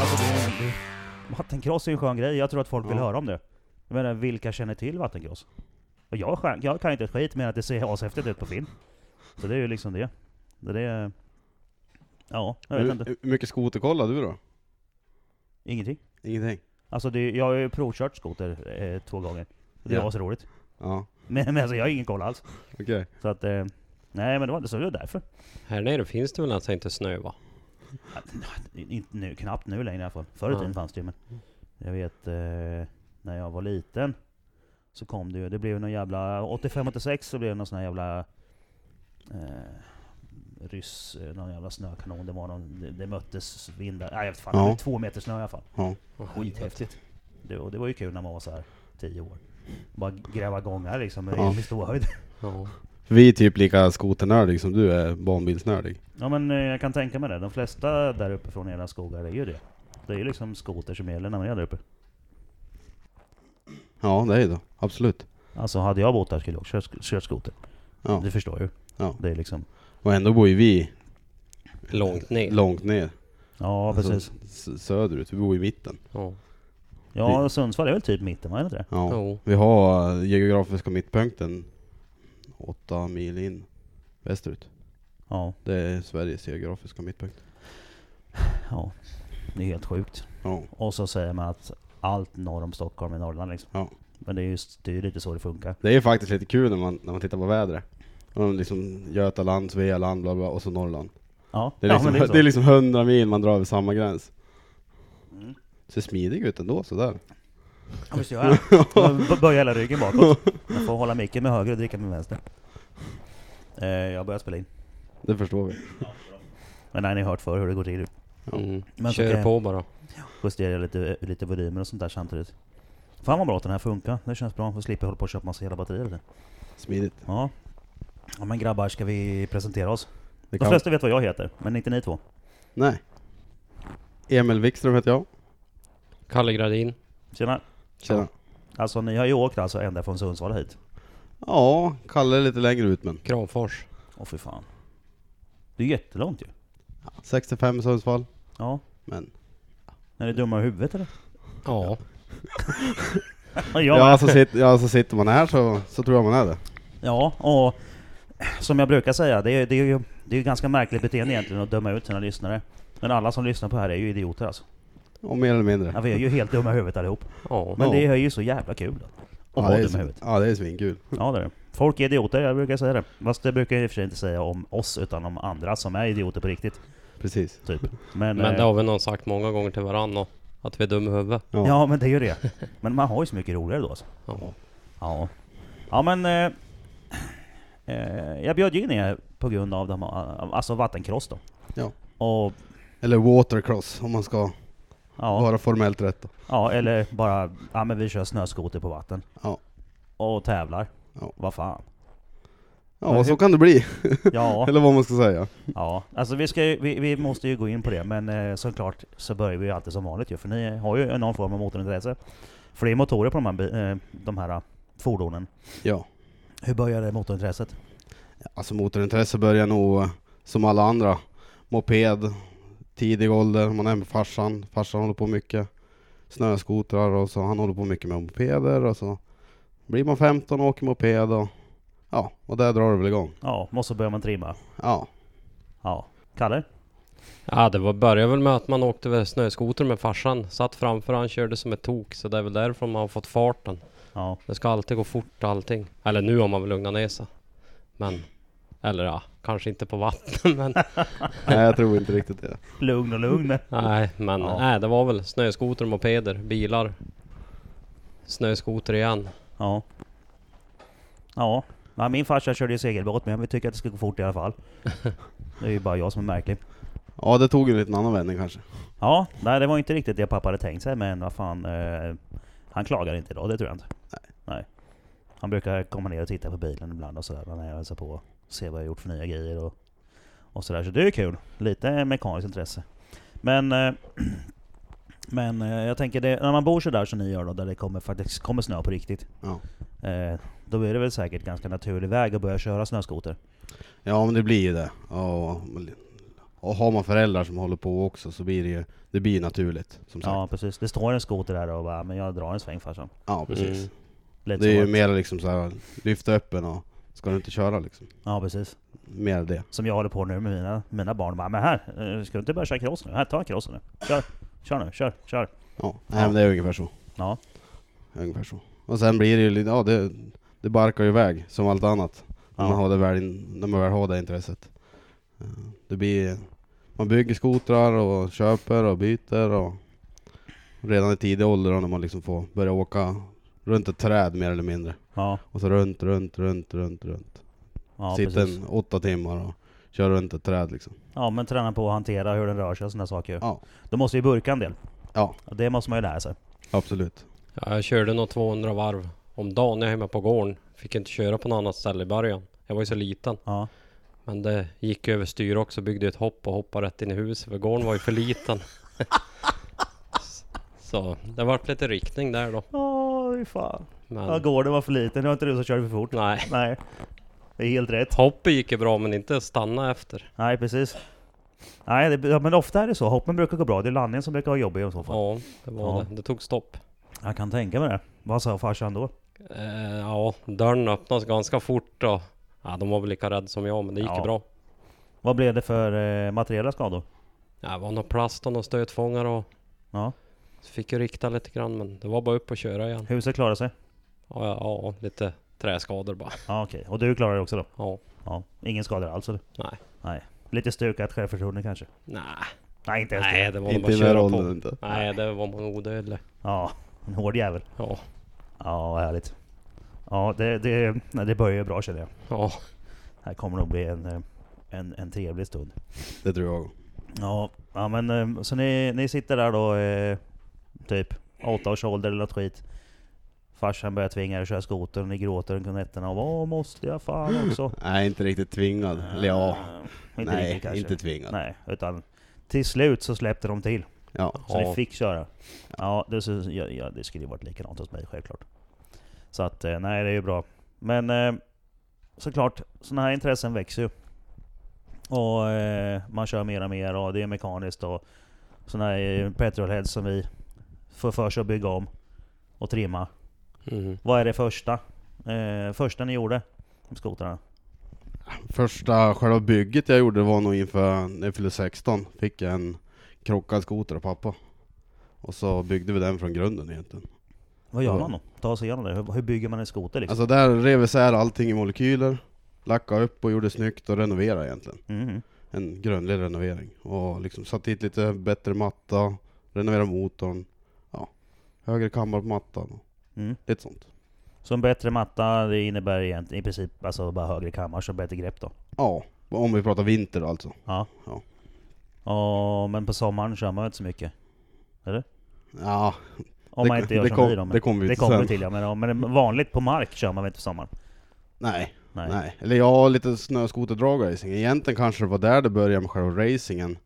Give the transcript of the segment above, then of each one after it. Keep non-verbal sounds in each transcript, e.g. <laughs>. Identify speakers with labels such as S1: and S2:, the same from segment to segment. S1: Alltså, det är en, det, vattenkross är ju en skön grej, jag tror att folk vill
S2: Ja.
S1: höra om det. Jag menar, vilka känner till vattenkross? Och jag, är skön- jag kan inte ett skit, men att det ser ashäftigt ut på film. Så det är ju liksom det. Så det är... Ja, jag vet inte.
S2: Hur hur mycket skoter kollar du då?
S1: Ingenting.
S2: Ingenting?
S1: Alltså, det, jag har ju provkört skoter eh, två gånger. Det
S2: Ja.
S1: var så roligt.
S2: Ja,
S1: Men, men alltså, jag har ingen koll alls.
S2: okej.
S1: Så att... Eh, nej, men det var inte så. Det var därför.
S3: Här nere finns det väl alltså inte snö va?
S1: Inte nu, knappt nu längre i alla fall. Förr i
S3: Ja.
S1: tiden fanns det ju men Jag vet eh, när jag var liten Så kom det ju, det blev ju någon jävla 85-86 så blev det någon sån här jävla eh, Ryss, eh, någon jävla snökanon. Det var någon, det, det möttes vindar, nej jag vet fan,
S2: Ja.
S1: det blev två meter snö i alla fall.
S2: Ja.
S1: Skithäftigt. Det, och det var ju kul när man var så här 10 år. Bara gräva gångar liksom med
S2: Ja.
S1: med ståhöjd. <laughs>
S3: Ja.
S2: Vi är typ lika skoternördig som du är barnbilsnördig.
S1: Ja men eh, jag kan tänka mig det. De flesta där uppe från era skogar är ju det. Det är ju liksom skoter som gäller när man är där uppe.
S2: Ja, det är ju då. Absolut.
S1: Alltså hade jag bott där skulle jag också kört- kört skoter.
S2: Ja.
S1: Du förstår ju.
S2: Ja.
S1: Det är liksom...
S2: Och ändå bor ju vi
S3: Långt ner.
S2: långt ner.
S1: Ja
S2: Alltså,
S1: precis.
S2: s- söderut. Vi bor i mitten.
S3: Ja.
S1: Ja Sundsvall är väl typ mitten, va? Är det inte det?
S2: Ja.
S3: Jo.
S2: Vi har eh, geografiska mittpunkten åtta mil in västerut.
S1: Ja.
S2: Det är Sveriges geografiska mittpunkt.
S1: ja. Det är helt sjukt.
S2: Ja.
S1: Och så säger man att allt norr om Stockholm är Norrland liksom.
S2: Ja.
S1: Men det är just, det är ju lite så det funkar.
S2: Det är ju faktiskt lite kul när man, när man tittar på vädret. Och liksom Götaland, Svealand, bla bla, och så Norrland.
S1: Ja,
S2: Det är, liksom,
S1: ja
S2: det,
S1: men
S2: är
S1: så.
S2: liksom 100 mil man drar över samma gräns.
S1: Mm.
S2: Ser smidig ut ändå sådär.
S1: Ja, visst gör
S2: <laughs>
S1: jag. Jag b- Böjer hela ryggen bakåt. Jag får hålla micken med höger och dricka med vänster. Eh, jag börjar spela in.
S2: Det förstår vi.
S1: Men nej, ni har hört för hur det går till.
S3: Mm.
S1: Men så
S3: Kör
S1: kan-
S3: på bara.
S1: Justera lite, lite volymer och sånt där samtidigt. Fan vad bra att den här funkar. Det känns bra. För slipper hålla på och köpa massa jävla batterier. eller?
S2: Smidigt.
S1: Ja. ja. men grabbar, ska vi presentera oss?
S2: Det
S1: De
S2: kan...
S1: flesta vet vad jag heter, men inte ni två.
S2: Nej. Emil Wikström heter jag.
S3: Kalle Gradin.
S1: Tjena.
S2: Tjena.
S1: Alltså ni har ju åkt alltså ända från Sundsvall hit.
S2: Ja, Kalle är lite längre ut men.
S3: Kramfors.
S1: Åh fy fan. Det är jättelångt ju.
S2: 65 i Sundsvall.
S1: Ja.
S2: Men
S1: Är ni dumma i huvudet eller?
S3: Ja.
S1: Ja,
S2: ja,
S1: jag
S2: alltså, sitter, ja, alltså sitter man här så, så tror jag man är det.
S1: Ja, och som jag brukar säga, det är, det är ju det är ju ganska märkligt beteende egentligen att döma ut sina lyssnare. Men alla som lyssnar på det här är ju idioter alltså.
S2: Och mer eller mindre.
S1: Ja, vi är ju helt dumma i huvudet allihop.
S3: Ja.
S1: Men
S2: Ja.
S1: det är ju så jävla kul att
S2: ja,
S1: vara
S2: det
S1: dum
S2: är,
S1: i
S2: svin-
S1: huvudet.
S2: ja, det är svinkul.
S1: Ja det är det. Folk är idioter, jag brukar säga det. Fast det brukar jag i och för sig inte säga om oss, utan om andra som är idioter på riktigt.
S2: Precis.
S1: Typ. Men,
S3: Men det
S1: eh,
S3: har vi nog sagt många gånger till varandra. Att vi är dum i huvudet.
S2: Ja.
S1: Ja men det är ju det. Men man har ju så mycket roligare då alltså.
S3: Ja.
S1: Ja. Ja men... Eh, eh, jag bjöd ju in er på grund av de, alltså vattenkross då.
S2: Ja.
S1: Och...
S2: Eller watercross om man ska
S1: Ja.
S2: vara formellt rätt då.
S1: Ja, eller bara, ja men vi kör snöskoter på vatten.
S2: Ja.
S1: Och tävlar.
S2: Ja.
S1: Vad fan.
S2: Ja, så kan det bli.
S1: Ja,
S2: Eller vad man ska säga.
S1: ja. Alltså vi, ska ju, vi, vi måste ju gå in på det, men eh, såklart så börjar vi ju alltid som vanligt ju, för ni har ju någon form av motorintresse. För det är motorer på de här, bi- eh, de här eh, fordonen.
S2: Ja.
S1: Hur började motorintresset?
S2: Alltså motorintresse börjar nog eh, som alla andra. Moped, tidig ålder, man är med farsan. Farsan håller på mycket. Snöskotrar och så. Han håller på mycket med mopeder och så. Blir man 15 och åker moped och ja, och där drar det väl igång.
S1: Ja, måste börja man trimma.
S2: Ja,
S1: Ja. Kalle?
S3: Ja, det var, började väl med att man åkte över snöskoter med farsan. Satt framför han körde som ett tok. Så det är väl därför man har fått farten.
S1: Ja.
S3: Det ska alltid gå fort allting. Eller nu har man väl lugnat ner sig. Men... Eller ja, kanske inte på vatten <laughs> men...
S2: nej jag tror inte riktigt det.
S1: Lugn och lugn.
S3: Nej, men
S1: Ja.
S3: nej, det var väl snöskoter, mopeder, bilar. Snöskoter igen.
S1: Ja. Ja. Nej, min farsa körde ju segelbåt men vi tycker att det ska gå fort i alla <laughs> fall. Det är ju bara jag som är märklig.
S2: Ja, det tog en liten annan vändning kanske.
S1: Ja, nej det var inte riktigt det pappa hade tänkt sig men vad fan. Eh, Han klagar inte idag, det tror jag inte. Nej. Han brukar komma ner och titta på bilen ibland och sådär. Han är och hälsar på och ser vad jag har gjort för nya grejer och, och sådär. Så det är kul. Lite mekaniskt intresse. Men, eh, <clears throat> men eh, jag tänker, det, när man bor sådär som ni gör då, där det kommer, faktiskt kommer snö på riktigt.
S2: Ja.
S1: Eh, då är det väl säkert ganska naturlig väg att börja köra snöskoter.
S2: Ja men det blir ju det. Ja, men- och har man föräldrar som håller på också så blir det ju, det blir ju naturligt. Som sagt. Ja,
S1: Ja precis, det står en skoter där och bara, men jag drar en sväng farsan.
S2: precis.
S3: Mm.
S1: Lite
S2: Det är
S1: så
S2: ju
S1: att-
S2: mer liksom så här, lyfta upp en och ska du inte köra liksom.
S1: Ja precis.
S2: Mer det.
S1: Som jag håller på nu med mina, mina barn. Bara, men här, eh, ska du inte börja köra cross nu? Här, ta en cross nu. Kör, kör nu, kör, kör.
S2: Ja, nej, men det är ungefär så.
S1: Ja.
S2: Ungefär så. Och sen blir det ju, lite- ja det, det barkar ju iväg som allt annat. När,
S1: Ja.
S2: man har det väl, in- när man väl har det intresset. Eh, Det blir, man bygger skotrar och köper och byter och redan i tidig ålder då, när man liksom får börja åka runt ett träd mer eller mindre.
S1: Ja,
S2: Och så runt, runt, runt, runt, runt.
S1: ja
S2: Sitta
S1: precis.
S2: en åtta timmar och köra runt ett träd liksom.
S1: Ja men träna på att hantera hur den rör sig och sådana saker. ju.
S2: Ja,
S1: Då måste vi burka en del.
S2: Ja.
S1: Och Det måste man ju lära sig.
S2: absolut.
S3: Ja, jag körde nog 200 varv om dagen när jag var hemma på gården. Fick inte köra på något annat ställe i början. Jag var ju så liten.
S1: Ja.
S3: Men det gick över styr också, byggde ett hopp och hoppade rätt in i huset för gården var ju
S1: <laughs>
S3: för liten. så det vart lite riktning där då.
S1: Åh, fy fan. Ja,
S3: Men
S1: gården var för liten. Det var inte du som körde för fort.
S3: nej,
S1: Nej. Det är helt rätt.
S3: hoppet gick ju bra men inte att stanna efter.
S1: Nej, precis. Nej, det, ja, men ofta är det så. Hoppen brukar gå bra. Det är landningen som brukar vara jobbig i så fall.
S3: Ja, det var
S1: Ja.
S3: det. Det tog stopp.
S1: Jag kan tänka mig det. Vad sa farsan då?
S3: Eh, ja, dörren öppnas ganska fort och ja, de var väl lika rädda som jag men det gick
S1: Ja.
S3: ju bra.
S1: Vad blev det för eh, materiella skador?
S3: Ja, det var någon plast och någon stötfångare och
S1: Ja.
S3: så fick jag rikta lite grann men det var bara upp och köra igen.
S1: Huset klarade sig?
S3: Ja, ja, ja lite träskador bara.
S1: Ja, okej. Och du klarade det också då?
S3: Ja,
S1: Ja. Ingen skador alls eller?
S3: nej.
S1: Nej. Lite stukat självförtroende kanske?
S3: Nej,
S1: Nej, inte ens det.
S3: nej det var nog
S2: Inte
S3: bara
S2: i
S3: att
S2: den här
S3: köra på.
S2: åldern inte.
S3: Nej, det var man odödlig.
S1: Ja, en hård jävel.
S3: Ja,
S1: Ja, vad härligt. Ja, det, det, nej, det börjar ju bra känner jag.
S3: ja.
S1: Här kommer det nog bli en, eh, en, en trevlig stund.
S2: Det tror jag.
S1: Ja, ja men eh, så ni, ni sitter där då, eh, typ åtta års ålder eller något skit. Farsan börjar tvinga er att köra skoter och ni gråter under nätterna och bara, Åh, måste jag fan också?
S2: Mm. Nej, inte riktigt tvingad. Eller ja,
S1: Eh, inte
S2: nej,
S1: riktigt kanske.
S2: inte tvingad.
S1: Nej, utan till slut så släppte de till.
S2: Ja.
S1: Så
S3: Ja.
S1: ni fick köra? Ja, det, så, ja, ja, det skulle ju varit likadant hos mig självklart. Så att, eh, nej det är ju bra. Men eh, såklart, sådana här intressen växer ju. Och eh, man kör mer och mer och det är mekaniskt och sådana här eh, petrolheads som vi får för sig att bygga om och trimma.
S3: Mm.
S1: Vad är det första? Eh, första ni gjorde? med Skotrarna?
S2: Första själva bygget jag gjorde var nog inför när jag fyllde 16. Fick jag en krockad skoter av pappa. Och så byggde vi den från grunden egentligen.
S1: Vad gör
S2: Ja.
S1: man då? Ta sig igenom det. Hur, hur bygger man en skoter liksom?
S2: Alltså där rev vi isär allting i molekyler, lackade upp och gjorde snyggt och renoverade egentligen.
S1: Mhm.
S2: En grundlig renovering. Och liksom satt dit lite bättre matta, renoverade motorn, ja, högre kammar på mattan och
S1: Mm.
S2: lite sånt.
S1: Så en bättre matta, det innebär egentligen i princip alltså bara högre kammar så bättre grepp då?
S2: Ja, om vi pratar vinter alltså.
S1: Ja.
S2: Ja.
S1: Och, men på sommaren kör man ju inte så mycket?
S2: Ja,
S1: Om
S2: Det-
S1: man inte gör
S2: det
S1: som
S2: kom-
S1: vi då. Men
S2: det kommer vi
S1: det
S2: till
S1: kommer
S2: sen.
S1: vi till ja. Men, ja, men vanligt på mark kör man väl inte på sommaren?
S2: nej.
S1: Nej.
S2: Nej, eller jag har lite snöskoterdragracing. Egentligen kanske det var där det började med själva racingen.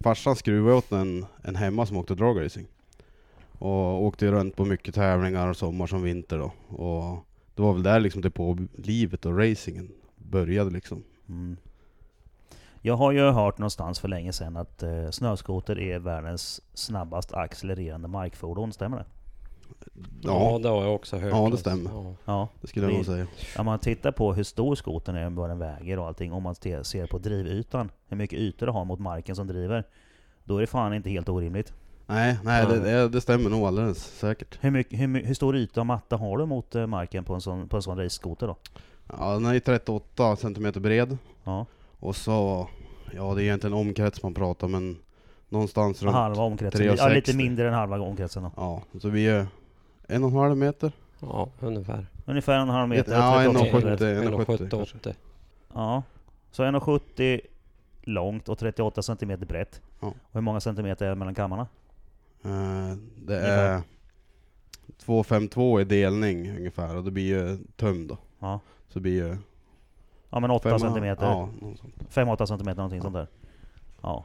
S2: Farsan skruvade åt en, en hemma som åkte dragracing. Och åkte ju runt på mycket tävlingar, sommar som vinter då. Och det var väl där liksom det på livet och racingen började liksom.
S1: Mm. Jag har ju hört någonstans för länge sedan att eh, snöskoter är världens snabbast accelererande markfordon, stämmer det?
S3: Ja.
S2: Ja,
S3: det har jag också hört.
S2: Ja, det
S3: alltså.
S2: stämmer.
S3: Ja.
S1: Ja.
S2: det skulle jag nog säga.
S1: Om man tittar på hur stor skotern är, vad den väger och allting, om man te- ser på drivytan, hur mycket ytor det har mot marken som driver, då är det fan inte helt orimligt.
S2: Nej, nej det, det, det stämmer nog alldeles säkert.
S1: Hur, mycket, hur, my- hur stor yta och matta har du mot eh, marken på en sån, på en sån raceskoter då?
S2: Ja, den är ju 38 centimeter bred.
S1: Ja.
S2: Och så, ja det är egentligen omkrets man pratar men någonstans runt...
S1: Halva omkretsen,
S2: 3,60.
S1: ja, lite mindre än halva omkretsen då.
S2: Ja, så vi är en och en halv meter.
S3: ja, ungefär.
S1: Ungefär en halv meter.
S2: Ja,
S1: 38
S2: 1,70.
S1: centimeter.
S2: 1,70
S3: 1,70,
S2: kanske.
S3: 80.
S1: Ja. Så 1,70 långt och 38 centimeter brett.
S2: Ja.
S1: Och hur många centimeter är det mellan kammarna?
S2: Eh, det
S1: Ungefär.
S2: är 252 i delning ungefär och det blir ju töm då.
S1: Ja.
S2: Så det blir ju...
S1: Ja men 8
S2: femma-
S1: centimeter,
S2: Ja, något sånt.
S1: 5-8 centimeter någonting sånt där. Ja.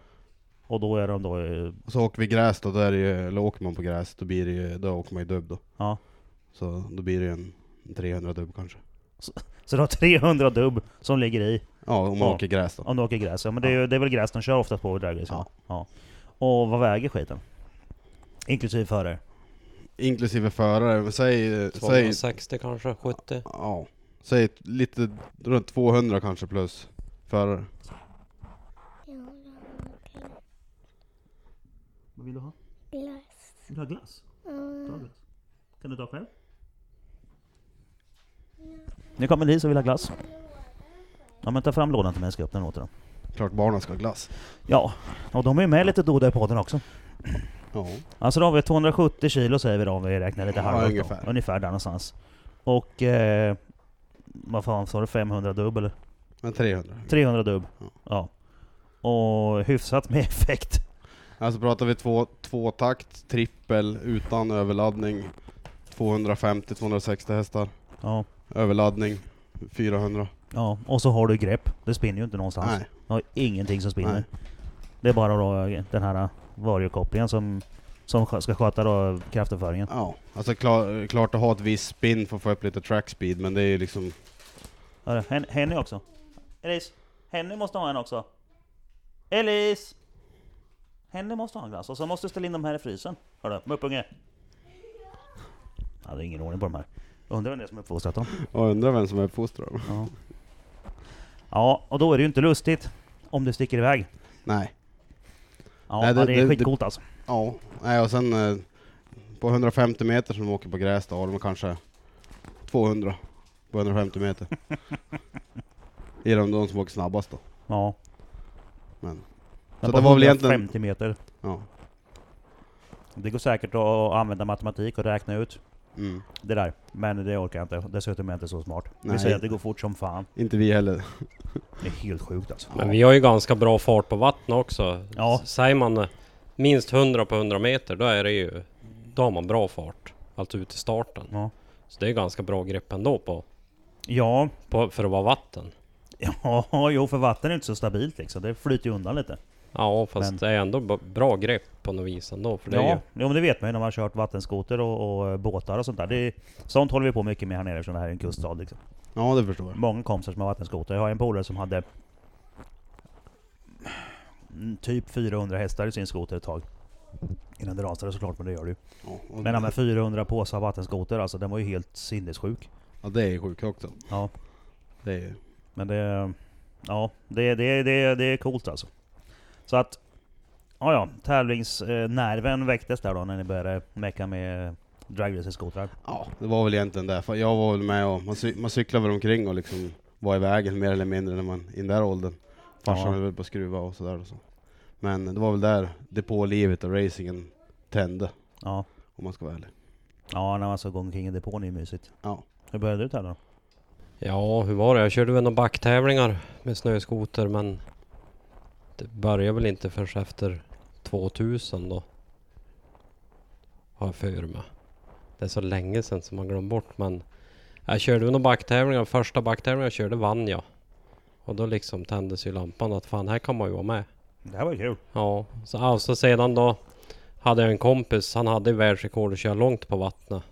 S1: Och då är de då, eh,
S2: Och så åker vi gräs då, då är det ju, eller åker man på gräs då blir det ju, då åker man ju dubb då.
S1: Ja.
S2: Så då blir det ju en, en 300 dubb kanske.
S1: så de har 300 dubb som ligger i
S2: Ja, om man
S1: Ja.
S2: åker gräs då.
S1: om du åker gräs. Ja, men det är, ju, det är väl gräs de kör oftast på i dragrace? Ja. ja. Och vad väger skiten? Inklusive förare?
S2: Inklusive förare, men säg... säg
S3: 260 kanske, 70.
S2: ja, säg lite runt 200 kanske plus förare.
S1: Vad vill du ha?
S4: Glass.
S1: Vill du ha glass?
S4: Mm.
S1: Kan du ta själv? Nu kommer Lisa och vill ha glass. Ja men ta fram lådan till mig, jag ska öppna den åt dem.
S2: Klart barnen ska ha glass.
S1: Ja, och de är ju med lite då och då i podden också.
S2: Ja.
S1: Alltså då har vi 270 kilo säger vi då om vi räknar lite
S2: Ja,
S1: halvt. då.
S2: ungefär.
S1: ungefär där någonstans. Och eh, vad fan sa du, 500 dubb eller?
S2: Men 300.
S1: 300 dubb.
S2: Ja.
S1: Ja. Och hyfsat med <laughs> effekt.
S2: Alltså pratar vi två, två takt, trippel utan överladdning. 250-260 hästar.
S1: Ja.
S2: Överladdning 400.
S1: ja. Och så har du grepp. Det spinner ju inte någonstans.
S2: Nej.
S1: Du har ingenting som spinner.
S2: Nej.
S1: Det är bara då eh, den här variokopplingen som, som skö- ska sköta då kraftöverföringen.
S2: Ja, alltså klar, klart att ha ett visst spinn för att få upp lite track speed men det är ju liksom...
S1: Ja. Hen- Henny också. Elis! Henny måste ha en också. Elis! Henny måste ha en glass. Och så måste du ställa in dem här i frysen. Hörru, muppunge! Ja, det är ingen ordning på de här. Undrar vem det är som uppfostrat dem.
S2: Jag undrar vem som är uppfostrad.
S1: Ja. ja, och då är det ju inte lustigt om det sticker iväg.
S2: Nej.
S1: Ja,
S2: Nej, det-
S1: det, det är
S2: det-
S1: skitcoolt alltså.
S2: Ja, nej och sen eh, på 150 meter som de åker på gräs då har de kanske 200 på 150 <laughs> meter. Det är de, de som åker snabbast då.
S1: Ja.
S2: Men,
S1: Men
S2: så
S1: på
S2: det var väl egentligen...
S1: 150 meter.
S2: Ja.
S1: Det går säkert att använda matematik och räkna ut
S2: Mm.
S1: det där. Men det orkar jag inte. Dessutom är jag inte så smart. Vi
S2: Nej.
S1: säger att det går fort som fan.
S2: Inte vi heller.
S1: Det är helt sjukt alltså.
S3: Men vi har ju ganska bra fart på vattnet också.
S1: Ja.
S3: S- Säger man eh, minst 100 på 100 meter, då är det ju... Då har man bra fart. Alltså ut i starten.
S1: Ja.
S3: Så det är ganska bra grepp ändå på,
S1: Ja, <laughs>
S3: på, för att vara vatten.
S1: ja, jo för vatten är inte så stabilt liksom. Det flyter ju undan lite.
S3: Ja, fast
S1: Men-
S3: det är ändå b- bra grepp på något vis ändå. För det är
S1: Ja,
S3: ju,
S1: jo, men det vet man ju när man har kört vattenskoter och, och båtar och sånt där. Det är, sånt håller vi på mycket med här nere eftersom det här är en kuststad liksom.
S2: Ja, det förstår jag.
S1: många kompisar som har vattenskoter. Jag har en polare som hade mm, typ 400 hästar i sin skoter ett tag. Innan det rasade såklart, men det gör det ju.
S2: Ja, och
S1: Men han med 400 påsar vattenskoter, alltså den var ju helt sinnessjuk.
S2: ja, det är sjukt också.
S1: Ja,
S2: Det är ju...
S1: men det... Ja, det, det, det, det är coolt alltså. Så att... Ja, ja. Tävlingsnerven väcktes där då när ni började mecka med dragracing-skotrar.
S2: Ja, det var väl egentligen det. För jag var väl med och man, cy- man cyklar väl omkring och liksom var i vägen mer eller mindre när man i den där åldern. Farsan
S1: Ja.
S2: höll väl på att skruva och sådär och så. Men det var väl där depålivet och racingen tände,
S1: Ja.
S2: om man ska vara ärlig.
S1: Ja, när man så går omkring i depån är ju mysigt.
S2: Ja.
S1: Hur började du tävla då?
S3: ja, hur var det? Jag körde väl några backtävlingar med snöskoter, men... Det började väl inte förrän efter 2000 då. Har jag för mig. Det är så länge sedan som man glömt bort, men... Jag körde väl några backtävlingar. Första backtävlingen jag körde vann jag. Och då liksom tändes ju lampan att fan, här kan man ju vara med.
S1: Det här var ju kul.
S3: Ja, så alltså sedan då hade jag en kompis, han hade världsrekord att köra långt på vattnet.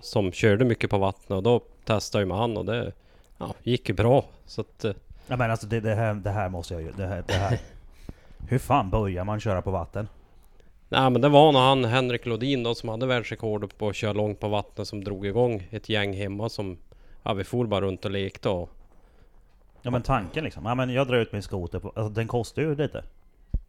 S3: Som körde mycket på vattnet och då testade jag med han och det ja, gick ju bra. Så att, eh,
S1: Ja, men alltså det, det, här, det här måste jag ju... Det här, det
S3: <laughs>
S1: här. Hur fan börjar man köra på vatten?
S3: nej men det var nog han Henrik Lodin då som hade världsrekordet på att köra långt på vattnet som drog igång ett gäng hemma som, ja vi for bara runt och lekte och
S1: Ja men tanken liksom. Ja men jag drar ut min skoter på... Alltså den kostar ju lite.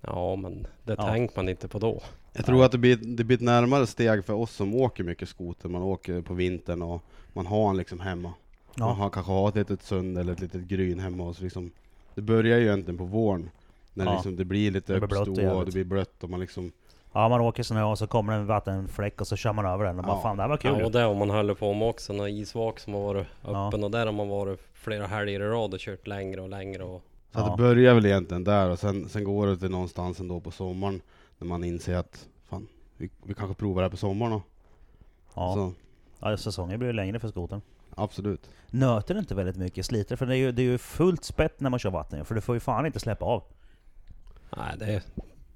S3: ja men det
S1: Ja.
S3: tänkte man inte på då.
S2: Jag tror att det blir, det blir ett närmare steg för oss som åker mycket skoter. Man åker på vintern och man har en liksom hemma.
S1: Ja.
S2: Man har, kanske har ett litet sund eller ett litet gryn hemma. Och så liksom, det börjar ju egentligen på våren. När
S1: Ja.
S2: liksom det blir lite
S1: Det blir blött och
S2: uppstå och det
S1: jävligt.
S2: blir blött och man liksom
S1: Ja man åker snö och så kommer det en vattenfläck och så kör man över den och bara
S2: Ja.
S1: fan det här var kul.
S3: Ja,
S1: ju."
S3: och det har man höll på med också, när isvak som har varit
S1: Ja.
S3: öppen och där har man varit flera helger i rad och kört längre och längre och
S2: Så att
S1: Ja.
S2: det börjar väl egentligen där och sen, sen går det till någonstans ändå på sommaren när man inser att fan, vi, vi kanske provar det här på sommaren då.
S1: Ja.
S2: Så
S1: Ja, säsongen blir ju längre för skotern.
S2: Absolut.
S1: Nöter det inte väldigt mycket? Sliter För det är ju, det är ju fullt spett när man kör vatten för du får ju fan inte släppa av.
S3: Nej, det,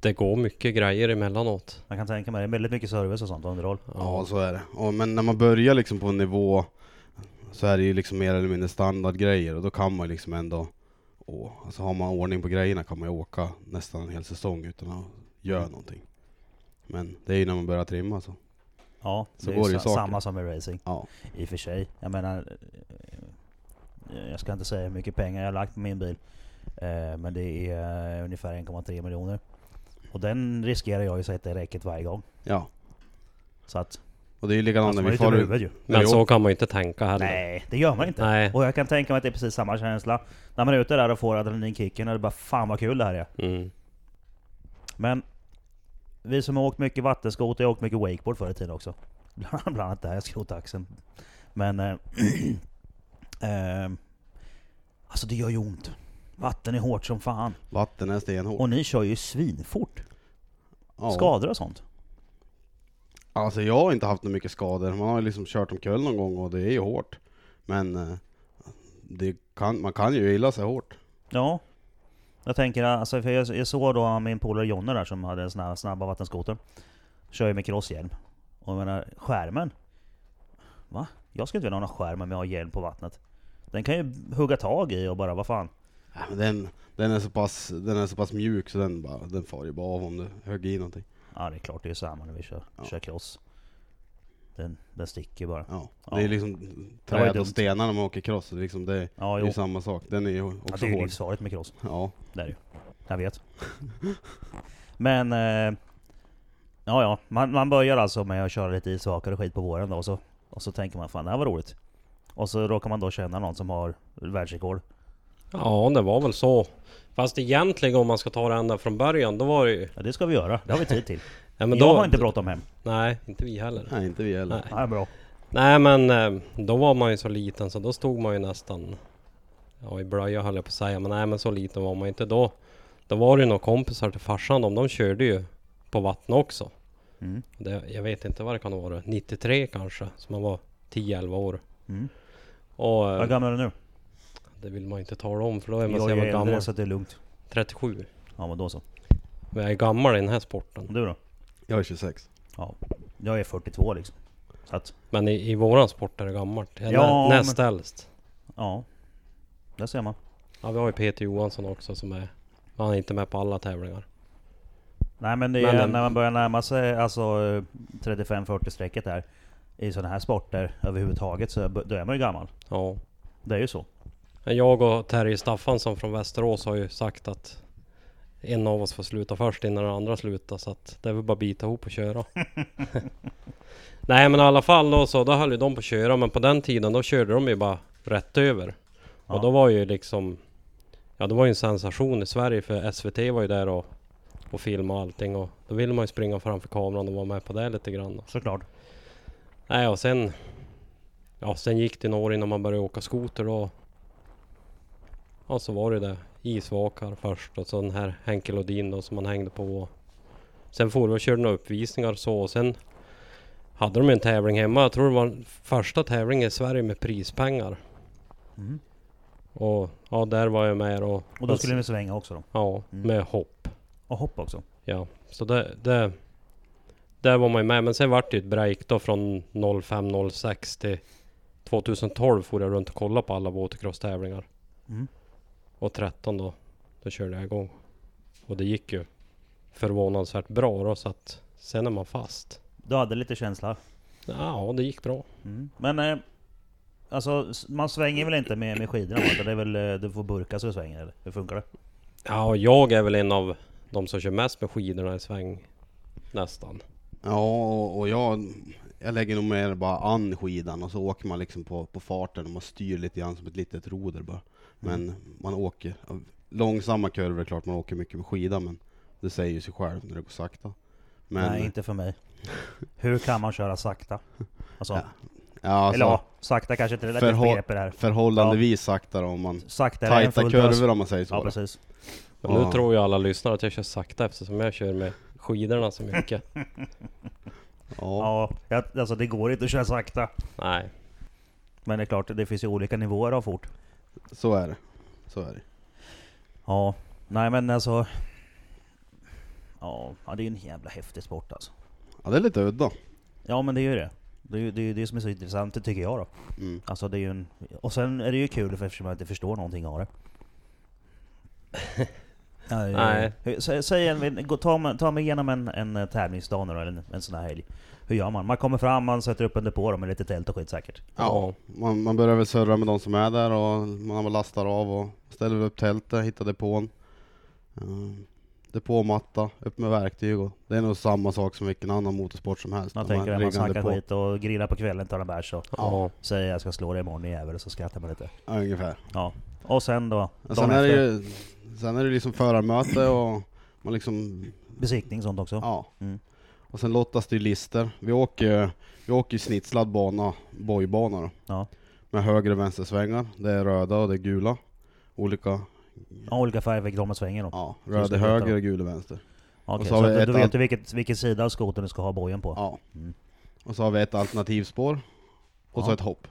S3: det går mycket grejer emellanåt.
S1: Man kan tänka mig det. är Väldigt mycket service och sånt och underhåll.
S2: Ja, så är det. Och, men när man börjar liksom på en nivå så är det ju liksom mer eller mindre standardgrejer och då kan man liksom ändå... Åh, alltså har man ordning på grejerna kan man ju åka nästan en hel säsong utan att göra
S1: Mm.
S2: någonting. Men det är ju när man börjar trimma så.
S1: Ja,
S2: Så
S1: det är
S2: går
S1: ju
S2: det ju
S1: sa-
S2: saker.
S1: samma som med racing.
S2: Ja.
S1: I och för sig. Jag menar... eh, Jag ska inte säga hur mycket pengar jag har lagt på min bil. Eh, Men det är eh, ungefär 1,3 miljoner. Och den riskerar jag ju att sätta i räcket varje gång.
S2: Ja.
S1: Så att...
S2: Och det är ju likadant
S1: alltså,
S2: när
S1: man är ju
S2: vi
S1: dum
S2: far
S1: i huvudet
S2: ut.
S1: ju.
S2: Nej,
S3: Men så kan man ju inte tänka heller.
S1: Nej, det gör man inte.
S3: Nej.
S1: Och jag kan tänka mig att det är precis samma känsla. När man är ute där och får adrenalinkicken och det är bara fan vad kul det här är.
S3: Mm.
S1: Men vi som har åkt mycket vattenskoter, jag har åkt mycket wakeboard förr i tiden också. <laughs> Bland bland annat där jag skrotade axeln. Men... Eh, <clears throat> ehm, alltså det gör ju ont. Vatten är hårt som fan.
S2: Vatten är stenhårt.
S1: Och ni kör ju svinfort.
S2: Ja.
S1: Skador och sånt.
S2: Alltså jag har inte haft några mycket skador. Man har ju liksom kört omkull någon gång och det är ju hårt. Men eh, det kan, man kan ju illa sig hårt.
S1: Ja. Jag tänker alltså, för jag, jag såg då min polare Jonne där som hade en sån här snabba vattenskoter. Kör ju med crosshjälm. Och jag menar, skärmen. Va? Jag skulle inte vilja ha någon skärm om jag har hjälm på vattnet. Den kan ju hugga tag i och bara, vad fan.
S2: Ja, Äh, men Den, den, är så pass, den är så pass mjuk så den, bara, den far ju bara av om du högg i någonting.
S1: Ja det är klart, det är ju samma när vi kör,
S2: Ja.
S1: kör cross. Den, den sticker ju bara.
S2: Ja.
S1: Ja.
S2: Det är liksom
S1: var ju
S2: träd
S1: dumt.
S2: och stenar när man åker cross. så Det är, liksom, det, det
S1: Ja,
S2: är
S1: jo.
S2: ju samma sak. Den är ju
S1: Ja,
S2: också
S1: det är ju liksom-
S2: hård.
S1: livsfarligt med cross.
S2: Ja.
S1: Det är det ju. Jag vet. <laughs> Men... Eh, ja, ja. Man, man börjar alltså med att köra lite isvakare skit på våren då, och så, och så tänker man fan det här var roligt. Och så råkar man då känna någon som har världsrekord.
S3: Ja, det var väl så. Fast egentligen om man ska ta det ända från början, då var det ju...
S1: Ja det ska vi göra, det har vi tid till.
S3: Ja,
S1: Men
S3: men
S1: jag
S3: då,
S1: har inte bråttom hem.
S3: Nej, inte vi heller.
S2: Nej, inte vi heller.
S3: Nej.
S1: Ja, bra.
S3: Nej men eh, då var man ju så liten så då stod man ju nästan Ja i blöja höll jag på att säga men nej men så liten var man inte då. Då var det ju några kompisar till farsan de, de körde ju på vatten också.
S1: Mm.
S3: Det, jag vet inte vad det kan vara, 93 kanske, så man var 10-11 år.
S1: Mm.
S3: Och eh,
S1: Vad gammal är du nu?
S3: det vill man ju inte tala om för då är man så
S1: Jag är
S3: jävla
S1: äldre
S3: gammal.
S1: så att det är lugnt.
S3: 37.
S1: Ja men då så.
S3: Men jag är gammal i den här sporten.
S1: Och du då?
S2: Jag är 26.
S1: Ja. Jag är 42 liksom. Så att,
S3: Men i, i våran sport är det gammalt. Jag är
S1: Ja,
S3: nä, näst äldst.
S1: ja. Där ser man.
S3: Ja vi har ju Peter Johansson också som är, han är inte med på alla tävlingar.
S1: Nej men det är
S3: Men
S1: ju
S3: den-
S1: när man börjar närma sig alltså, eh, 35-40 strecket där i sådana här sporter överhuvudtaget så b- då är man ju gammal.
S3: Ja.
S1: Det är ju så.
S3: Men Jag och Terje Staffansson från Västerås har ju sagt att en av oss får sluta först innan den andra slutar så att det är väl bara att bita ihop och köra. Nej men i alla fall då så, då höll ju de på att köra men på den tiden då körde de ju bara rätt över.
S1: Ja.
S3: Och då var ju liksom, ja det var ju en sensation i Sverige för SVT var ju där och, och filmade allting och då ville man ju springa framför kameran och vara med på det lite grann.
S1: Såklart.
S3: Nej och sen, ja sen gick det några år innan man började åka skoter och ja så var det det. Isvakar först och så den här Henke Lodin då som man hängde på. Sen for vi och körde några uppvisningar och så och sen hade de ju en tävling hemma. Jag tror det var den första tävlingen i Sverige med prispengar.
S1: Mm.
S3: Och ja, där var jag med och...
S1: Och då skulle ni svänga också då?
S3: Ja,
S1: Mm.
S3: med hopp.
S1: Och hopp också?
S3: Ja, så det, det, där var man ju med. Men sen vart det ju ett break då från 05, 06 till 2012 for jag runt och kollade på alla motocross-tävlingar.
S1: Mm.
S3: Och 13 då, då körde jag igång. Och det gick ju förvånansvärt bra då så att sen är man fast.
S1: Du hade lite känsla?
S3: Ja, det gick bra.
S1: Mm. Men eh, alltså s- man svänger väl inte med, med skidorna? va? Utan det är väl eh, du får burka så du svänger eller? Hur funkar det?
S3: Ja, och jag är väl en av de som kör mest med skidorna i sväng. Nästan.
S2: Ja, och- och jag, jag lägger nog mer bara an skidan och så åker man liksom på, på farten och man styr lite grann som ett litet roder bara.
S1: Mm.
S2: Men man åker, ja, långsamma kurvor är klart man åker mycket på skida men det säger ju sig själv när det går sakta. Men,
S1: Nej inte för mig. Hur kan man köra sakta? Alltså,
S2: Ja, ja, alltså,
S1: eller ja, sakta kanske inte det är ett
S2: förhå-
S1: begrepp i det här.
S2: förhållandevis sakta då, om man
S1: Saktare än
S2: tajta
S1: full pös.
S2: kurvor om man säger så.
S1: Ja
S2: bara.
S1: precis.
S3: Men
S2: Ja.
S3: nu <laughs> tror ju alla lyssnare att jag kör sakta eftersom jag kör med skidorna så mycket.
S2: Ja.
S1: Ja, jag- alltså det går inte att köra sakta.
S3: Nej.
S1: Men det är klart, det finns ju olika nivåer av fort.
S2: så är det. Så är det.
S1: Ja, nej men alltså... Ja, ja, det är ju en jävla häftig sport alltså.
S2: Ja, det är lite udda.
S1: Ja men det är ju det. Det är ju det, är ju det som är så intressant, det tycker jag då.
S2: Mm.
S1: Alltså det är ju en... Och sen är det ju kul för eftersom jag inte förstår någonting <laughs> av det. Nej.
S3: Nej.
S1: Hur- Sä, säg en, gå, ta, mig- ta mig igenom en, en eh, tävlingsdag nu då, eller en, en sån här helg. Hur gör man? Man kommer fram, man sätter upp en depå då med lite tält och skit säkert.
S2: Ja, man, man börjar väl surra med de som är där och man lastar av och ställer upp tältet, hittar depån. Um, depåmatta, upp med verktyg och det är nog samma sak som vilken annan motorsport som helst.
S1: Man
S2: De här
S1: tänker att man
S2: riggande
S1: snackar
S2: depå-
S1: skit och grillar på kvällen, tar en bärs och
S3: Ja.
S1: säger jag ska slå dig imorgon i jävel och så skrattar man lite.
S2: Ja, ungefär.
S1: Ja. Och sen då? Dagen
S2: Och Sen är, det
S1: efter,
S2: ju, sen är det liksom förarmöte och man liksom,
S1: besiktning och sånt också?
S2: ja.
S1: Mm.
S2: Och sen lottas det ju lister. Vi åker, vi åker ju snitslad bana, bojbana då.
S1: Ja.
S2: Med höger och vänstersvängar. Det är röda och det är gula. Olika,
S1: Ja, olika färger fick de att svänga då?
S2: ja,
S1: Så ska
S2: röda
S1: vi veta
S2: höger
S1: då.
S2: och gul och vänster.
S1: Okej,
S2: Och så
S1: så,
S2: har vi
S1: att
S2: ett
S1: du vet
S2: allt-
S1: du vilket, vilken sida av skotern du ska ha bojen på?
S2: Ja.
S1: Mm.
S2: Och så har vi ett alternativspår. Och så
S1: Ja.
S2: ett hopp.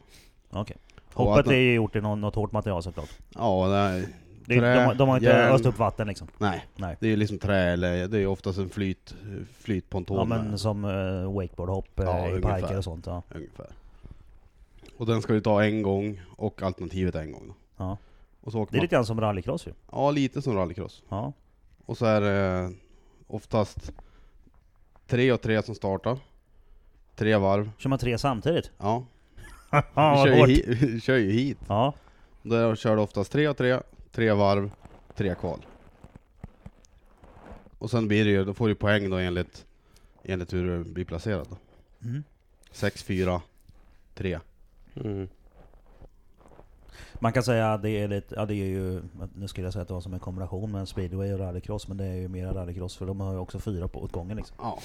S1: Okej.
S2: Och
S1: Hoppet
S2: att-
S1: är ju gjort i någon, något hårt material såklart.
S2: Ja, det är,
S1: Det, är-
S2: Trä,
S1: de, de har inte
S2: järn.
S1: öst upp vatten liksom.
S2: nej.
S1: Nej.
S2: Det är ju liksom trä eller, det är ju oftast en flyt, flytponton.
S1: Ja,
S2: där,
S1: men som eh, wakeboardhopp eh,
S2: Ja,
S1: i
S2: ungefär.
S1: parker och sånt. Ja.
S2: Ungefär. Och den ska du ta en gång och alternativet en gång. Då.
S1: Ja.
S2: Och så åker
S1: Det är
S2: man,
S1: lite grann som rallycross ju.
S2: ja lite som rallycross.
S1: Ja.
S2: Och så är det oftast tre och tre som startar. Tre varv.
S1: Kör man tre samtidigt?
S2: Ja,
S1: Ja,
S2: vi,
S1: vad
S2: kör
S1: hårt.
S2: ju hit, <laughs> vi kör ju hit.
S1: Ja.
S2: Då kör det oftast tre och tre, tre varv, tre kval. Och sen blir det ju, då får du poäng då enligt, enligt hur du blir placerad. Då.
S1: Mm.
S2: Sex, fyra, tre.
S3: Mm.
S1: Man kan säga att det är lite, ja det är ju, nu skulle jag säga att det var som en kombination med speedway och rallycross, men det är ju mera rallycross för de har ju också fyra på åt gången liksom.
S2: Ja,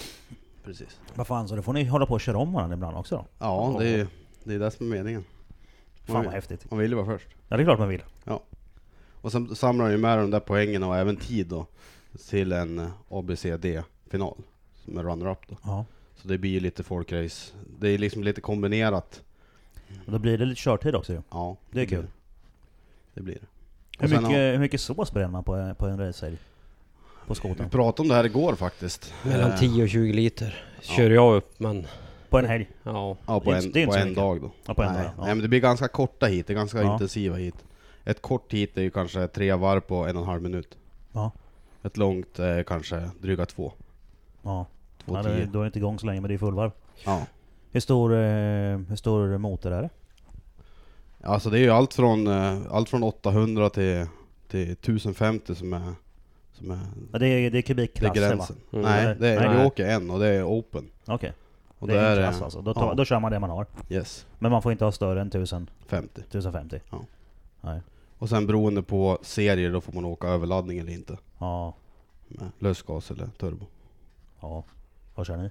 S2: precis.
S1: Vad fan, så då får ni hålla på och köra om varandra ibland också då?
S2: Ja, det är, det är det som är meningen.
S1: Fan
S2: Oj.
S1: vad häftigt.
S2: Man vill ju vara först.
S1: Ja det är klart man vill.
S2: Och sen samlar han ju med de där poängen och även tid då till en eh, ABCD-final som är runner-up då.
S1: Ja.
S2: Så det blir ju lite folkrace. Det är liksom lite kombinerat.
S1: Och då blir det lite körtid också ju.
S2: Ja,
S1: Det är
S2: blir
S1: kul.
S2: Det blir det.
S1: Hur
S2: Och sen
S1: mycket, hur mycket sås bränner man på, på en racehelg? På
S2: har- Vi
S1: skotern?
S2: pratade om det här igår faktiskt.
S3: Mellan
S2: Eh,
S3: 10 och 20 liter kör jag upp men
S1: På en helg?
S3: ja.
S2: Ja, på
S1: Det är inte-
S2: en,
S1: det är inte
S2: på
S1: så
S2: en
S1: mycket.
S2: dag då.
S1: Ja, på en
S2: nej,
S1: dag, ja.
S2: nej, men det blir ganska korta hit. Det är ganska
S1: Ja.
S2: intensiva hit. Ett kort hit är ju kanske tre varv på en och en halv minut.
S1: Ja.
S2: Ett långt eh, kanske dryga två.
S1: Ja.
S2: Två
S1: ja det,
S2: tio.
S1: då är det inte igång så länge men det är fullvarv.
S2: Ja.
S1: Hur stor, eh, hur stor motor är det?
S2: Alltså det är ju allt från, eh, allt från 800 till, till 1050 som är, som är,
S1: Ja, det, är, det är
S2: det är
S1: kubikklassen
S2: gränsen.
S3: Mm.
S2: Nej, det är,
S1: Nej.
S2: vi åker en och det är open.
S1: va? Okej.
S2: Och
S1: det är en
S2: där
S1: klass alltså. Då, tar,
S2: ja.
S1: då kör man det man har.
S2: Yes,
S1: Men man får inte ha större än 1000,
S2: 50.
S1: 1050.
S2: Och sen beroende på serier då får man åka överladdning eller inte.
S1: Ja.
S2: Med lösgas eller turbo.
S1: Ja. Vad kör ni?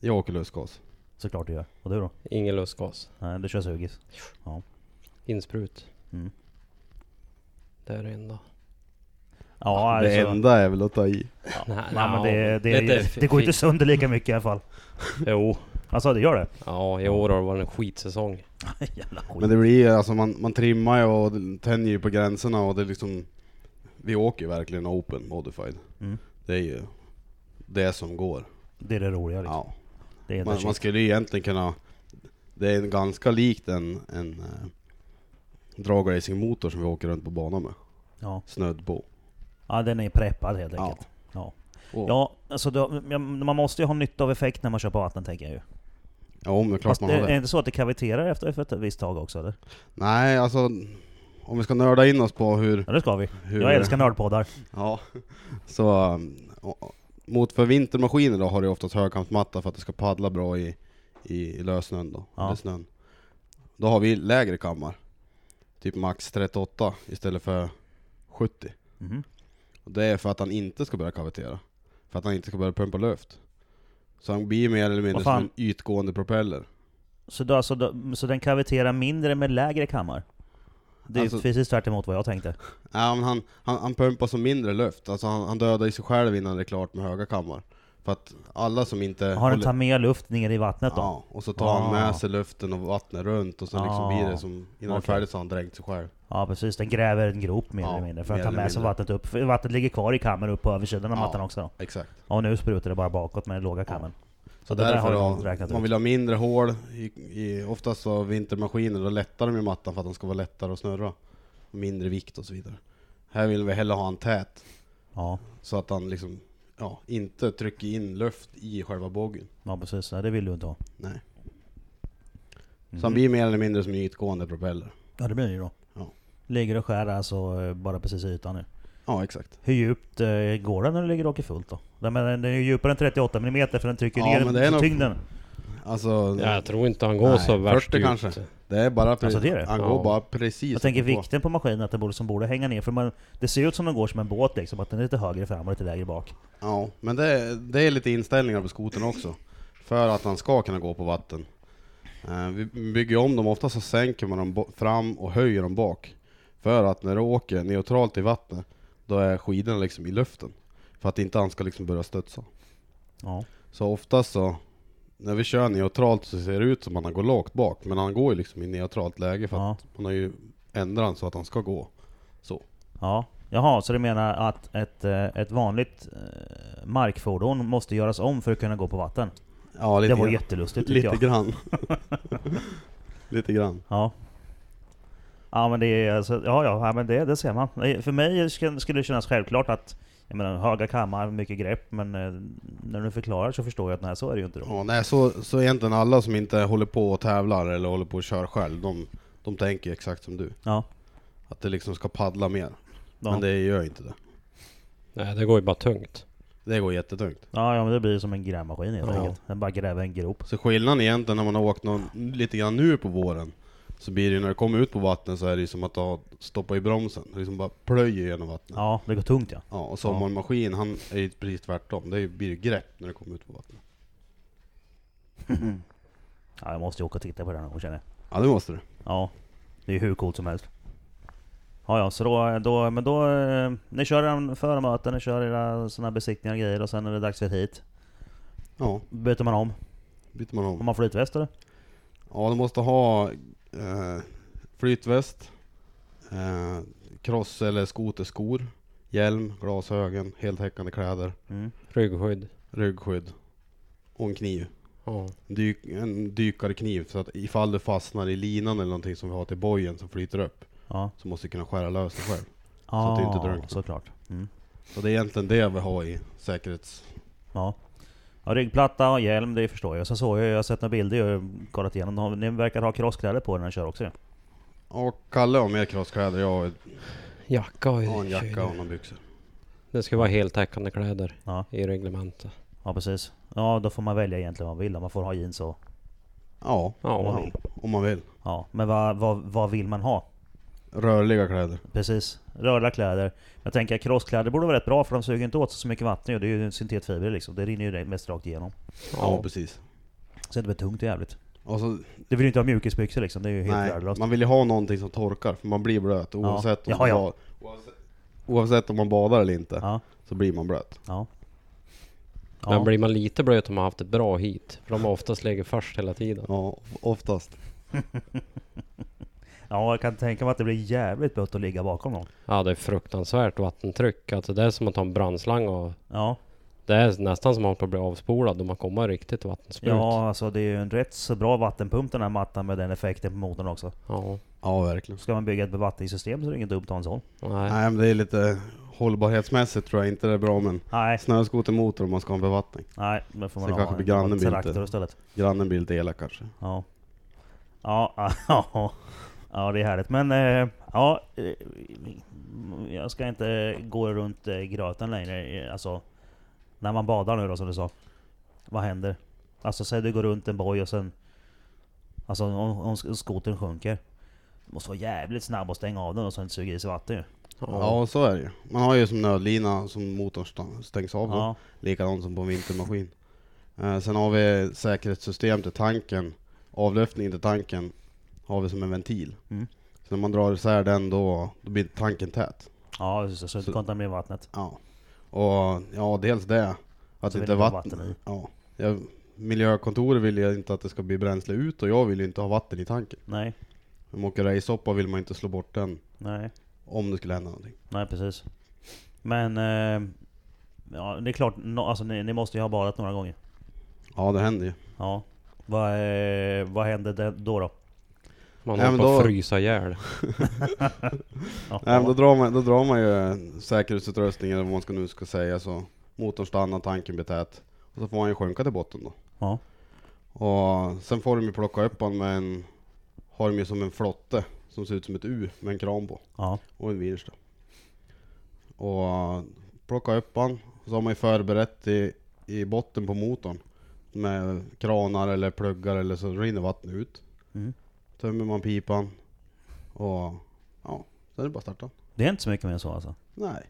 S2: Jag åker lösgas.
S1: Såklart du gör. Och du då?
S3: Ingen lustgas.
S1: Nej, du kör sugis.
S3: Insprut.
S1: Mm.
S3: Det är det enda.
S1: Ja,
S2: det
S1: alltså.
S2: enda är väl att ta i.
S3: Nej,
S1: Nej, men det, det,
S3: lite
S1: det, det går inte
S3: fint.
S1: sönder lika mycket i alla fall.
S3: Jo.
S1: Alltså det gör det?
S3: Ja, i år har det varit en skitsäsong.
S1: Jävla skit.
S2: Men det blir ju, alltså man, man trimmar ju och tänjer ju på gränserna och det är liksom Vi åker ju verkligen open modified.
S1: Mm.
S2: Det är ju det som går.
S1: det är det roliga liksom.
S2: Ja.
S1: Det är
S2: Man, man skulle ju egentligen kunna... Det är en ganska likt en, en eh, dragracingmotor som vi åker runt på banan med.
S1: ja.
S2: Snödd på.
S1: ja, den är preppad helt
S2: Ja.
S1: enkelt. Ja.
S2: Och, ja.
S1: Ja, alltså då, ja, man måste ju ha nytta av effekt när man kör på vatten tänker jag ju.
S2: om det är klart
S1: Fast
S2: man
S1: det,
S2: har
S1: är det
S2: det.
S1: inte så att eh, det kaviterar efter ett visst tag också eller?
S2: Nej, alltså om vi ska nörda in oss på hur...
S1: Ja det ska vi.
S2: hur
S1: Jag älskar nördpoddar.
S2: Ja. <laughs> Så... um, och- Mot för vintermaskiner då har du oftast högkampsmatta för att det ska paddla bra i, i, i lössnön då.
S1: Ja.
S2: Eller snön. Då har vi lägre kammar. Typ max 38 istället för 70.
S1: Mhm.
S2: Och det är för att han inte ska börja kavitera. För att han inte ska börja pumpa luft. Så han blir mer eller mindre
S1: Vad
S2: som
S1: fan?
S2: en ytgående propeller.
S1: Så, då, alltså, då, så den kaviterar mindre med lägre kammar? Det är
S2: Alltså-
S1: precis tvärt emot vad jag tänkte.
S2: Ja, men han, han, han pumpar som mindre luft. Alltså han, han dödar ju sig själv innan det är klart med höga kammar. För att alla som inte...
S1: Har den tagit med luft ner i vattnet då?
S2: Ja, och så tar han
S1: Ah.
S2: med sig luften och vattnet runt och sen liksom
S1: Ah.
S2: blir det som... Innan det är
S1: Okej.
S2: färdigt så har han dränkt sig själv.
S1: Ja precis, den gräver en grop mer
S2: Ja,
S1: eller mindre för
S2: mer
S1: att ta
S2: eller
S1: med sig
S2: mindre.
S1: vattnet upp. För vattnet ligger kvar i kammaren upp på översidan av
S2: Ja.
S1: mattan också då.
S2: Exakt.
S1: Ja, Och nu sprutar det bara bakåt med den låga kammern.
S2: Så
S1: det där har
S2: därför
S1: ju
S2: har
S1: någon räknat
S2: man
S1: ut.
S2: vill ha mindre hål. I, i, oftast så har vintermaskiner, då lättar de ju mattan för att den ska vara lättare att snurra. Mindre vikt och så vidare. Här vill vi hellre ha en tät,
S1: Ja,
S2: så att han liksom, ja, inte trycker in luft i själva boggen.
S1: ja precis. Ja, det vill du inte ha.
S2: Nej.
S1: Mhm.
S2: Så han blir mer eller mindre som en ytgående propeller.
S1: Ja det blir det ju då.
S2: Ja.
S1: Ligger och skär alltså eh, bara precis i ytan nu.
S2: Ja, exakt.
S1: Hur djupt eh, går den när du ligger och åker fullt då? Den, men den den är ju djupare än 38 mm för den trycker
S2: Ja,
S1: ner
S2: men det är nog-
S1: tyngden.
S2: Alltså,
S3: Ja, jag tror inte han går
S2: Nej,
S3: så värst
S2: 40
S3: ut.
S2: kanske. det är bara... Pre-
S1: Alltså, det är det?
S2: Han
S3: Ja.
S2: går bara precis
S1: Jag tänker
S2: på.
S1: vikten på maskinen, att den borde, som borde hänga ner. För man, det ser ut som den går som en båt liksom, att den är lite högre fram och lite lägre bak.
S2: Ja, men det, det är lite inställningar på skotern också. För att han ska kunna gå på vatten. Eh, Vi bygger om dem, ofta så sänker man dem bo- fram och höjer dem bak. För att när du åker neutralt i vattnet, då är skidorna liksom i luften. För att inte han ska liksom börja studsa.
S1: Ja.
S2: Så oftast så, när vi kör neutralt så ser det ut som att han går lågt bak. Men han går ju liksom i neutralt läge för
S1: Ja.
S2: att man har ju ändrat han så att han ska gå. Så.
S1: ja. Jaha, så du menar att ett, eh, ett vanligt eh, markfordon måste göras om för att kunna gå på vatten?
S2: Ja, lite
S1: det vore
S2: grann.
S1: jättelustigt tycker
S2: Lite
S1: jag. <laughs>
S2: grann. lite grann.
S1: Ja. Ja men det är alltså, ja, ja ja, men det, det ser man. Nej, För mig sk- skulle det kännas självklart att, jag menar höga kammar, mycket grepp, men eh, när du förklarar så förstår jag att nej, så är det ju inte då.
S2: Ja, nej, så, så egentligen alla som inte håller på och tävlar eller håller på och kör själv, de, de tänker exakt som du.
S1: Ja.
S2: Att det liksom ska paddla mer.
S1: Ja.
S2: Men det gör ju inte det.
S3: Nej, det går ju bara tungt.
S2: Det går jättetungt.
S1: Ja, ja men det blir som en grävmaskin helt
S2: Ja.
S1: enkelt. Den bara gräver en grop.
S2: Så skillnaden egentligen när man har åkt någon, lite grann nu på våren, så blir det ju när du kommer ut på vattnet så är det ju som att ha- stoppa i bromsen. Det liksom bara plöjer genom vattnet.
S1: Ja, det går tungt ja.
S2: Ja, och sommarmaskin, han är ju precis tvärtom. Det är ju- blir ju grepp när du kommer ut på vattnet.
S1: ja jag måste ju åka och titta på den och känner jag.
S2: Ja, det måste du.
S1: Ja, det är ju hur coolt som helst. Ja, ja, så då, då, men då, eh, ni kör era förmöten, ni kör era såna här besiktningar och grejer och sen är det dags för ett hit.
S2: Ja,
S1: Byter man om?
S2: byter man om.
S1: Har man flytväst eller?
S2: Ja, du måste ha eh, flytväst, eh, cross eller skoterskor, hjälm, glasögon, heltäckande kläder,
S1: Mm.
S3: Ryggskydd.
S2: ryggskydd och en kniv.
S3: Ja.
S2: Dyk, en dykarkniv, så att ifall du fastnar i linan eller någonting som vi har till bojen som flyter upp,
S1: Ja.
S2: så måste du kunna skära lös dig själv.
S1: Ah,
S2: att du inte drunknar.
S1: Såklart. Mm.
S2: Så det är egentligen det vi har i säkerhets...
S1: Ja. ja. Ryggplatta och hjälm, det förstår jag. Sen såg jag, jag har sett några bilder jag har kollat igenom. Har- Ni verkar ha crosskläder på er när ni kör också ju.
S2: Och Kalle har mer crosskläder, jag har
S3: Jacka har ju-
S2: har en jacka och några byxor.
S3: Det ska vara heltäckande kläder
S1: Ja.
S3: i reglementet.
S1: Ja precis. Ja då får man välja egentligen vad man vill. Om Man får ha jeans och...
S2: Ja,
S3: Ja, om man
S2: ja, om man vill.
S1: Ja. Men vad, vad, vad vill man ha?
S2: Rörliga kläder.
S1: Precis. Rörliga kläder. Jag tänker att crosskläder borde vara rätt bra för de suger inte åt sig så mycket vatten ju. Det är ju syntetfibrer liksom. Det rinner ju direkt- mest rakt igenom.
S2: Ja, precis.
S1: Så det blir tungt och jävligt.
S2: Och så
S1: Du vill ju inte ha mjukisbyxor liksom. Det är ju helt
S2: Nej,
S1: värdelöst.
S2: man vill ju ha någonting som torkar, för man blir blöt oavsett,
S1: Ja,
S2: om, man
S1: ja.
S2: bad- oavsett, oavsett om man badar eller inte,
S1: Ja.
S2: så blir man blöt.
S1: Ja.
S3: Men blir man lite blöt om man haft ett bra hit? För de har oftast legat först hela tiden.
S2: Ja, oftast.
S1: Ja, jag kan tänka mig att det blir jävligt bött att ligga bakom någon.
S3: Ja, det är fruktansvärt vattentryck. Alltså det är som att ta en brandslang och...
S1: Ja,
S3: Det är nästan som att man blir avspolad om man kommer riktigt vattensprut.
S1: ja alltså det är ju en rätt så bra vattenpump den här mattan med den effekten på motorn också.
S3: ja.
S2: Ja, verkligen.
S1: Ska man bygga ett bevattningssystem så är det inget dumt att ha en sån.
S3: Nej.
S2: Nej, men det är lite hållbarhetsmässigt tror jag inte det är bra, men
S1: Nej,
S2: snöskotermotor om man ska ha en bevattning.
S1: nej, men får man
S2: Sen
S1: ha
S2: kanske
S1: en
S2: grannen blir
S1: traktor
S2: inte-
S1: istället.
S2: Grannen blir lite elak kanske.
S1: Ja. Ja, <laughs> ja, ja, det är härligt. Men eh, ja, eh, jag ska inte gå runt eh, gröten längre. Eh, Alltså, när man badar nu då som du sa. Vad händer? Alltså säg du går runt en boj och sen... Alltså om, om skotern sjunker. Du måste vara jävligt snabb och stänga av den och sen suga i sig vatten ju.
S2: Ja, så är det ju. Man har ju som nödlina som motorn sta- stängs av. då.
S1: Ja,
S2: Likadant som på en vintermaskin. Eh, sen har vi säkerhetssystem till tanken, avluftning till tanken har vi som en ventil.
S1: Mm.
S2: Så när man drar isär den då, då blir tanken tät.
S1: ja just det. Så det
S2: Så-
S1: kontaminerar vattnet.
S2: Ja. Och ja, dels det. Att
S1: Så
S2: det
S1: vill
S2: inte är
S1: du ha
S2: vatten.
S1: vatten i.
S2: Ja. Jag, miljökontoret vill jag inte att det ska bli bränsle ut och jag vill ju inte ha vatten i tanken.
S1: Nej,
S2: Om man åker racehoppa vill man inte slå bort den
S1: nej,
S2: om det skulle hända någonting.
S1: nej precis. Men eh, ja, det är klart, no, alltså, ni, ni måste ju ha badat några gånger.
S2: Ja, det händer ju.
S1: Ja. Vad, eh, vad hände det- då då?
S3: Man
S2: Nej,
S3: håller
S2: men
S3: på att
S2: då-
S3: frysa ihjäl.
S1: Ja,
S2: Nej, men då, drar man, då drar man ju säkerhetsutrustning eller vad man ska nu ska säga. Så motorn stannar, tanken blir tät. Och så får man ju sjunka till botten då.
S1: ja.
S2: Och sen får de ju plocka upp honom med en, har de ju som en flotte som ser ut som ett U med en kran på
S1: ja.
S2: och en vinsch då. Och plocka upp honom, så har man ju förberett i, i botten på motorn med kranar eller pluggar eller så rinner vattnet ut.
S1: Mm.
S2: Tömmer man pipan och ja, sen är det bara att starta.
S1: Det är inte så mycket mer än så alltså.
S2: Nej,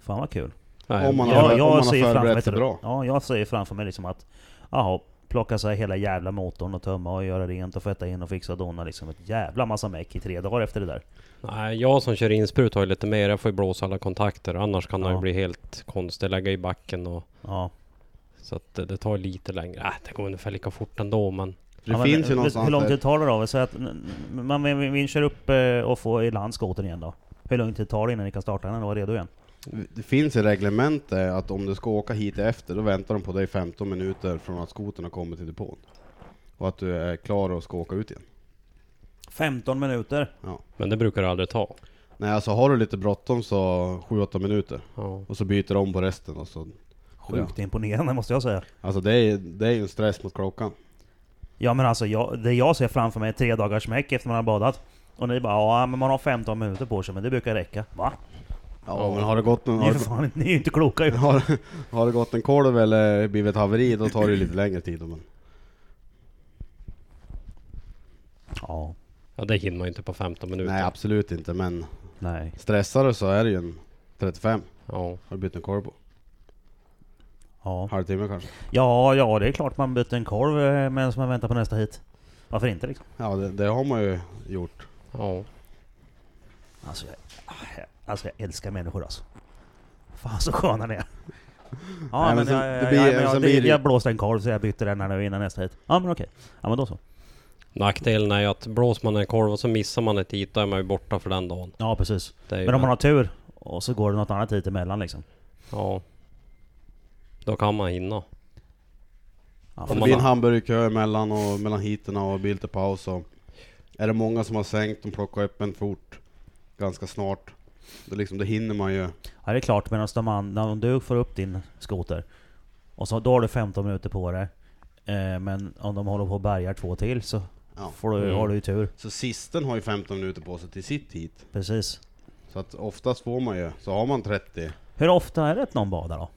S1: Fan vad kul.
S3: Nej,
S2: Om man har-
S1: Ja,
S2: om man har
S1: ser
S2: förberett
S1: framför mig-
S2: sig bra.
S1: Ja, jag ser framför mig liksom att jaha, plocka sig hela jävla motorn och tömma och göra rent och fetta in och fixa och dona liksom ett jävla massa meck i tre dagar efter det där.
S3: Nej, jag som kör insprut har ju lite mer. Jag får ju blåsa alla kontakter. Annars kan det
S1: Ja.
S3: ju bli helt konstigt. Lägga i backen och...
S1: Ja.
S3: Så att det, det tar lite längre. Äh, det går ungefär lika fort ändå men...
S2: det
S1: ja, men,
S2: finns ju
S1: hur-
S2: någonstans
S1: Hur lång
S2: där.
S1: tid tar det då? Så att n- n- man vin- vinschar upp eh, och får i land skotern igen då? Hur lång tid tar det innan ni kan starta den och vara redo igen?
S2: Det finns i reglementet att om du ska åka hit efter, då väntar de på dig 15 minuter från att skotern har kommit till depån. Och att du är klar och ska åka ut igen.
S1: 15 minuter?
S3: Men det brukar det aldrig ta.
S2: Nej, alltså har du lite bråttom så 7-8 minuter.
S3: Ja.
S2: Och så byter de om på resten och så...
S1: Sjukt imponerande måste jag säga.
S2: Alltså det är, det är ju en stress mot klockan.
S1: Ja men alltså jag, det jag ser framför mig är tre dagars meck efter man har badat. Och ni bara ja men man har 15 minuter på sig men det brukar räcka. Va?
S2: Ja, men har det gått en,
S1: Ni
S2: har,
S1: är, för fan, ni är ju inte kloka ju.
S2: det- har, har det gått en kolv eller blivit ett haveri, då tar det ju lite längre tid. då, Men,
S1: Ja,
S3: ja, det hinner man ju inte på 15 minuter.
S2: nej, absolut inte. Men
S1: nej.
S2: stressar du så är det ju en 35.
S3: Ja.
S2: Har du bytt en kolv på?
S1: Ja.
S2: Halvtimme kanske?
S1: ja, ja det är klart man byter en korv eh, medan man väntar på nästa hit. Varför inte liksom?
S2: Ja, det, det har man ju gjort.
S3: ja.
S1: Alltså jag, alltså, jag älskar människor alltså. Fan så sköna ni är. Ja
S2: Nej, men
S1: men,
S2: sen-
S1: jag,
S2: det
S1: jag,
S2: blir-
S1: jag, men jag,
S2: sen blir
S1: det-
S2: det-
S1: jag blåste en korv så jag bytte den här nu innan nästa hit. Ja men okej. Ja men då så.
S3: Nackdelen är ju att blåser man en korv och så missar man ett hit, då är man ju borta för den dagen.
S1: Ja precis.
S3: Det är ju
S1: Men om man har tur och så går det något annat hit emellan liksom.
S3: Ja. Då kan man hinna.
S1: Ja,
S2: Det
S1: för
S3: man
S2: blir en
S1: fan.
S3: har-
S2: hamburgerkö emellan, och, mellan hiterna och blir lite paus. Och är det många som har sänkt, de plockar upp en fort ganska snart. Det, liksom, det hinner man ju.
S1: Ja det är klart, medan de andra, om du får upp din skoter och så, då har du 15 minuter på dig. Eh, men om de håller på och bärgar två till så
S2: Ja.
S1: får du,
S3: Mm.
S1: har du ju tur.
S2: Så sisten har ju 15 minuter på sig till sitt hit.
S1: Precis.
S2: Så att oftast får man ju, så har man 30.
S1: Hur ofta är det att någon badar då?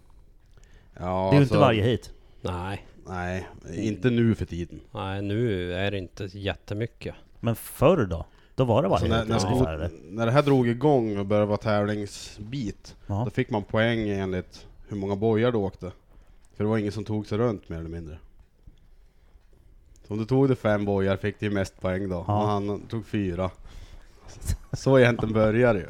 S2: Ja, alltså,
S1: Det är ju inte varje hit.
S3: Nej,
S2: Nej, inte nu för tiden.
S3: nej nu är det inte jättemycket.
S1: Men förr då? Då var det
S2: Så
S1: varje
S2: Alltså, när,
S1: hit
S2: när,
S1: ungefär,
S2: skot-
S1: eller?
S2: när det här drog igång och började vara tävlingsbit,
S1: Ja.
S2: då fick man poäng enligt hur många bojar du åkte. För det var ingen som tog sig runt mer eller mindre. Så om du tog dig fem bojar fick du ju mest poäng då,
S1: Ja.
S2: och han tog fyra. Så egentligen börjar det ju.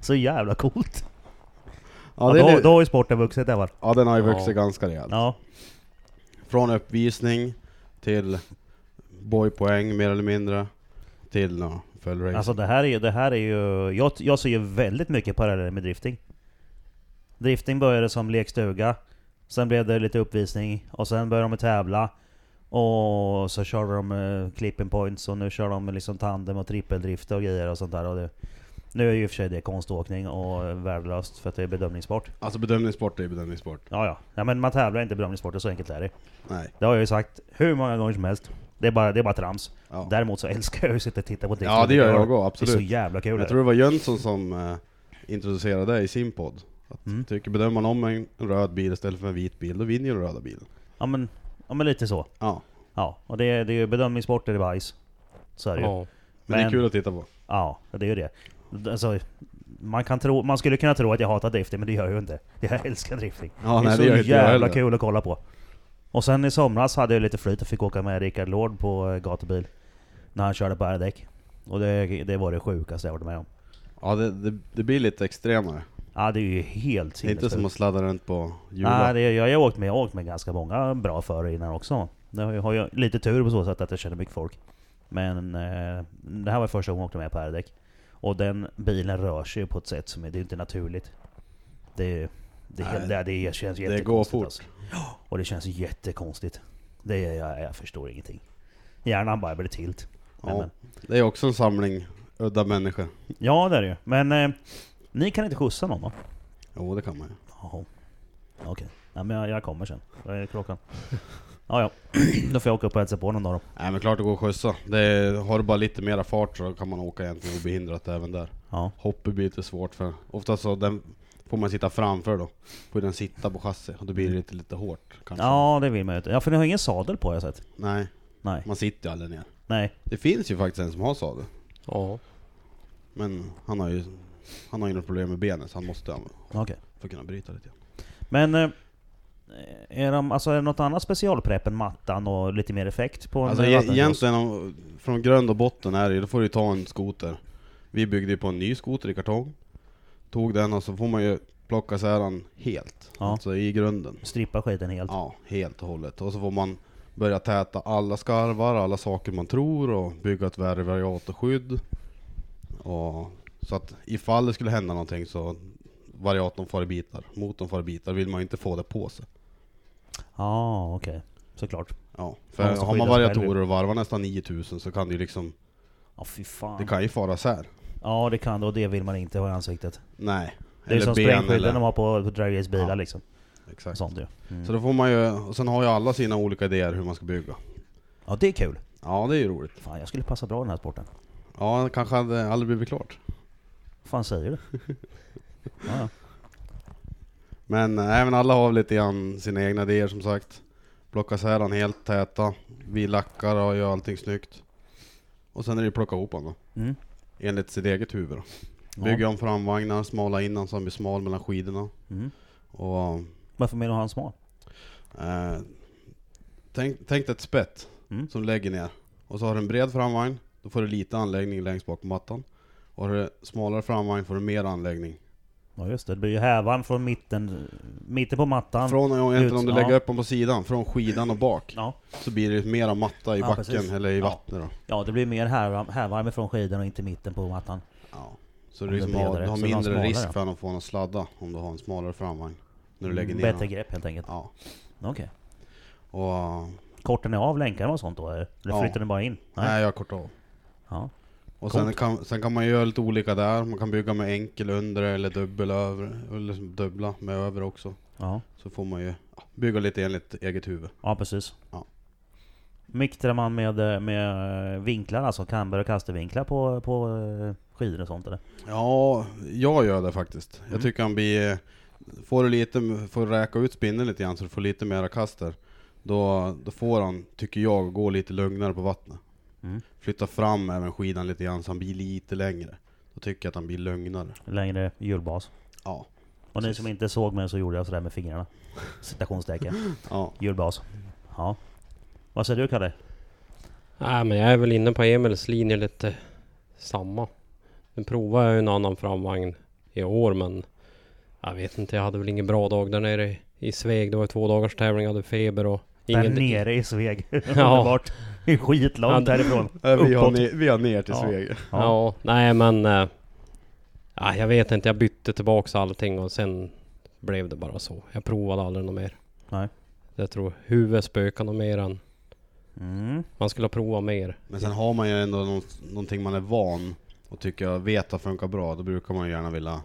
S1: Så jävla coolt!
S2: Ja,
S1: Ja,
S2: det är
S1: då,
S2: det,
S1: då har ju sporten vuxit Evan.
S2: ja den har ju vuxit
S3: Ja.
S2: ganska rejält.
S1: Ja.
S2: Från uppvisning till boypoäng mer eller mindre, till ja, full race.
S1: Alltså det här är ju, det här är ju jag, jag ser ju väldigt mycket paralleller med drifting. Drifting började som lekstuga, sen blev det lite uppvisning, och sen började de tävla. Och så körde de eh, clipping points, och nu kör de liksom tandem och trippeldrift och grejer och sånt där. Och det, nu är ju i och för sig det konståkning och eh, värdelöst för att det är bedömningssport.
S2: Alltså bedömningssport är ju bedömningssport.
S1: Ja, ja. ja men man tävlar inte i bedömningssport, så enkelt är det.
S2: Nej.
S1: Det har jag ju sagt hur många gånger som helst. Det är bara, det är bara trams.
S2: Ja.
S1: Däremot så älskar jag ju att sitta och titta på drifting.
S2: Ja, det gör jag
S1: Det
S2: också,
S1: är så
S2: absolut.
S1: jävla kul. är
S2: Jag
S1: det.
S2: tror det var Jönsson som eh, introducerade det i sin podd. Att
S1: Mm.
S2: tycker bedömer man om en en röd bil istället för en vit bil, då vinner ju den röda bilen.
S1: Ja men, ja men lite så.
S2: Ja,
S1: Ja, och det, är- det är ju bedömningssport är det bajs. Så är det ju.
S3: Ja.
S2: men, det är
S1: Men-
S2: kul att titta på.
S1: Ja, det är ju det. Alltså, man, kan tro, man skulle kunna tro att jag hatar drifting, men det gör jag ju inte. Jag älskar drifting.
S2: Ja,
S1: det är
S2: nej,
S1: så
S2: det gör inte jag
S1: jävla
S2: heller.
S1: kul att kolla på. Och sen i somras hade jag lite flyt och fick åka med Rickard Lord på eh, gatubil. När han körde på R-däck. Och det, det var det sjukaste jag varit med om.
S2: Ja, det, det, det blir lite extremare.
S1: Ja, det är ju helt
S2: Det är inte som att sladda runt på
S1: Nej,
S2: hjulet.
S1: det, jag, jag, har åkt med, jag har åkt med ganska många bra förare innan också. Jag har, ju- har ju lite tur på så sätt att jag känner mycket folk. Men eh, det här var första gången jag åkte med på R-däck. Och den bilen rör sig ju på ett sätt som är, det är inte naturligt. Det, det,
S2: Nej,
S1: det, det, det känns
S2: går
S1: jättekonstigt.
S2: fort.
S1: Alltså. Ja, Och det känns jättekonstigt. Det, jag, jag förstår ingenting. Hjärnan bara blir tilt. Men,
S2: Ja.
S1: men.
S2: Det är också en samling udda människor.
S1: Ja, det är det ju. Men eh, ni kan inte skjutsa någon va?
S2: Jo, det kan man ju.
S1: Jaha. Okej. Ja, men jag, jag kommer sen. Vad är klockan?
S2: <laughs>
S1: Ja, ja. Då får jag åka upp och hälsa på någon dag då.
S2: Nej men klart det går att skjutsa. Det är, har du bara lite mera fart så kan man åka egentligen obehindrat även där.
S1: Ja.
S2: Hoppet blir lite svårt för oftast så den får man sitta framför då. Får den sitta på chassi och då blir det lite, lite hårt kanske.
S1: ja, det vill man ju inte. Ja, för ni har ingen sadel på har jag sett.
S2: Nej,
S1: Nej.
S2: man sitter ju aldrig ner.
S1: Nej.
S2: Det finns ju faktiskt en som har sadel.
S3: Ja.
S2: Men han har ju, han har ju något problem med benet så han måste använda
S1: Okej.
S2: för att kunna bryta lite grann.
S1: Men... eh, Är, de, alltså, är det något annat specialprepp än mattan och lite mer effekt på en
S2: Alltså
S1: eh,
S2: e-
S1: vattenkross?
S2: egentligen om, från grund och botten är det ju- då får du ju ta en skoter. Vi byggde ju på en ny skoter i kartong. Tog den och så får man ju plocka isär den helt.
S1: Ja.
S2: Alltså i grunden.
S1: Strippa skiten helt.
S2: Ja, helt och hållet. Och så får man börja täta alla skarvar, alla saker man tror och bygga ett värre variatorskydd. Och så att ifall det skulle hända någonting så variatorn far i bitar, motorn far i bitar, vill man ju inte få det på sig.
S1: Ja, okej. Såklart.
S2: Ja, för
S1: Man måste
S2: har man
S1: skydda sig
S2: variatorer och varvar nästan 9000 så kan det ju liksom,
S1: Ja, fy fan.
S2: det kan ju fara isär.
S1: Ja, det kan det och det vill man inte ha i ansiktet.
S2: Nej.
S1: Det är som sprängskydden de har på, på Drag Race bilar
S2: Ja.
S1: liksom.
S2: Exakt.
S1: Sånt ju. Mm.
S2: Så då får man ju, och sen har ju alla sina olika idéer hur man ska bygga.
S1: Ja, det är kul.
S2: Ja, det är ju roligt.
S1: Fan, jag skulle passa bra i den här sporten.
S2: Ja, det kanske hade aldrig blivit klart.
S1: Vad fan säger
S2: <laughs>
S1: du? ja, ja.
S2: Men eh, även alla har lite grann sina egna idéer som sagt. Plocka isär den helt täta. Vi lackar och gör allting snyggt. Och sen är det ju plocka ihop den då.
S1: Mm.
S2: Enligt sitt eget huvud då.
S1: Ja.
S2: Bygga om framvagnar, smala in den så den blir smal mellan skidorna.
S1: Mm.
S2: Och
S1: Varför menar du han smal?
S2: eh, tänk, tänk dig ett spett
S1: Mm.
S2: som du lägger ner. Och så har du en bred framvagn, då får du lite anläggning längst bak på mattan. Och har du smalare framvagn får du mer anläggning.
S1: Ja just det, det blir ju hävan från mitten, mitten på mattan.
S2: Från och egentligen om du
S1: ja.
S2: lägger upp den på sidan, från skidan och bak.
S1: Ja.
S2: Så blir det mera matta i
S1: Ja,
S2: backen
S1: precis.
S2: eller i
S1: Ja.
S2: vattnet då.
S1: ja, det blir mer hävan, hävan från skidan och inte mitten på mattan.
S2: Ja. Så
S1: Om det
S2: du, liksom
S1: blir
S2: har,
S1: bredare,
S2: du har
S1: så den har
S2: mindre
S1: smalare.
S2: risk för att få någon sladda om du har en smalare framvagn. När du lägger ner
S1: Mm, Bättre
S2: den.
S1: grepp helt enkelt.
S2: Ja.
S1: Okej.
S2: Och, äh,
S1: Korten är av länkarna och sånt då? Eller
S2: Ja.
S1: flyttar den bara in?
S2: nej, jag kortar av.
S1: Ja.
S2: Och sen
S1: Coolt.
S2: kan, sen kan man ju göra lite olika där. Man kan bygga med enkel undre eller dubbel övre. Eller som dubbla med övre också.
S1: Ja.
S2: Så får man ju ja, bygga lite enligt eget huvud.
S1: ja, precis.
S2: Ja.
S1: Miktrar man med, eh, med vinklar, alltså camber och kastervinklar på, på eh, skidor och sånt eller?
S2: Ja, jag gör det faktiskt.
S1: Mm.
S2: Jag tycker han blir... Får du lite, får du räka ut spindeln lite grann så du får lite mera kaster. Då, då får han, tycker jag, gå lite lugnare på vattnet.
S1: Mm.
S2: Flytta fram även skidan lite grann så han blir lite längre. Då tycker jag att han blir lugnare.
S1: Längre hjulbas.
S2: Ja.
S1: Och ni
S2: Precis.
S1: som inte såg mig så gjorde jag sådär med fingrarna.
S2: <laughs>
S1: Citationstecken.
S2: ja.
S1: Hjulbas. Ja. Vad säger du Kalle?
S3: Nej men jag är väl inne på Emils linje lite samma. Nu provar jag ju en annan framvagn i år men jag vet inte, jag hade väl ingen bra dag där nere i, i Sveg. Det var ju två dagars tävling, jag hade feber och...
S1: Där nere i Sveg.
S3: <laughs> Ja.
S1: <laughs> Underbart. Det är skitlångt
S3: Ja,
S1: härifrån.
S2: Äh, Vi har,
S1: Uppåt.
S2: ner, vi har ner till
S1: Ja.
S2: Sveg.
S1: Ja.
S3: Ja. nej men... Äh, jag vet inte, jag bytte tillbaks allting och sen blev det bara så. Jag provade aldrig något mer.
S1: Nej.
S3: Jag tror huvudet spökade nog mer än...
S1: Mm.
S3: Man skulle ha provat mer.
S2: Men sen har man ju ändå något, någonting man är van och tycker jag vet att funkar bra. Då brukar man ju gärna vilja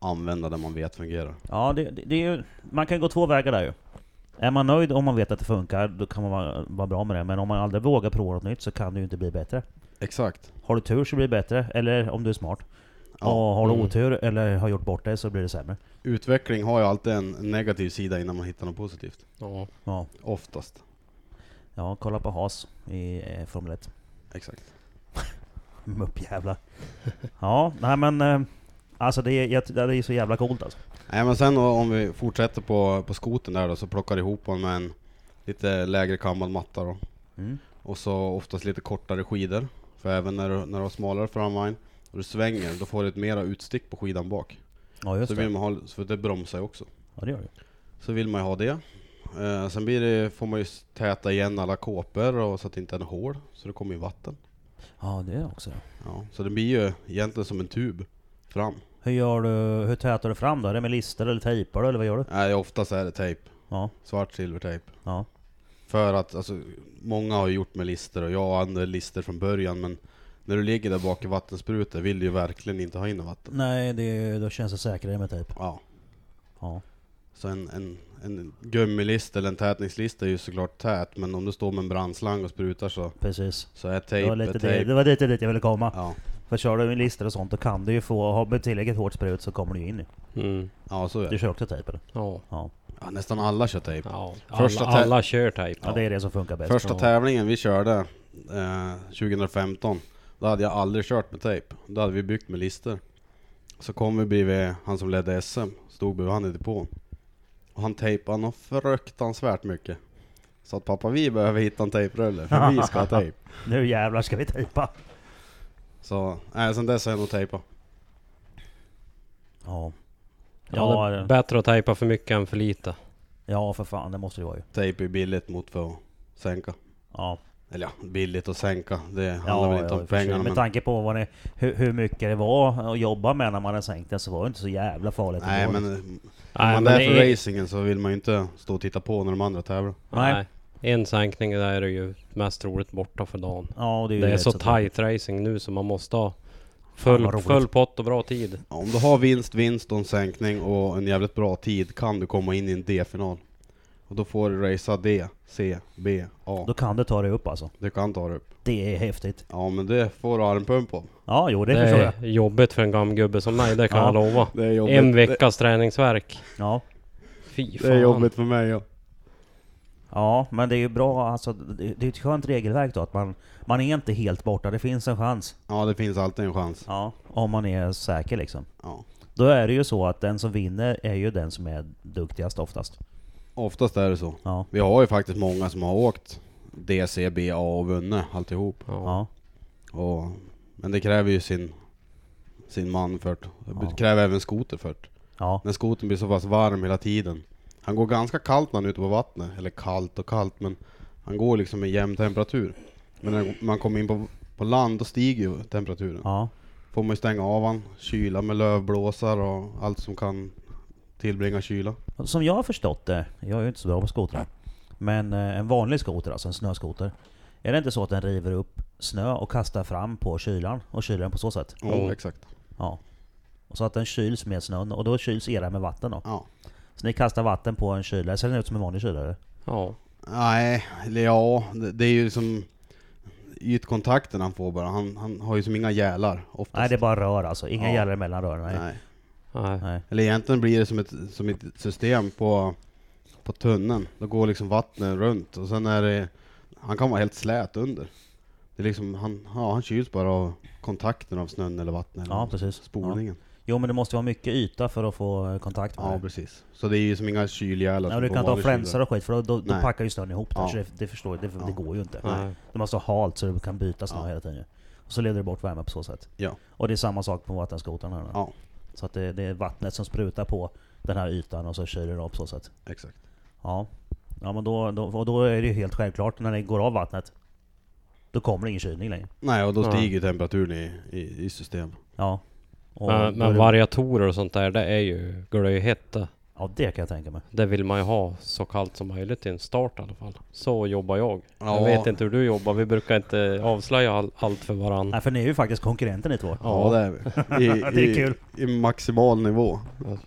S2: använda det man vet fungerar.
S1: Ja, det, det, det är ju, man kan gå två vägar där ju. Är man nöjd om man vet att det funkar, då kan man vara, vara bra med det. Men om man aldrig vågar prova något nytt så kan det ju inte bli bättre.
S2: Exakt.
S1: Har du tur så blir det bättre, eller om du är smart.
S2: Ja.
S1: Och har du
S3: Mm.
S1: otur eller har gjort bort dig så blir det sämre.
S2: Utveckling har ju alltid en negativ sida innan man hittar något positivt.
S3: Ja.
S1: Ja,
S2: Oftast.
S1: ja kolla på Haas i eh, Formel 1.
S2: Exakt.
S1: Muppjävlar. <laughs> Ja, nej men... Eh, alltså det är, jag- det är så jävla coolt alltså.
S2: Nej men sen då, om vi fortsätter på, på skoten där då så plockar jag ihop honom med en lite lägre kammad matta då.
S1: Mm.
S2: Och så oftast lite kortare skidor. För även när du, när du har smalare framvagn och du svänger, då får du ett mera utstick på skidan bak.
S1: Ja just
S2: Så vill
S1: det.
S2: man ha, så det bromsar ju också.
S1: Ja det gör det.
S2: Så vill man ju ha det. Eh, sen blir det, får man ju s- täta igen alla kåpor och så att det inte är en hål, så det kommer ju vatten.
S1: Ja det är också.
S2: Ja, så det blir ju egentligen som en tub fram.
S1: Hur gör du, hur tätar du fram då? Är det med lister eller tejpar du, eller vad gör du?
S2: Nej, oftast är det tejp.
S1: Ja.
S2: Svart silvertejp.
S1: Ja.
S2: För att alltså, många har ju gjort med lister och jag använder lister från början men när du ligger där bak i vattensprutor vill du ju verkligen inte ha in vatten.
S1: Nej, det, då känns det säkrare med tejp.
S2: Ja,
S1: Ja.
S2: så en, en, en gummilist eller en tätningslist är ju såklart tät men om du står med en brandslang och sprutar så,
S1: Precis.
S2: så är
S1: Det var,
S2: tejp
S1: lite
S2: är
S1: det,
S2: tejp.
S1: det var lite dit jag ville komma.
S2: Ja.
S1: För kör du med lister och sånt då kan du ju få, ha med tillräckligt hårt sprut så kommer du ju in. ju.
S3: Mm.
S2: ja, så är
S1: Du
S2: det.
S1: kör också tejp eller?
S3: Ja.
S2: Ja, nästan alla kör tejp.
S3: ja.
S2: Första
S3: Alla,
S2: tä-
S3: alla kör tejp.
S1: Ja. det är det som funkar bäst.
S2: Första
S3: Ja.
S2: tävlingen vi körde eh, 2015, då hade jag aldrig kört med tejp. Då hade vi byggt med lister. Så kom vi bredvid han som ledde SM, stod bredvid han i depån. Och han tejpade något fruktansvärt mycket. Så att pappa vi behöver hitta en tejprulle, för vi ska
S1: <laughs>
S2: ha tejp.
S1: Nu jävlar ska vi tejpa!
S2: Så, nej sen dess har jag nog tejpat.
S1: Ja.
S3: Ja,
S1: Ja,
S3: det är
S1: det-
S3: bättre att tejpa för mycket än för lite.
S1: ja för fan, det måste det vara ju.
S2: Tejp är billigt mot för att sänka.
S1: Ja,
S2: Eller ja, billigt att sänka, det handlar
S1: ja,
S2: väl inte
S1: ja,
S2: om
S1: för sig.
S2: pengarna
S1: Med
S2: men...
S1: tanke på vad ni, hur, hur mycket det var att jobba med när man hade sänkt den så var det inte så jävla farligt.
S2: Nej
S1: ändå.
S2: men,
S3: Nej,
S2: om man
S3: men
S2: är
S3: det
S2: för
S3: är-
S2: racingen så vill man ju inte stå och titta på när de andra tävlar.
S1: Nej.
S3: Nej. En sänkning där är det ju mest troligt borta för dagen.
S1: Ja, det är, ju
S3: Det är
S1: rätt
S3: så
S1: tråkigt.
S3: tight racing nu så man måste ha
S1: Fan, vad
S3: full,
S1: roligt.
S3: full pott och bra tid.
S2: Ja, Om du har vinst, vinst och en sänkning och en jävligt bra tid kan du komma in i en D-final. Och då får du racea D, C, B, A.
S1: Då kan du ta dig upp alltså.
S2: Du kan ta det upp.
S1: Det är häftigt.
S2: Ja men det får du armpump på.
S1: Ja, jo det,
S3: Det,
S1: förstår jag.
S3: är jobbigt för en gammal gubbe som mig, det kan
S1: Ja.
S3: jag lova.
S2: Det är
S3: En veckas träningsverk.
S1: Ja.
S3: Fy
S2: Det,
S3: fan.
S2: är jobbigt för mig ja.
S1: ja, men det är ju bra alltså. Det det är ett skönt regelverk då att man, man är inte helt borta. Det finns en chans.
S2: Ja det finns alltid en chans.
S1: Ja. Om man är säker liksom.
S2: Ja.
S1: Då är det ju så att den som vinner är ju den som är duktigast oftast.
S2: Oftast är det så.
S1: Ja.
S2: Vi har ju faktiskt många som har åkt D, C, B, A och vunnit alltihop.
S3: Ja.
S1: Ja.
S2: Och, men det kräver ju sin, sin man för det.
S1: Ja.
S2: Det kräver även skoter för det.
S1: Ja.
S2: När skoten blir så pass varm hela tiden. Han går ganska kallt när han är ute på vattnet. Eller kallt och kallt, men han går liksom i jämn temperatur. Men när man kommer in på, på land, då stiger ju temperaturen.
S1: Ja.
S2: Får man ju stänga av han, kyla med lövblåsar och allt som kan tillbringa kyla.
S1: Som jag har förstått det, jag är ju inte så bra på skotrar. Men eh, en vanlig skoter, alltså en snöskoter. Är det inte så att den river upp snö och kastar fram på kylan och kyler den på så sätt?
S2: Ja,
S3: Jo.
S2: exakt.
S1: Ja. Och så att den kyls med snön och då kyls era med vatten då.
S2: Ja.
S1: Så ni kastar vatten på en kylare, ser den ut som en vanlig kylare?
S3: Ja.
S2: Nej, eller ja, det, det är ju som ytkontakten han får bara. Han, han har ju som inga gälar oftast.
S1: Nej det är bara rör alltså, inga
S2: Ja.
S1: gällare mellan rören. Nej.
S2: Nej.
S3: Nej.
S1: Nej.
S2: Eller egentligen blir det som ett, som ett system på, på tunneln. Då går liksom vattnet runt och sen är det... Han kan vara helt slät under. Det är liksom, han, ja, han kyls bara av kontakten av snön eller vattnet. eller
S1: Ja precis. Ja.
S2: Spolningen.
S1: Jo men det måste vara mycket yta för att få eh, kontakt med
S2: Ja.
S1: det.
S2: precis. Så det är ju som inga kylgälar.
S1: Nej,
S2: som
S1: men du
S2: på
S1: kan inte ha
S2: vanlig
S1: flänsar och skit för då, då, då
S2: Nej.
S1: packar ju snön ihop
S2: Ja.
S1: det, så det, det förstår jag, det, det
S2: Ja.
S1: går ju inte.
S3: Nej.
S1: Du måste ha halt så du kan byta snö
S2: Ja.
S1: hela tiden ju. Och så leder det bort värme på så sätt.
S2: kyla. Ja.
S1: Och det är samma sak på vattenskotern här nu.
S2: ja,
S1: Så att det, det är vattnet som sprutar på den här ytan och så kyler det av på så sätt.
S2: exakt.
S1: Ja. Ja men då, då, och då är det ju helt självklart när det går av vattnet. Då kommer det ingen kylning längre.
S2: Nej, och då
S3: Ja.
S2: stiger temperaturen i, i, i systemet.
S1: Ja. Och
S3: Men,
S1: då är
S3: Äh, men
S1: det-
S3: variatorer och sånt där, det är ju glödhet det.
S1: Ja det kan jag tänka mig.
S3: Det vill man ju ha så kallt som möjligt i en start i alla fall. Så jobbar jag.
S2: Ja.
S3: Jag vet inte hur du jobbar, vi brukar inte avslöja all, allt för varandra.
S1: Nej för ni är ju faktiskt konkurrenter ni två.
S2: Ja, det är
S1: <laughs>
S2: vi. I,
S1: Det är kul.
S2: I, i maximal nivå.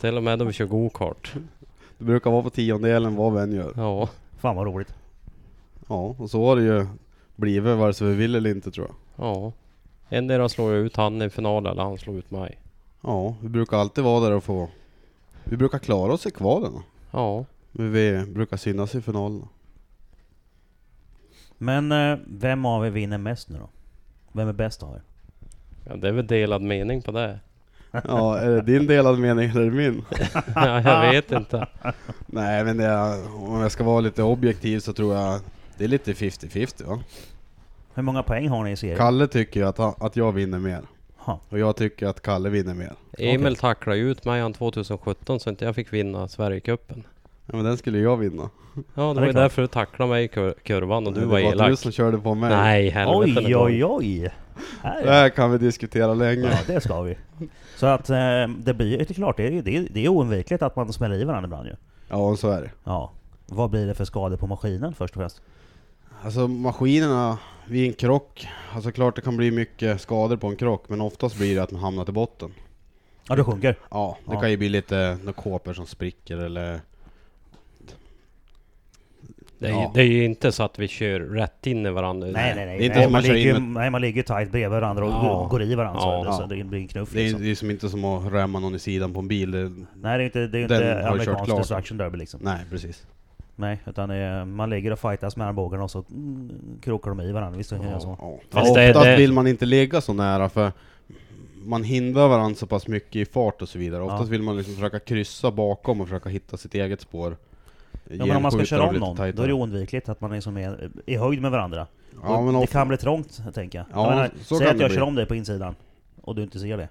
S3: Till och med då vi kör go-kart.
S2: Det brukar vara på tiondelen vad vi än gör.
S3: Ja.
S1: Fan vad roligt.
S2: Ja, och så har det ju blivit vare sig vi vill eller inte tror jag.
S3: Ja. Endera slår jag ut han i finalen eller han slår ut mig.
S2: Ja, vi brukar alltid vara där och få... Vi brukar klara oss i kvalen.
S3: Ja.
S2: Men vi brukar synas i finalen.
S1: Men eh, vem av er vinner mest nu då? Vem är bäst av er?
S3: ja det är väl delad mening på det.
S2: <laughs>
S3: <laughs>
S2: Ja, är det din delad mening eller är det min?
S3: Ja, jag vet inte.
S2: Nej, men det är, om jag ska vara lite objektiv så tror jag det är lite 50-50 va?
S1: Hur många poäng har ni i serien?
S2: Kalle tycker ju att, han- att jag vinner mer.
S1: Ha.
S2: Och jag tycker att Kalle vinner mer.
S3: Emil tacklade ju ut mig han 2017 så inte jag fick vinna Sverigecupen.
S2: Ja, men den skulle jag vinna.
S3: Ja,
S1: det
S3: det var
S1: är
S3: ju
S1: klart.
S3: därför du tacklade mig i kur- kurvan och du
S2: det var
S3: var
S2: du
S3: elak.
S2: som körde på mig.
S3: Nej, helvete.
S1: Oj,
S3: det var-
S1: oj, oj! Här.
S2: Det här kan vi diskutera länge. <laughs>
S1: Ja, det ska vi. Så att eh, det blir det är klart, det är, det är, det är oundvikligt att man smäller i varandra ibland ju.
S2: Ja, så är det.
S1: Ja. Vad blir det för skador på maskinen först och främst?
S2: Alltså maskinerna vid en krock, alltså klart det kan bli mycket skador på en krock, men oftast blir det att man hamnar till botten.
S1: Ja, det sjunker.
S2: Ja, det
S1: Ja.
S2: kan ju bli lite några kåpor som spricker eller...
S3: Det, är,
S2: Ja.
S3: det är ju inte så att vi kör rätt in i varandra.
S1: Nej, nej, nej.
S2: Det är inte
S1: nej, man,
S2: som man kör
S1: ligger, ju-
S2: in
S1: nej, man ligger ju tight bredvid varandra och
S3: Ja.
S1: går i varandra.
S3: Ja.
S1: så, det, så
S2: Ja.
S1: det blir en knuff
S2: Det är,
S1: liksom.
S2: det är som inte som att rämma någon i sidan på en bil. Det,
S1: Nej, det är inte, det är
S2: Den har ju
S1: inte
S2: kört
S1: amerikansk
S2: klart.
S1: destruction derby liksom.
S2: nej, precis.
S1: Nej, utan det är, man ligger och fightas med armbågarna och så mm, krokar de i varandra. Visst kan jag göra så?
S2: Ja.
S3: Fast
S2: Ja,
S3: det är-
S2: oftast
S3: det-
S2: vill man inte ligga så nära för man hindrar varandra så pass mycket i fart och så vidare. Oftast vill man liksom försöka kryssa bakom och försöka hitta sitt eget spår.
S1: Ja, men om man ska köra om någon, då är det oundvikligt att man liksom är i höjd med varandra.
S2: Ja,
S1: Och
S2: men
S1: det
S2: ofta,
S1: kan bli trångt, tänker jag.
S2: Ja,
S1: jag menar,
S2: så
S1: säg
S2: kan
S1: att
S2: det
S1: jag
S2: bli.
S1: kör om dig på insidan och du inte ser det.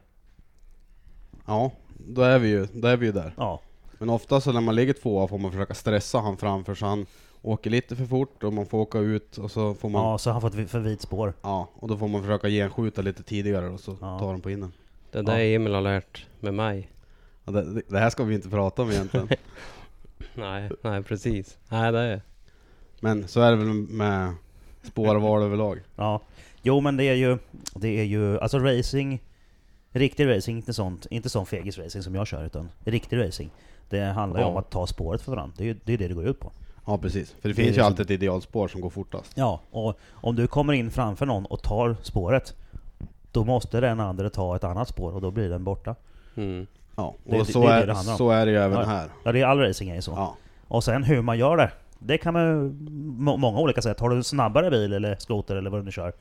S2: ja, då är vi ju, då är vi ju där.
S1: Ja,
S2: Men ofta så när man ligger tvåa får man försöka stressa han framför så han åker lite för fort och man får åka ut och så får man... Ja,
S1: ja så har han fått vi- för vit spår.
S2: och då får man försöka genskjuta lite tidigare och så
S1: Ja.
S2: tar de på innen.
S3: Det där Emil har lärt med mig.
S2: Ja, det, det- det här ska vi inte prata om
S1: <laughs>
S2: egentligen.
S3: Nej, nej precis. Nej, det är...
S2: men så är det väl med spårval överlag.
S1: Ja. Jo men det är ju, det är ju, alltså racing, riktig racing, inte sånt, inte sån fegisracing som jag kör utan riktig racing. Det handlar ju
S3: Ja.
S1: om att ta spåret för varandra. Det är ju det är det, det går ut på.
S2: Ja precis, för det,
S1: Det är
S2: finns ju
S1: liksom-
S2: alltid ett idealspår som går fortast.
S1: Ja, och om du kommer in framför någon och tar spåret, då måste den andra ta ett annat spår och då blir den borta.
S3: Mm.
S2: Ja, och
S1: Det- det-
S2: så,
S1: det är det
S2: är,
S1: det handlar om.
S2: så är det ju även
S1: Ja.
S2: här.
S1: Ja, det är all racing är ju så.
S2: Ja.
S1: Och sen hur man gör det. Det kan man ju må- många olika sätt. Har du en snabbare bil eller skoter eller vad du nu kör.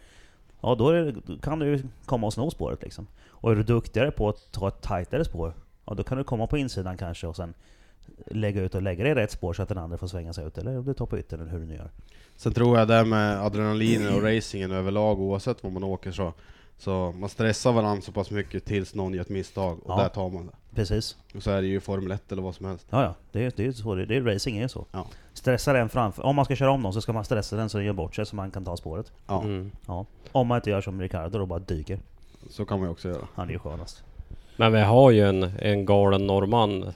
S1: Ja då, är det, då kan du ju komma och sno spåret liksom. Och är du duktigare på att ta ett tajtare spår. Ja då kan du komma på insidan kanske och sen lägga ut och lägga dig i rätt spår så att den andra får svänga sig ut. Eller om du tar på yttern eller hur du nu gör.
S2: Sen tror jag det här med adrenalinen och racingen överlag, oavsett var man åker så, så man stressar varandra så pass mycket tills någon gör ett misstag och
S1: Ja.
S2: där tar man det.
S1: Precis.
S2: Och så är det ju i Formel 1 eller vad som helst.
S1: Ja ja, det är det är ju så. Det, det är, racing är ju så.
S2: Ja.
S1: Stressa den framför. Om man ska köra om någon så ska man stressa den så den gör bort sig så man kan ta spåret.
S2: Ja,
S3: Mm.
S1: Ja. Om man inte gör som Ricardo och bara dyker.
S2: så kan man ju också göra.
S1: Han är ju skönast.
S3: Men vi har ju en, en galen norrman.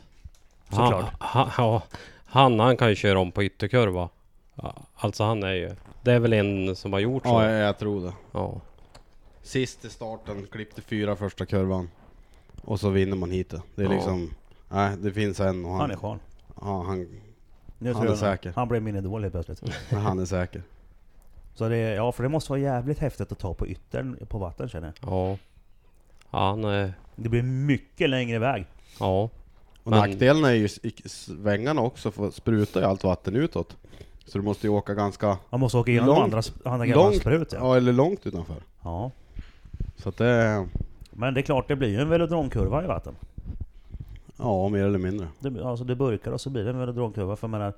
S3: Han,
S1: Såklart.
S3: han, ja, han, han kan ju köra om på ytterkurva. Ja, Alltså han är ju... Det är väl en som har gjort så.
S2: Ja, jag, jag tror det.
S3: Ja.
S2: Sist i starten, klippte fyra första kurvan. Och så vinner man hit det. Det är
S3: Ja.
S2: liksom... Nej, det finns en och han...
S1: Han är skön.
S2: ja, han,
S1: Nu
S2: Han
S1: tror
S2: är
S1: jag nog-
S2: säker.
S1: Han blev min idol helt plötsligt.
S2: han är säker.
S1: Så det, ja, för det måste vara jävligt häftigt att ta på yttern på vatten känner jag.
S3: Ja. Han är...
S1: Det blir mycket längre väg.
S3: Ja.
S2: Och
S3: Men-
S2: nackdelen är ju s- i svängarna också, för sprutar ju allt vatten utåt. Så du måste ju åka ganska...
S1: Man måste åka igenom
S2: Långt-
S1: andra, sp- andra gamla
S2: Långt,
S1: sprut. Ja.
S2: ja, eller långt utanför.
S1: ja.
S2: Så att det...
S1: Men det är klart, det blir ju en velodromkurva i vatten.
S2: Ja, mer eller mindre.
S1: Det, alltså det burkar och så blir det en velodromkurva. För jag menar,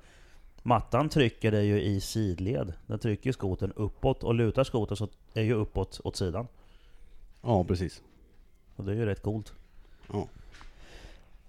S1: mattan trycker dig ju i sidled. Den trycker ju skoten uppåt och lutar skoten så är ju uppåt åt sidan.
S2: Ja, precis.
S1: Och det är ju rätt coolt.
S2: Ja.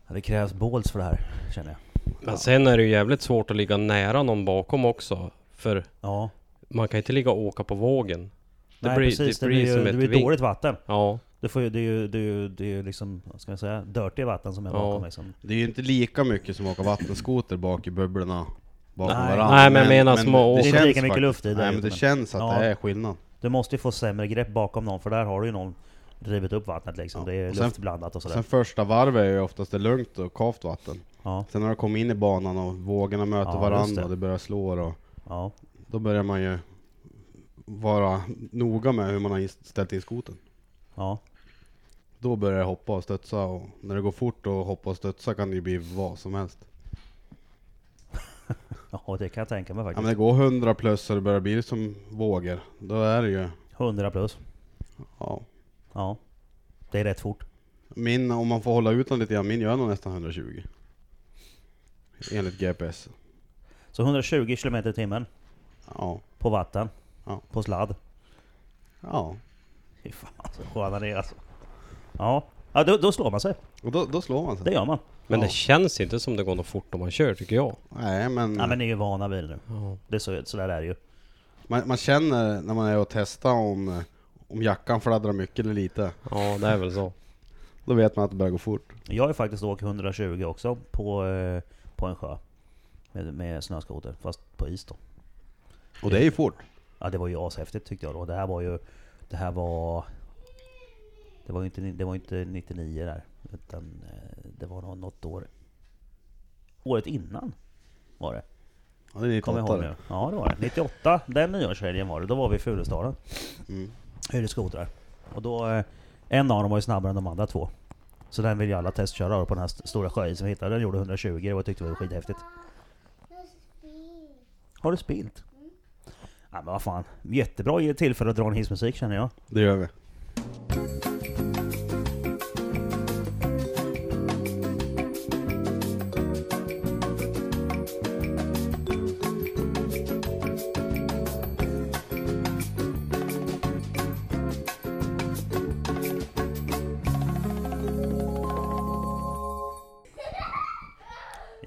S1: Ja, Det krävs balls för det här känner jag.
S3: Men sen är det ju jävligt svårt att ligga nära någon bakom också. För
S1: Ja,
S3: man kan inte ligga och åka på vågen. Det
S1: Nej,
S3: blir,
S1: precis.
S3: det blir
S1: ju-
S3: som
S1: det
S3: ett
S1: blir
S3: vink.
S1: dåligt vatten.
S3: Ja.
S1: Det, får, ju- det är ju, det är ju, det är ju liksom, vad ska jag säga, dirty vatten som är
S3: Ja.
S1: bakom liksom.
S2: Det är ju inte lika mycket som att åka vattenskoter bak i bubblorna bakom
S1: Nej.
S2: varandra.
S3: Nej, men jag menar som att åka-
S1: Det är inte
S2: känns
S1: lika mycket
S2: faktiskt-
S1: luft i det
S2: Nej, men det
S1: utan-
S2: känns att
S1: Ja.
S2: det är skillnad.
S1: Du måste ju få sämre grepp bakom någon för där har du ju någon rivit upp vattnet liksom.
S2: Ja.
S1: Det är
S2: Och sen-
S1: luftblandat och sådär.
S2: Sen första varvet är ju oftast det lugnt och kavt vatten.
S1: ja,
S2: Sen när du kommer in i banan och vågorna
S1: Ja,
S2: möter
S1: just
S2: varandra
S1: det.
S2: och det börjar slå och
S1: ja.
S2: då börjar man ju vara noga med hur man har inst- ställt in skoten.
S1: Ja.
S2: Då börjar det hoppa och studsa och när det går fort och hoppa och studsa kan det ju bli vad som helst.
S1: ja, det kan jag tänka mig
S2: Ja, men
S1: faktiskt.
S2: det går 100 plus och det börjar bli som vågor. Då är det ju,
S1: 100 plus.
S2: ja.
S1: Ja. Det är rätt fort.
S2: Min, om man får hålla ut den lite grann, min gör nog nästan 120. Enligt GPS.
S1: Så 120 km i timmen
S2: Ja.
S1: på vatten.
S2: Ja.
S1: På sladd.
S2: Ja.
S1: Fy fan så skön han är alltså. Ja, ja då, då slår man sig.
S2: Och då, då slår man sig.
S1: Det gör man.
S3: Men
S2: Ja.
S3: det känns inte som det går något fort om man kör tycker jag.
S2: Nej men,
S1: Ja, men ni är ju vana vid det nu.
S3: Ja.
S1: Det är så, så där är det ju.
S2: Man, man känner när man är och testar om, om jackan fladdrar mycket eller lite.
S3: ja, det är väl så.
S2: Då vet man att det börjar gå fort.
S1: Jag har ju faktiskt åkt 120 också på, eh, på en sjö. Med, med snöskoter, fast på is då.
S2: Och det är ju fort.
S1: Ja det var ju ashäftigt tyckte jag då. Det här var ju... Det här var... Det var ju inte, det var ju inte 99 där. Utan eh, det var nå- något år... Året innan var det.
S2: Ja, det är
S1: Kommer jag ihåg
S2: 98.
S1: nu. Ja det var det. 98, den nyårshelgen var det. Då var vi i Furustaden.
S2: Mm.
S1: Hyrde skotrar. Och då... eh, En av dem var ju snabbare än de andra två. Så den ville ju alla testköra då på den här st- stora sjöisen vi hittade. Den gjorde 120 det var tyckte vi var skithäftigt. Har du spilt? Ja men vad fan. Jättebra ju tillfälle att dra en hissmusik känner jag.
S2: Det gör vi.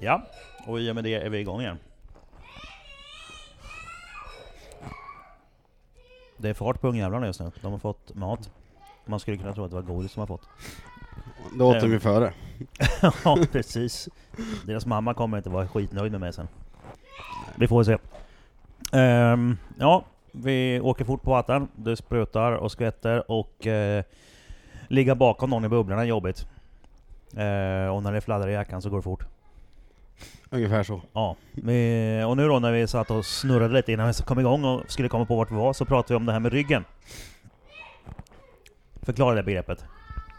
S1: Ja, och i och med det är vi igång igen. Det är fart på ungjävlarna just nu. De har fått mat. Man skulle kunna tro att det var godis de har fått.
S2: Det åt
S1: Eh.
S2: de ju före.
S1: <laughs> ja, precis. Deras mamma kommer inte vara skitnöjd med mig sen. Vi får se. Ehm, ja, vi åker fort på vatten. Det sprutar och skvätter och eh, ligga bakom någon i bubblorna är jobbigt. Eh, och när det fladdrar i jackan så går det fort.
S2: Ungefär så.
S1: Ja, vi, och nu då när vi satt och snurrade lite innan vi kom igång och skulle komma på vart vi var så pratade vi om det här med ryggen. Förklara det begreppet.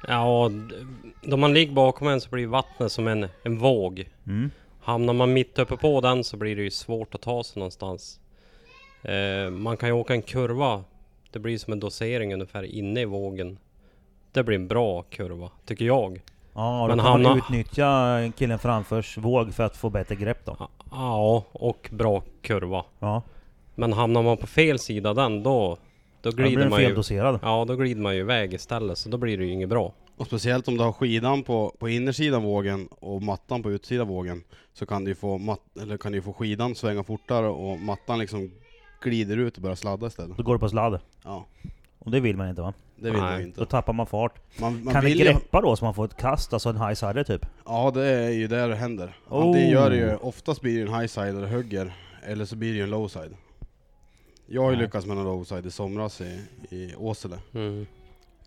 S3: Ja, d- då man ligger bakom en så blir vattnet som en, en våg.
S1: Mm.
S3: Hamnar man mitt uppe på den så blir det ju svårt att ta sig någonstans. Eh, man kan ju åka en kurva. Det blir som en dosering ungefär inne i vågen. Det blir en bra kurva, tycker jag.
S1: Ja, då
S3: Men
S1: kan man
S3: hamna-
S1: utnyttja killen framförs våg för att få bättre grepp då.
S3: Ja, Ja, och bra kurva.
S1: Ja,
S3: Men hamnar man på fel sida den då, då
S1: då blir
S3: glider
S1: den
S3: man ju...
S1: feldoserad.
S3: Ja, då glider man ju iväg istället, så då blir det ju inget bra.
S2: Och speciellt om du har skidan på, på innersidan vågen och mattan på utsidan vågen så kan du ju få, mat, eller kan du ju få skidan svänga fortare och mattan liksom glider ut och börjar sladda istället.
S1: Då går det på sladd.
S2: Ja,
S1: Och det vill man inte va?
S2: det vill
S3: Nej.
S2: du
S1: Då
S2: inte.
S1: tappar man fart.
S2: Man, man
S1: kan det
S2: vill ju,
S1: greppa då så man får ett kast, alltså en high-sider typ?
S2: ja, det är ju där det händer.
S1: Oh.
S2: Det gör det ju. Oftast blir det ju en high-side eller hugger, eller så blir det ju en low-side. Jag har ju
S1: Nej.
S2: lyckats med en low-side i somras i, i Åsele.
S3: Mm.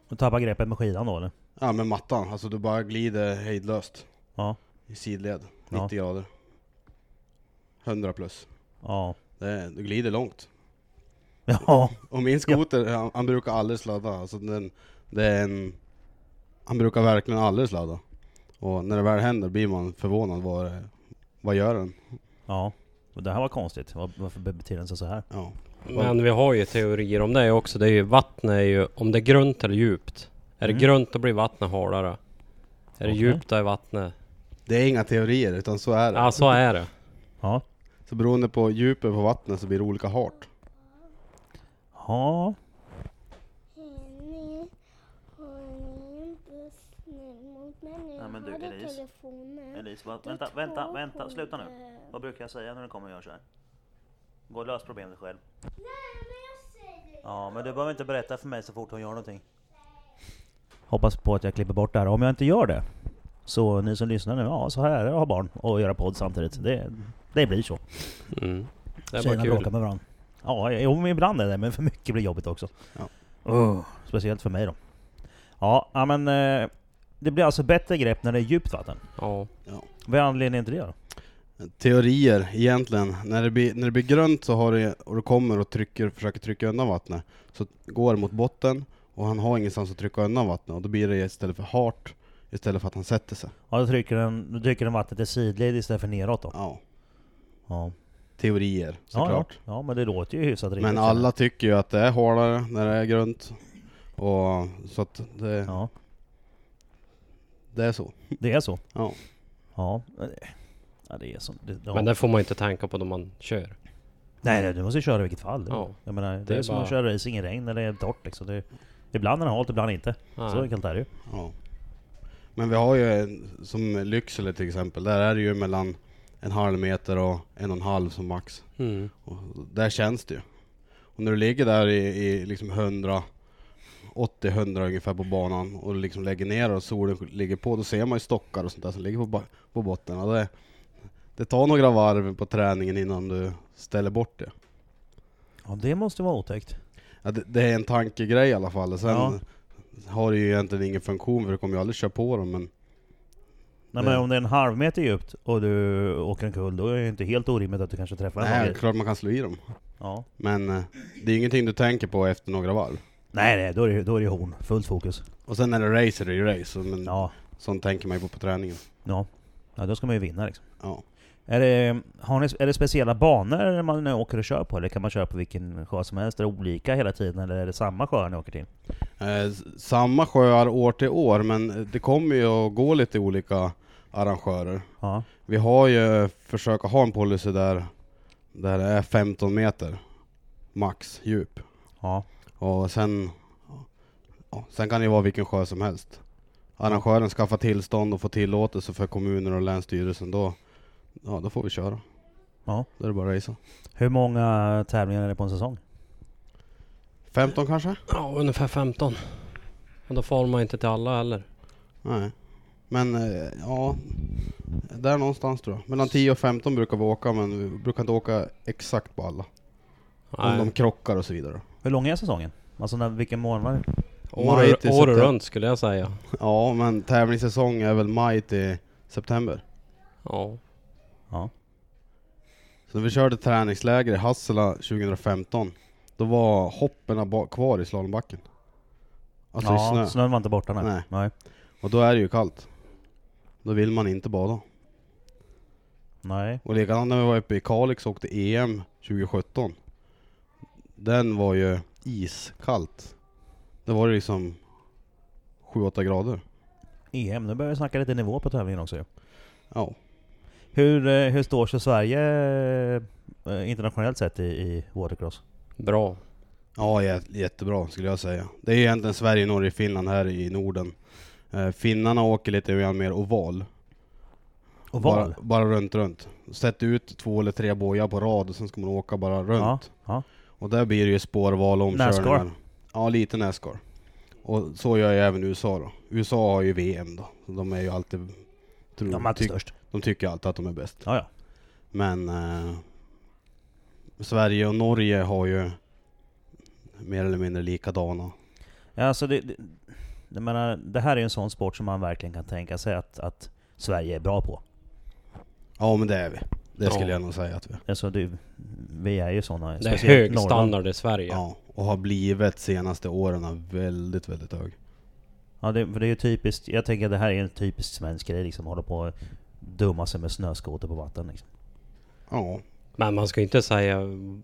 S1: Då tappar greppet med skidan då eller?
S2: Ja, med mattan. Alltså du bara glider hejdlöst
S1: Ja.
S2: i sidled, 90
S1: Ja.
S2: grader. 100 plus.
S1: Ja. <laughs>
S2: Det är, du glider långt.
S1: Ja.
S2: Och min skoter, han, han brukar aldrig sladda. Alltså den, det är en, han brukar verkligen aldrig sladda. Och när det väl händer blir man förvånad. Vad, det- vad gör den?
S1: Ja. Och Det här var konstigt. Var- Varför beter den sig så här?
S2: Ja.
S3: Men vi har ju teorier om det också. Det är ju vattnet är ju, om det är grunt eller djupt. Är
S1: Mm.
S3: det grunt då blir vattnet halare. Är det
S1: Okej.
S3: djupt då är vattnet...
S2: Det är inga teorier, utan så är det.
S3: Ja, så är det.
S1: Ja.
S2: Så beroende på djupet på vattnet så blir det olika hart.
S1: Ja.
S4: Ni har ni inte snäll mot mig nu?
S1: Nej, men du,
S4: har du
S1: Elise.
S4: telefonen?
S1: Elise,
S4: Då
S1: vänta,
S4: tar
S1: vänta,
S4: hon
S1: vänta, sluta nu.
S4: den.
S1: Vad brukar jag säga när du kommer och gör så här? Gå och lös problemet själv.
S4: Nej, men jag säger
S1: Ja, men du behöver inte berätta för mig så fort hon gör någonting. Hoppas på att jag klipper bort det här. Om jag inte gör det, så ni som lyssnar nu, ja så här är det att ha barn och göra podd samtidigt. Det, det blir så.
S3: Mm. Det är
S1: Tjejerna
S3: bara kul.
S1: bråkar med varandra. Ja, jo men ibland är det men för mycket blir jobbigt också.
S2: Ja.
S1: Ugh, speciellt för mig då. Ja, ja, men eh, det blir alltså bättre grepp när det är djupt vatten.
S3: Ja.
S1: Vad är anledningen till det då?
S2: Teorier egentligen. När det blir, när det blir grönt så har det, och du kommer och trycker, försöker trycka undan vattnet, så går det mot botten och han har ingenstans att trycka undan vattnet och då blir det istället för hart istället för att han sätter sig.
S1: Ja, då trycker den, då trycker den vattnet i sidled istället för neråt då.
S2: Ja,
S1: Ja.
S2: teorier
S1: Ja, ja.
S2: såklart.
S1: ja, men det låter ju hyfsat riktigt.
S2: Men alla tycker ju att det är hårdare när det är grönt. Och så att det,
S1: Ja,
S2: det är så.
S1: det är så.
S2: Ja.
S1: Ja, men det- ja det är så. Det, ja.
S3: Men det får man ju inte tänka på då man kör.
S1: nej, nej, du måste ju köra i vilket fall.
S3: Ja.
S1: Jag menar, det,
S3: Det
S1: är
S3: är
S1: som
S3: bara-
S1: att köra racing i regn när det är torrt liksom. Det, Ibland har den hållit, ibland inte. Så
S3: Nej.
S1: enkelt är det ju.
S2: Ja. Men vi har ju en, som Lycksele till exempel, där är det ju mellan en halv meter och en och en halv som max.
S3: Mm.
S2: Och där känns det ju. Och när du ligger där i, i liksom 100, 80-100 ungefär på banan och liksom lägger ner och solen ligger på, då ser man ju stockar och sånt där som ligger på, ba- på botten. Och det, det tar några varv på träningen innan du ställer bort det.
S1: Ja, det måste vara otäckt.
S2: Ja, det, det är en tankegrej i alla fall. Sen
S1: Ja.
S2: har det ju egentligen ingen funktion för du kommer ju aldrig köra på dem. Men
S1: Nej,
S2: Det-
S1: men om det är en halv meter djupt och du åker en kull, då är det inte helt orimligt att du kanske träffar en
S2: nej,
S1: bagare.
S2: klart man kan slå i dem.
S1: Ja.
S2: Men eh, det är ingenting du tänker på efter några varv.
S1: Nej, nej, då är det, då är det horn. Fullt fokus.
S2: Och sen när det är race är det ju race. Men
S1: Ja,
S2: sånt tänker man ju på på träningen.
S1: ja. ja då ska man ju vinna liksom.
S2: Ja.
S1: Är det, har ni, är det speciella banor man åker och kör på, eller kan man köra på vilken sjö som helst? Är det olika hela tiden, eller är det samma sjö ni åker till?
S2: Eh, s- samma sjöar år till år, men eh, det kommer ju att gå lite olika arrangörer.
S1: Ja,
S2: Vi har ju försökt ha en policy där, där det är 15 meter max djup.
S1: ja,
S2: Och sen, ja, sen kan det ju vara vilken sjö som helst. Arrangören skaffar tillstånd och får tillåtelse för kommuner och länsstyrelsen, då, ja, då får vi köra.
S1: ja.
S2: Då är det bara att racea.
S1: Hur många tävlingar är det på en säsong?
S2: 15 kanske?
S3: Ja, ungefär 15. Och då får man inte till alla heller.
S2: Nej. Men eh, ja, där någonstans tror jag. Mellan 10 och 15 brukar vi åka, men vi brukar inte åka exakt på alla. Om de
S3: Nej.
S2: krockar och så vidare.
S1: Hur lång är säsongen? Alltså när, vilken månad?
S2: Maj
S3: År,
S2: till
S3: år
S2: september.
S3: runt skulle jag säga.
S2: Ja, men tävlingssäsong är väl maj till september.
S3: Ja.
S1: Ja.
S2: Så när vi körde träningsläger i Hassela 2015, då var hoppen ba- kvar i slalombacken. Alltså
S1: ja,
S2: i snö.
S1: snön var inte borta nej.
S2: Nej.
S1: nej.
S2: Och då är det ju kallt. Då vill man inte bada.
S1: Nej.
S2: Och likadant när vi var uppe i Kalix och åkte EM 2017. Den var ju iskallt. Det var det liksom 7-8 grader.
S1: EM, E nu börjar vi snacka lite nivå på tävlingen också ju.
S2: Ja.
S1: Hur, eh, hur står sig Sverige eh, internationellt sett i, i watercross?
S3: Bra.
S2: Ja, jä- jättebra skulle jag säga. Det är egentligen Sverige, Norge, Finland här i Norden. Eh, Finnarna åker lite grann mer oval.
S1: Oval?
S2: Bara, bara runt, runt. Sätt ut två eller tre bojar på rad och sen ska man åka bara
S1: Ja,
S2: runt.
S1: ja.
S2: Och där blir det ju spårval och omkörningar.
S1: Nascar.
S2: Ja, lite Nascar. Och så gör ju även USA då. USA har ju VM då. Så De är ju alltid... Tror,
S1: De är alltid
S2: tyck-
S1: störst.
S2: de tycker alltid att de är bäst.
S1: Ja, ja.
S2: Men eh, Sverige och Norge har ju mer eller mindre likadana.
S1: ja alltså det, det, jag menar, det här är ju en sån sport som man verkligen kan tänka sig att, att Sverige är bra på.
S2: Ja men det är vi. Det
S3: Ja.
S2: skulle jag nog säga att vi är.
S1: Alltså det, vi är ju såna.
S3: Det är
S1: speciellt
S3: hög
S1: Norrland.
S3: standard i Sverige.
S2: Ja. Och har blivit senaste åren väldigt, väldigt hög.
S1: Ja, det, för det är ju typiskt. Jag tänker att det här är en typisk svensk grej liksom. Hålla på och dumma sig med snöskoter på vatten liksom.
S2: Ja,
S3: Men man ska inte säga...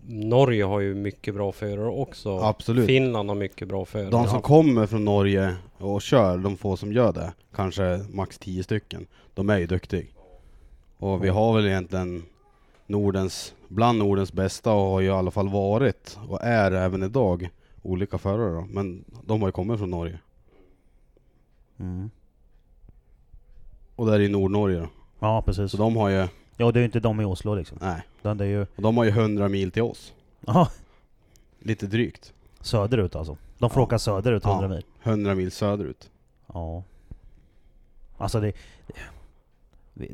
S3: Norge har ju mycket bra förare också.
S2: absolut.
S3: Finland har mycket bra förare.
S2: De som kommer från Norge och kör, de få som gör det, kanske max 10 stycken, de är ju duktiga. Och vi har väl egentligen Nordens, bland Nordens bästa och har ju i alla fall varit och är även idag olika förare då. Men de har ju kommit från Norge.
S1: Mm.
S2: Och där är ju Nordnorge då.
S1: Ja, precis.
S2: Så de har ju,
S1: Ja, det är ju inte de i Oslo liksom.
S2: nej,
S1: Utan det är ju...
S2: och de har ju 100 mil till oss.
S1: Ja,
S2: Lite drygt.
S1: söderut alltså. De får
S2: Ja.
S1: åka söderut 100
S2: Ja.
S1: mil.
S2: 100 mil söderut.
S1: Ja. Alltså det... det- Vi,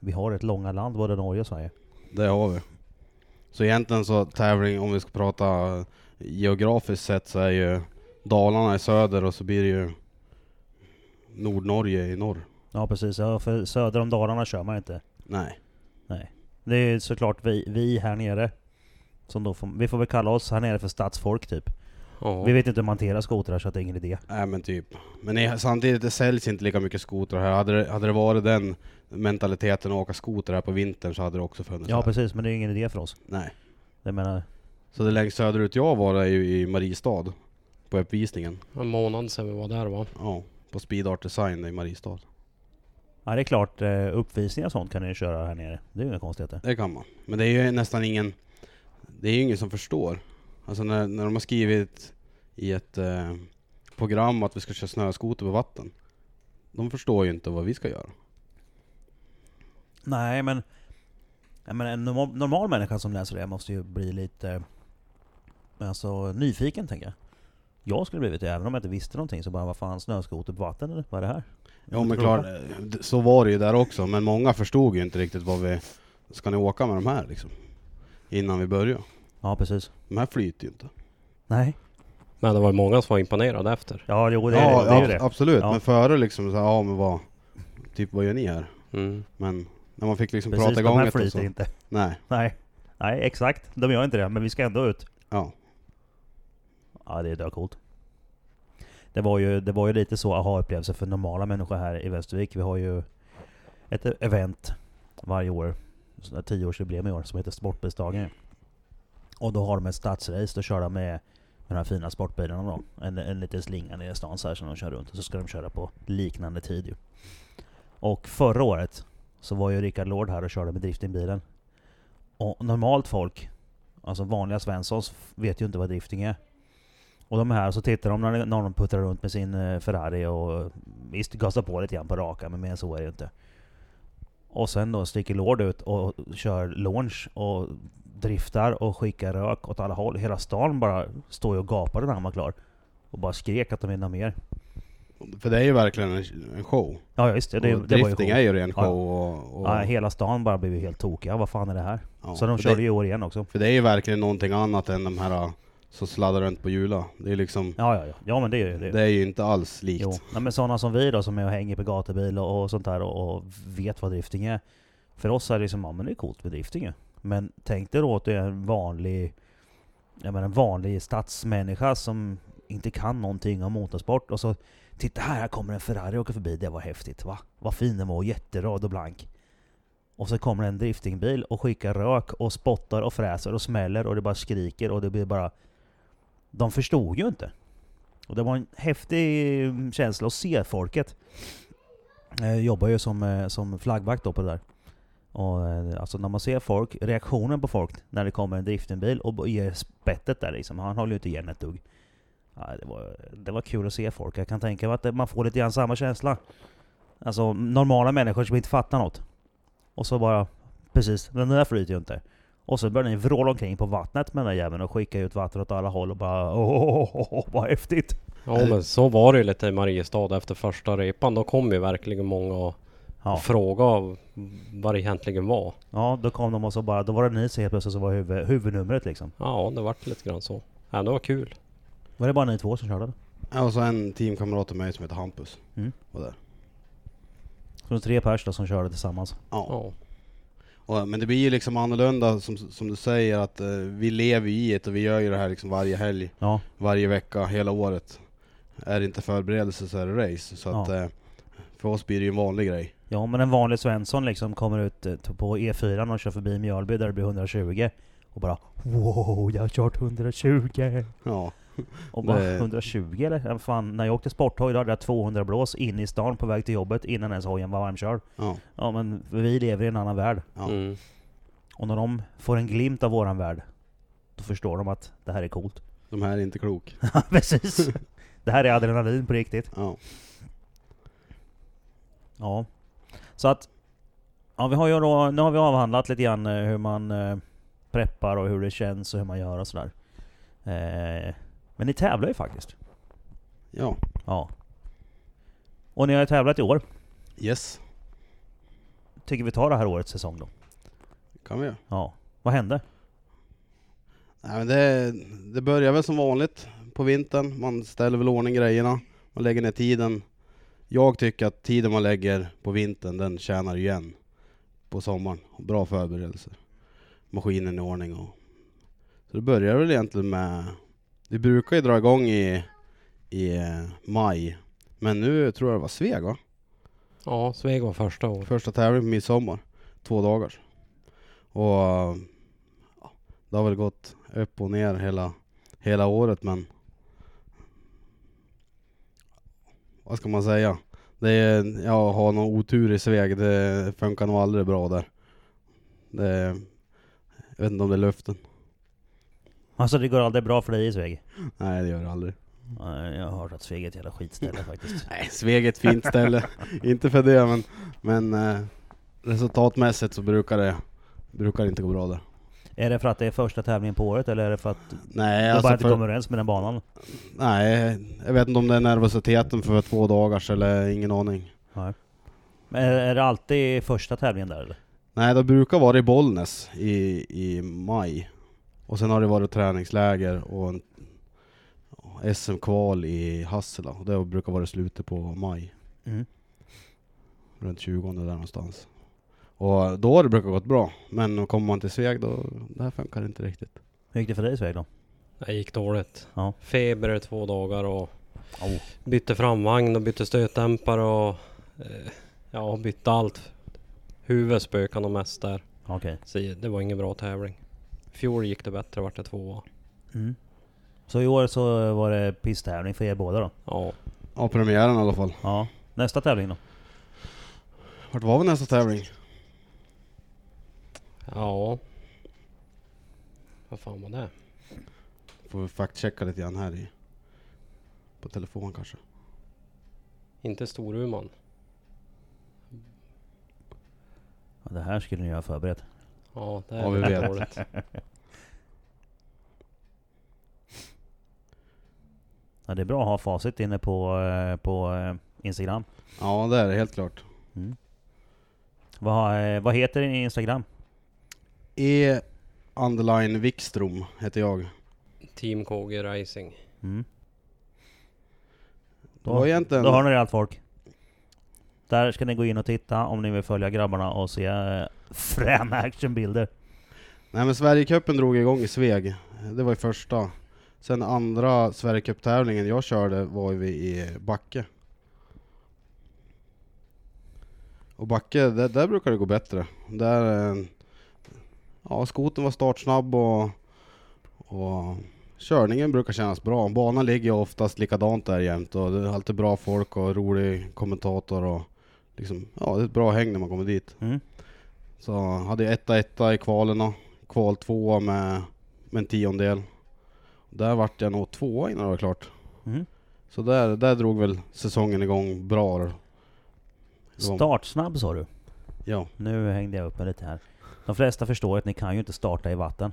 S1: vi har ett långa land, både Norge och Sverige.
S2: Det har vi. Så egentligen så tävling, om vi ska prata geografiskt sett så är ju Dalarna i söder och så blir det ju Nordnorge i norr.
S1: Ja, precis. Ja, för söder om Dalarna kör man inte.
S2: Nej.
S1: Det är ju såklart vi, vi här nere. Som då får, vi får väl kalla oss här nere för stadsfolk typ.
S3: Ja.
S1: Vi vet inte hur man hanterar skotrar så att det är ingen idé.
S2: Nej men typ. Men i- samtidigt, det säljs inte lika mycket skotrar här. Hade det, hade det varit den mentaliteten att åka skoter här på vintern så hade det också funnits
S1: Ja
S2: här.
S1: precis, men det är ju ingen idé för oss.
S2: Nej.
S1: Jag menar,
S2: Så det längst söderut jag var är ju i Mariestad. På uppvisningen.
S3: En månad sedan vi var där va?
S2: Ja. På Speed Art Design i Mariestad.
S1: ja det är klart eh, uppvisningar och sånt kan ni ju köra här nere. Det är ju inga konstigheter.
S2: Det kan man. Men det är ju nästan ingen... Det är ju ingen som förstår. Alltså när, när de har skrivit i ett eh, program att vi ska köra snöskoter på vatten. De förstår ju inte vad vi ska göra.
S1: Nej, men, jag menar, en normal, normal människa som läser det måste ju bli lite alltså, nyfiken, tänker jag. Jag skulle blivit det, även om jag inte visste någonting. Så bara, vad fan, snöskoter på vatten eller? Vad är det här?
S2: Ja men klart, eh, d- så var det ju där också, men många förstod ju inte riktigt vad vi... Ska ni åka med de här liksom? Innan vi började.
S1: Ja, precis.
S2: De här flyter ju inte.
S1: Nej.
S3: Men det var ju många som var imponerade efter.
S1: Ja, jo, det,
S2: ja,
S1: är, det är ju
S2: ab-
S1: det.
S2: absolut.
S1: Ja.
S2: Men före liksom så här, ja men vad... Typ vad gör ni här?
S3: Mm.
S2: Men när man fick liksom
S1: Precis,
S2: prata
S1: de
S2: igång
S1: här
S2: det och
S1: flyter
S2: så.
S1: inte. <laughs>
S2: Nej,
S1: Nej. Nej, exakt. De gör inte det, men vi ska ändå ut.
S2: ja.
S1: Ja, det är döcoolt. Det var ju, det var ju lite så aha-upplevelse för normala människor här i Västervik. Vi har ju ett event varje år, sån här 10-årsjubileum i år, som heter Sportbilsdagen. Och då har de ett stadsrace, då kör de med, med de här fina sportbilarna då. En, en liten slinga nere i stan så här som de kör runt. Och så ska de köra på liknande tid ju. Och förra året så var ju Rickard Lord här och körde med driftingbilen. Och normalt folk, alltså vanliga svenssons, f- vet ju inte vad drifting är. Och de här så tittar de när någon puttrar runt med sin eh, Ferrari och visst gasar på lite grann på raka men mer än så är det ju inte. Och sen då sticker Lord ut och kör launch och driftar och skickar rök åt alla håll. Hela stan bara står ju och gapar när han var klar. Och bara skrek att de vill ha mer.
S2: För det är ju verkligen en- en show.
S1: Ja ja, just det, det,
S2: och
S1: det var ju
S2: drifting är
S1: sjukt.
S2: ju ren
S1: Ja.
S2: show och... och
S1: Ja, hela stan bara blev ju helt tokiga. Vad fan är det här?
S2: ja.
S1: Så de
S2: För
S1: körde
S2: det,
S1: ju i år igen också.
S2: För det är ju verkligen någonting annat än de här ah, som sladdar runt på hjula. Det är liksom...
S1: Ja ja ja, ja men det är ju det.
S2: Det är ju inte alls likt.
S1: Jo, nej, men sådana som vi då som är och hänger på gatubil och, och sånt där och, och vet vad drifting är. För oss är det som, ja men det är coolt med drifting ju. Men tänk dig då att du är en vanlig, jag menar en vanlig stadsmänniska som inte kan någonting om motorsport och så Titta här, här kommer en Ferrari åka förbi, det var häftigt va? Vad fin den var, och jätteröd och blank. Och så kommer en driftingbil och skickar rök och spottar och fräser och smäller och det bara skriker och det blir bara... De förstod ju inte. Och det var en häftig eh, känsla att se folket. Jag jobbar ju som, eh, som flaggvakt då på det där. Och, eh, alltså när man ser folk, reaktionen på folk när det kommer en driftingbil och b- ger spettet där liksom. Han håller ju inte igen ett dugg. Ja, det, var, det var kul att se folk. Jag kan tänka mig att det- man får lite grann samma känsla. Alltså normala människor som inte fattar något. Och så bara, precis, den där flyter ju inte. Och så börjar ni vråla omkring på vattnet med den där jäveln och skicka ut vatten åt alla håll och bara åh, åh, åh, åh, åh vad häftigt.
S3: Ja men så var det ju lite i Mariestad efter första repan. Då kom ju verkligen många och
S1: Ja,
S3: frågade vad det egentligen var.
S1: ja då kom de och så bara, då var det ni som helt plötsligt som var huvud, huvudnumret liksom.
S3: Ja det vart lite grann så. Ja, det var kul.
S1: Var det bara ni två som körde?
S2: Ja, och så en teamkamrat till mig som heter Hampus.
S1: Mm.
S2: Var där.
S1: Så det var tre pers då som körde tillsammans.
S2: Ja.
S3: Ja.
S2: Och, men det blir ju liksom annorlunda som, som du säger att eh, vi lever ju i det och vi gör ju det här liksom varje helg,
S1: Ja,
S2: varje vecka, hela året. Är det inte förberedelse så är det race. Så
S1: Ja.
S2: att, eh, för oss blir det ju en vanlig grej.
S1: ja men en vanlig Svensson liksom kommer ut eh, på E4 och kör förbi Mjölby där det blir 120. Och bara Wow, jag har kört 120!
S2: Ja,
S1: Och bara
S2: Det-
S1: 120 eller? Ja, Fan, när jag åkte sporthoj då hade jag 200 blås in i stan på väg till jobbet innan ens hojen var varmkörd.
S2: ja,
S1: Ja men vi lever i en annan värld.
S2: Ja.
S3: Mm.
S1: Och när de får en glimt av våran värld, då förstår de att det här är coolt.
S2: de här är
S1: <laughs>
S2: inte klok.
S1: Ja, precis. Det här är adrenalin på riktigt.
S2: Ja.
S1: Ja. Så att... Ja, vi har ju då, nu har vi avhandlat lite grann eh, hur man eh, preppar och hur det känns och hur man gör och sådär. Eh, men ni tävlar ju faktiskt.
S2: ja,
S1: Ja. Och ni har ju tävlat i år.
S2: yes,
S1: Tycker vi tar det här årets säsong då.
S2: kan vi göra.
S1: Ja. Vad hände?
S2: Nej, men det, det börjar väl som vanligt på vintern. Man ställer väl ordning grejerna. Man lägger ner tiden. Jag tycker att tiden man lägger på vintern, den tjänar igen på sommaren. Bra förberedelser. Maskinen i ordning och... Så det börjar väl egentligen med... Vi brukar ju dra igång i, i eh, maj. Men nu tror jag det var Sveg va?
S3: Ja, Sveg var första året.
S2: Första tävlingen på midsommar. Två dagar. Och ja, det har väl gått upp och ner hela, hela året men vad ska man säga? Det är, jag har någon otur i Sveg, det funkar nog aldrig bra där. Det, jag vet inte om det är luften.
S1: Alltså det går aldrig bra för dig i Sveg.
S2: Nej det gör det aldrig.
S1: Nej, Jag har hört att Sveg är ett jävla <laughs> skitställe faktiskt.
S2: Nej, Sveg är ett fint ställe. <laughs> inte för det, men, men eh, resultatmässigt så brukar det, brukar det inte gå bra där.
S1: Är det för att det är första tävlingen på året eller är det för att du
S2: Nej,
S1: bara
S2: alltså
S1: inte
S2: för,
S1: kommer överens med den banan?
S2: nej, jag vet inte om det är nervositeten för två dagars eller ingen aning.
S1: Men är, är det alltid första tävlingen där eller?
S2: Nej, det brukar vara i Bollnäs i, i maj. Och sen har det varit träningsläger och en SM-kval i Hassela. Och Det brukar vara i slutet på maj.
S1: Mm.
S2: runt 20 där någonstans. Och då har det brukat gått bra, men kommer man till Sveg då, det här funkar inte riktigt.
S1: Hur gick det för dig i Sveg då?
S3: Det gick dåligt.
S1: Ja.
S3: Feber i två dagar och
S1: Oh.
S3: bytte framvagn och bytte stötdämpare och eh, ja, bytte allt. Huvudet spökade nog mest där.
S1: Okej.
S3: Så det var ingen bra tävling. Fjol gick det bättre, vart det tvåa.
S1: Mm. Så i år så var det pisstävling för er båda då?
S3: Ja,
S2: Ja, premiären i alla fall.
S1: Ja. Nästa tävling då?
S2: Vart var vi nästa tävling?
S3: ja. Vad fan var det?
S2: Får vi faktchecka lite grann här i... På telefon kanske.
S3: Inte Storuman.
S1: Ja, Det här skulle ni ju ha förberett.
S3: Ja, det är
S2: Ja, vi
S3: lite
S2: vet.
S3: dåligt.
S1: Ja, det är bra att ha facit inne på, eh, på eh, Instagram.
S2: Ja, det är det helt klart.
S1: Vad, har- eh, vad heter din Instagram?
S2: E Underline Wikström heter jag.
S3: Team KG Racing.
S1: Mm.
S2: Det var egentligen...
S1: Då har ni allt folk. Där ska ni gå in och titta om ni vill följa grabbarna och se eh, fräna actionbilder.
S2: Nej men Sverigecupen drog igång i Sveg. Det var ju första. Sen andra Sverigecup-tävlingen jag körde var ju vi i Backe. Och Backe, där, där brukar det gå bättre. Där... eh, Ja, skoten var startsnabb och, och körningen brukar kännas bra. Banan ligger ju oftast likadant där jämt och det är alltid bra folk och rolig kommentator och liksom, ja det är ett bra häng när man kommer dit.
S1: Mm.
S2: Så hade jag etta etta i kvalen då. Kval tvåa med, med en tiondel. Där vart jag nog tvåa innan det var klart.
S1: Mm.
S2: Så där, där drog väl säsongen igång bra. då. Det var-
S1: Startsnabb sa du?
S2: Ja,
S1: Nu hängde jag upp mig lite här. De flesta förstår att ni kan ju inte starta i vatten.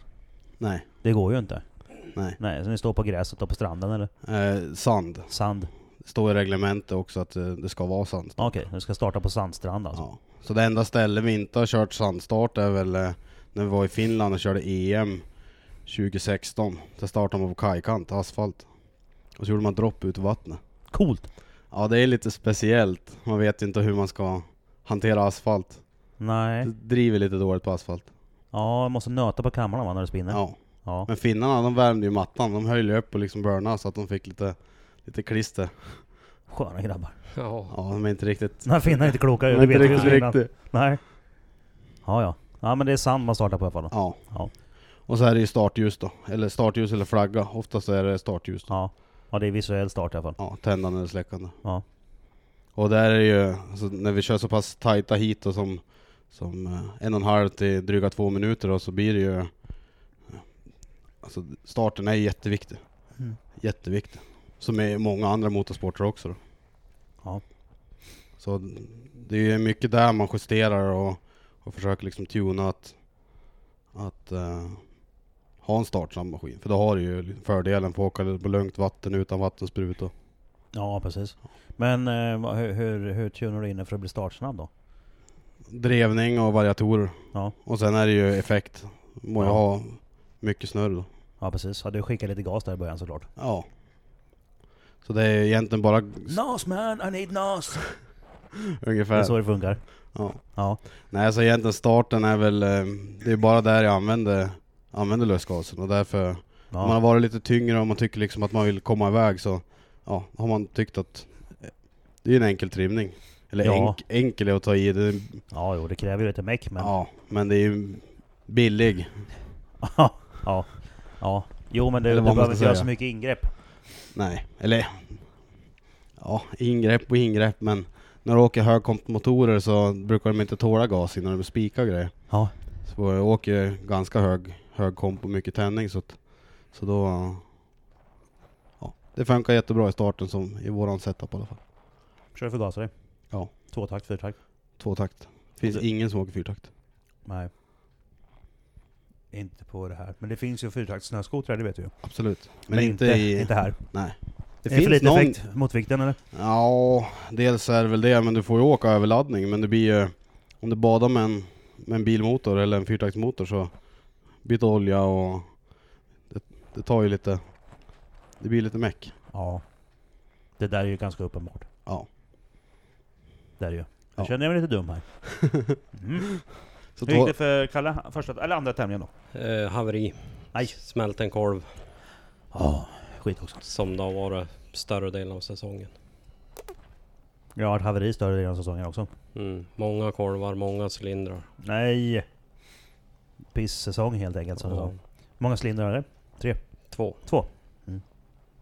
S2: nej,
S1: Det går ju inte.
S2: nej.
S1: Nej, så ni står på gräset och på stranden eller?
S2: Eh, sand.
S1: Sand.
S2: Det står i reglementet också att eh, det ska vara sand.
S1: Okej, ni ska starta på sandstrand alltså?
S2: Ja. Så det enda stället vi inte har kört sandstart är väl eh, när vi var i Finland och körde EM 2016. Där startade man på kajkant, asfalt. Och så gjorde man dropp ut i vattnet.
S1: Coolt!
S2: Ja, det är lite speciellt. Man vet inte hur man ska hantera asfalt. Det
S1: Nej.
S2: driver lite dåligt på asfalt.
S1: Ja, man måste nöta på kamrarna va, när det spinner?
S2: Ja.
S1: Ja.
S2: Men finnarna, de värmde ju mattan. De höll ju upp och liksom burnade så att de fick lite, lite klister.
S1: Sköna grabbar.
S3: Ja,
S2: Ja, de är inte riktigt...
S1: De här finnarna är inte kloka
S2: De
S1: ju,
S2: är
S1: det
S2: inte
S1: vet vi ju
S2: riktigt,
S1: sedan innan.
S2: riktigt.
S1: Nej. Ja, ja. Ja men det är sand man startar på i alla fall. då.
S2: Ja.
S1: Ja.
S2: Och så är det ju startljus då. Eller startljus eller flagga. Oftast är det startljus. Då.
S1: Ja. Ja det är visuell start i alla fall.
S2: Ja, tändande eller släckande.
S1: Ja.
S2: Och där är det ju, alltså, när vi kör så pass tajta hit och som, som eh, en och en halv till dryga två minuter då, så blir det ju... eh, Alltså starten är jätteviktig.
S1: Mm.
S2: Jätteviktig. Som är många andra motorsporter också då.
S1: Ja.
S2: Så det är ju mycket där man justerar och, och försöker liksom tuna att, att eh, ha en startsam maskin. För då har du ju fördelen för att åka på lugnt vatten utan vattensprutor.
S1: Ja precis. Men eh, vad- hur, hur, hur tunar du in den för att bli startsnabb då?
S2: drevning och variatorer.
S1: Ja.
S2: Och sen är det ju effekt. Må jag
S1: Ja.
S2: ha mycket snurr då.
S1: Ja precis. Ja, du skickar lite gas där i början såklart.
S2: Ja. Så det är egentligen bara
S1: Nas man, I need nas! Det är
S2: ungefär...
S1: så det funkar.
S2: Ja.
S1: Ja.
S2: Nej, så egentligen starten är väl... eh, Det är bara där jag använder, använder lösgasen och därför... Om man har
S1: Ja.
S2: varit lite tyngre och man tycker liksom att man vill komma iväg så... Ja, har man tyckt att... eh, Det är en enkel trimning. Eller
S1: Ja.
S2: enk, enkel är att ta i. Det, är-
S1: ja jo det kräver ju lite meck men...
S2: Ja, men det är ju billig.
S1: <laughs> Ja, ja, ja. Jo men du,
S2: Eller
S1: du
S2: vad man
S1: behöver
S2: ska
S1: inte göra
S2: säga.
S1: så mycket ingrepp.
S2: Nej, eller ja, ingrepp och ingrepp men när du åker högkompmotorer så brukar de inte tåla gas innan de spikar och grejer.
S1: Ja.
S2: Så jag åker ju ganska hög, hög komp och mycket tändning så, att, så då ja, Det funkar jättebra i starten som i våran setup i alla fall.
S1: Kör förgasare?
S2: Ja.
S1: Tvåtakt, fyrtakt?
S2: Tvåtakt. Finns
S1: Och det-
S2: ingen som åker fyrtakt.
S1: Nej. Inte på det här. Men det finns ju fyrtakts snöskotrar, det vet du ju.
S2: Absolut. Men, inte, i...
S1: inte här.
S2: Nej.
S1: Det är det
S2: Det
S1: för
S2: finns
S1: lite
S2: någon...
S1: effekt mot vikten eller?
S2: Ja, dels är det väl det, men du får ju åka överladdning. Men det blir ju... Om du badar med en, med en bilmotor eller en fyrtaktsmotor så byter olja och det, det tar ju lite... Det blir lite meck.
S1: Ja. Det där är ju ganska uppenbart.
S2: Ja.
S1: Det är det ju.
S2: Ja.
S1: Jag känner mig lite dum här. Mm.
S2: Så
S1: Hur gick
S2: två-
S1: det för Kalle? Första, eller andra tävlingen då?
S3: Eh, haveri.
S1: Nej.
S3: Smält en korv
S1: Ja, skit också.
S3: som det har varit större delen av säsongen.
S1: Jag har ett haveri större delen av säsongen också.
S3: Mm. Många korvar, många cylindrar.
S1: Nej! Piss-säsong helt enkelt som du sa.
S3: Ja,
S1: Många cylindrar är det?
S3: Två.
S1: Två?
S2: Mm.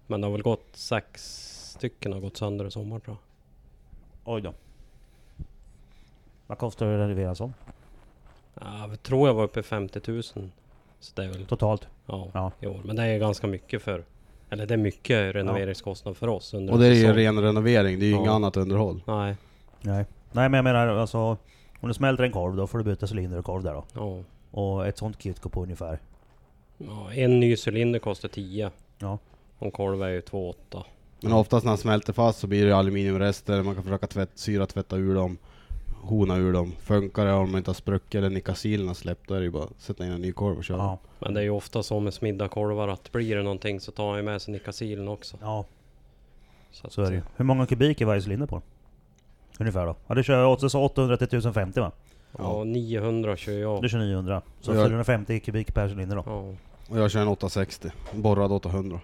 S3: Men det har väl gått sex stycken har gått sönder i sommar tror jag.
S1: Oj då. Vad kostar det att renovera en sån?
S3: Ja, Jag tror jag var uppe i 50 000. Så det är väl,
S1: Totalt?
S3: ja,
S1: Ja.
S3: i år. Men det är ganska mycket för, eller det är mycket renoveringskostnad för oss under
S2: Och
S3: en
S2: det är ju
S3: säsong.
S2: ren renovering, det är ju
S3: Ja.
S2: inget annat underhåll.
S3: Nej,
S1: Nej. Nej men jag menar alltså, om du smälter en korv då får du byta cylinder och korv där då.
S3: ja.
S1: Och ett sånt kit går på ungefär.
S3: ja. En ny cylinder kostar 10.
S1: Ja.
S3: Och en korv är ju 2,8.
S2: Men oftast när han smälter fast så blir det aluminiumrester, man kan försöka tvätt, syratvätta ur dem, hona ur dem. Funkar det om de inte har spruckit eller nikasilen har släppt, då är det ju bara att sätta in en ny korv och köra.
S1: Ja.
S3: Men det är ju ofta så med smidda korvar att blir det någonting så tar han ju med sig nikasilen också.
S1: Ja,
S3: att-
S1: så är det ju. Hur många kubik är varje cylinder på? Ungefär då? Ja du kör 800 så 800 till 1050 va?
S3: Ja, 900 kör jag.
S1: Du kör 900. Så
S2: Ja.
S1: 450 kubik per cylinder då.
S3: Ja.
S2: Och jag kör en 860, borrad 800.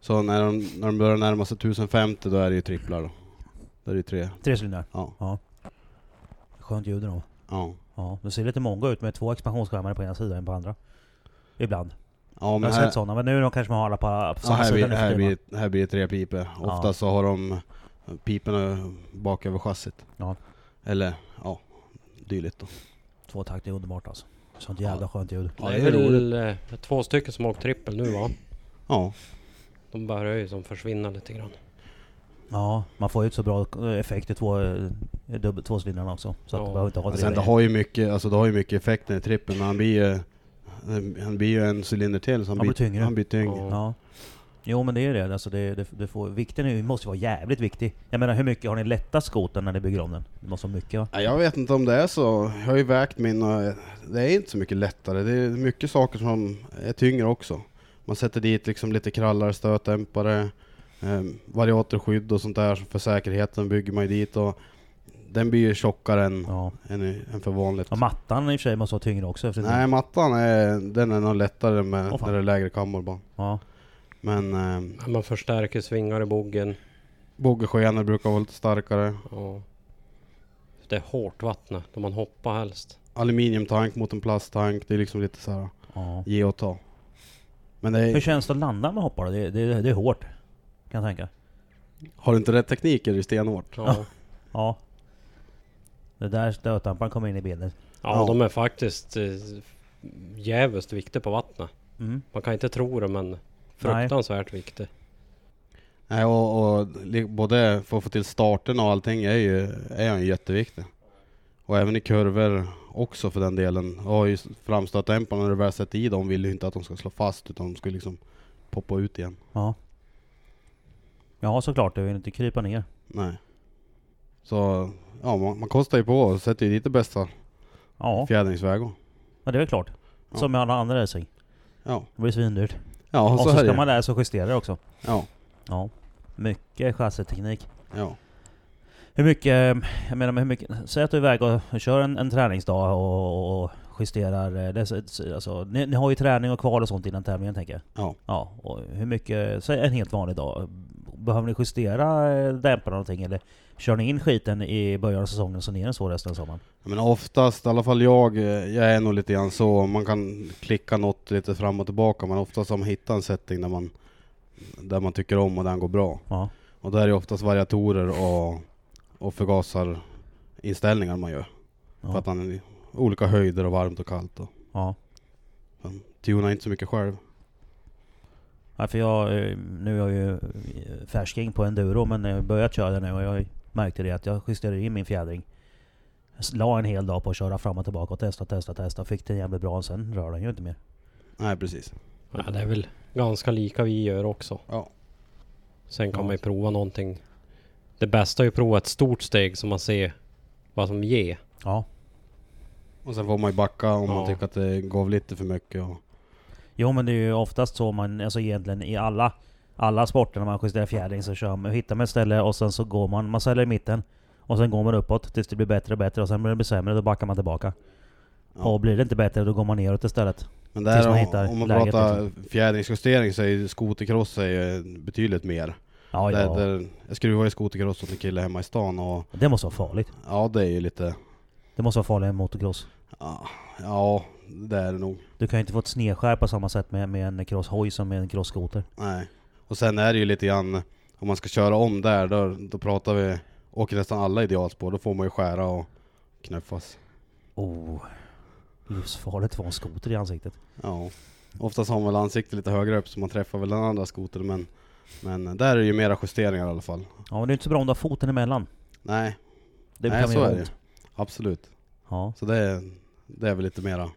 S2: Så när de, när de börjar närma sig 1050 då är det ju tripplar då. Då är det ju tre.
S1: Tre cylindrar.
S2: Ja.
S1: Skönt ljud då.
S2: Ja.
S1: Ja, det ser lite mongo ut med två expansionsskärmar på ena sidan och en på andra. Ibland.
S2: Ja
S1: jag
S2: men
S1: har sett
S2: här,
S1: sådana, men nu de kanske man har alla på, på
S2: ja,
S1: samma
S2: här, blir,
S1: sida nu för
S2: här,
S1: tiden, va?
S2: blir, här blir det tre piper. Ofta så har de piporna bak över chassit.
S1: Ja.
S2: Eller ja, dylikt då.
S1: Två takt är underbart alltså. Sånt jävla skönt ljud.
S2: Ja,
S3: det
S2: det är
S3: är väl eh, två stycken som har åkt trippel nu va?
S2: Ja.
S3: De börjar ju som försvinna lite grann.
S1: Ja, man får ju ett så bra eh, effekt i två, eh, dubb- tvåcylindrarna också. Så att
S3: Ja.
S1: du behöver inte ha
S2: Men sen
S1: det.
S2: det har ju mycket, alltså det har ju mycket effekt när det är trippel, men han blir ju han blir ju en cylinder till så han,
S1: Han blir tyngre.
S2: Han blir tyngre.
S3: Ja.
S1: Ja. Jo men det är ju det. Alltså det, det, det får, vikten är ju- måste ju vara jävligt viktig. Jag menar hur mycket har ni lättat skotern när ni bygger om den? Det måste vara mycket va?
S2: Nej, Jag vet inte om det är så. Jag har ju vägt min och det är inte så mycket lättare. Det är mycket saker som är tyngre också. Man sätter dit liksom lite krallar, stötdämpare, eh, variatorskydd och sånt där för säkerheten bygger man ju dit och den blir ju tjockare än,
S1: Ja.
S2: än, än för vanligt.
S1: Och mattan i och för sig måste vara tyngre också. Efter ett
S2: Nej,
S1: tag.
S2: mattan är, den är nog lättare med,
S1: Åh, fan.
S2: när det är lägre kammor bara.
S1: Ja.
S2: Men eh,
S3: Man förstärker svingar i boggen.
S2: bågskenor brukar vara lite starkare.
S3: Ja. Det är hårt vatten då man hoppar helst.
S2: Aluminiumtank mot en plasttank, det är liksom lite så här
S1: ja.
S2: ge och ta. Men det är,
S1: Hur känns det att landa med hoppar då? det, det, det är hårt. Kan jag tänka.
S2: Har du inte rätt teknik är det stenhårt.
S3: Ja. Ja,
S1: Ja. Det där stötdämparen kommer in i bilden.
S2: Ja.
S3: de är faktiskt eh, jävligt viktiga på vattnet.
S1: Mm.
S3: Man kan inte tro det men fruktansvärt viktiga.
S2: Nej, och, och li- både för att få till starten och allting är ju, är han ju jätteviktig. Och även i kurvor också för den delen. Jag har ju s- framstötdämparna när du väl sätter i dem vill ju inte att de ska slå fast utan de ska liksom poppa ut igen.
S1: Ja. Ja såklart, du vill inte krypa ner.
S2: Nej. Så ja, man, man kostar ju på och sätter ju dit det bästa
S1: Ja,
S2: fjädringsvägar.
S1: ja det är väl klart.
S2: Ja.
S1: Som med alla andra racing.
S2: Ja,
S1: Det blir svindyrt.
S2: ja
S1: Och så,
S2: så är
S1: ska
S2: det.
S1: man lära sig att justera det också.
S2: Ja,
S1: Ja. Mycket chassiteknik.
S2: ja.
S1: Hur mycket, eh, jag menar men hur mycket, säg att du är iväg och kör en, en träningsdag och, och, och justerar, eh, det, alltså, ni, ni har ju träning och kval och sånt innan tävlingen tänker jag.
S2: Ja.
S1: Ja, och hur mycket, säg en helt vanlig dag. Behöver ni justera eh, dämparna någonting eller kör ni in skiten i början av säsongen så ner den så resten av sommaren?
S2: Ja, Men oftast, i alla fall jag, eh, jag är nog lite grann så. Man kan klicka något lite fram och tillbaka, men oftast har man hittat en setting där man, där man tycker om och den går bra.
S1: Ja.
S2: Och där är det oftast variatorer och, och förgasarinställningar man gör. För
S1: Ja.
S2: att man är i olika höjder och varmt och kallt. Och,
S1: ja.
S2: man tunar inte så mycket själv.
S1: Ja, Ja, för jag, eh, nu är jag ju eh, färsking på enduro men jag har börjat köra nu och jag märkte det att jag justerade in min fjädring. Jag s- La en hel dag på att köra fram och tillbaka och testa, testa, testa. Fick den jävligt bra och sen rör den ju inte mer.
S2: Nej precis.
S3: Ja, det är väl ganska lika vi gör också.
S2: Ja.
S3: Sen kan
S1: Ja.
S3: man ju prova någonting. Det bästa är ju att prova ett stort steg så man ser vad som ger.
S1: Ja.
S2: Och sen får man ju backa om man
S3: Ja.
S2: tycker att det gav lite för mycket. Och...
S1: Jo men det är ju oftast så man, alltså egentligen i alla, alla sporter när man justerar fjädring så kör man, hittar man ett ställe och sen så går man, man säljer i mitten. Och sen går man uppåt tills det blir bättre och bättre och sen blir det sämre då backar man tillbaka.
S2: Ja.
S1: Och blir det inte bättre då går man neråt istället.
S2: Men
S1: Tills
S2: där,
S1: man
S2: om,
S1: hittar
S2: om man
S1: läget, liksom.
S2: pratar fjädringsjustering så är ju skotercross är ju betydligt mer.
S1: Ja,
S2: Där,
S1: ja.
S2: där, jag skruvar ju skotercross åt en kille hemma i stan och
S1: Det måste vara farligt.
S2: ja det är ju lite,
S1: Det måste vara farligare än motocross.
S2: ja, ja det är det nog.
S1: Du kan ju inte få ett snedskär på samma sätt med, med en crosshoj som med en crossskoter.
S2: Nej. Och sen är det ju lite grann, om man ska köra om där, då, då pratar vi, åker nästan alla idealspår, då får man ju skära och knuffas.
S1: Oh. Livsfarligt att få en skoter i ansiktet.
S2: Ja. Oftast har man väl ansiktet lite högre upp så man träffar väl den andra skotern men, men där är det ju mera justeringar i alla fall.
S1: Ja men det är inte så bra om du har foten emellan.
S2: Nej,
S1: Det
S2: Nej,
S1: kan
S2: så
S1: göra
S2: är det.
S1: ont.
S2: absolut.
S1: Ja.
S2: Så det är, det är väl lite mera,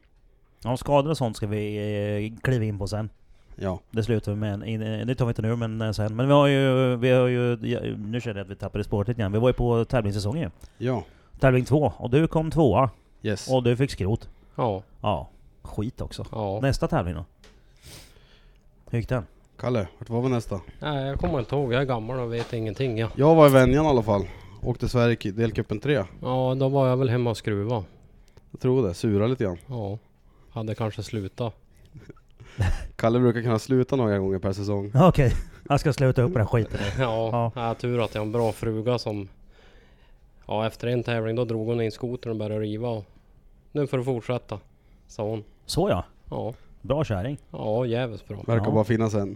S1: ja, skador och sånt ska vi eh, kliva in på sen.
S2: ja.
S1: Det slutar vi med en, in, eh, det tar vi inte nu men eh, sen. Men vi har ju, vi har ju, ja, nu känner jag att vi tappade spåret lite grann. Vi var ju på tävlingssäsongen ju.
S2: Ja,
S1: Tävling två, och du kom tvåa.
S2: yes.
S1: Och du fick skrot.
S3: Ja,
S1: Ja. Skit också.
S3: ja. Nej.
S1: Nästa tävling då? Hur gick den?
S2: Kalle, vart var vi nästa?
S3: jag kommer inte ihåg. Jag är gammal och vet ingenting. Ja,
S2: Jag var i Venjan i alla fall. Åkte Sverige i delcupen 3.
S3: ja då var jag väl hemma och skruva.
S2: Jag tror det, sura lite grann.
S3: Ja, hade kanske slutat.
S2: Kalle brukar kunna sluta några gånger per säsong.
S1: Okej, jag ska sluta upp med den skiten nu.
S3: <laughs> Ja,
S1: Ja.
S3: ja. tur att jag har en bra fruga som... Ja, efter en tävling då drog hon in skotern och började riva. Och, nu får du fortsätta, sa hon.
S1: Så ja.
S3: Ja,
S1: Bra kärring.
S3: ja jävligt bra.
S2: Verkar
S1: Ja.
S2: bara finnas en.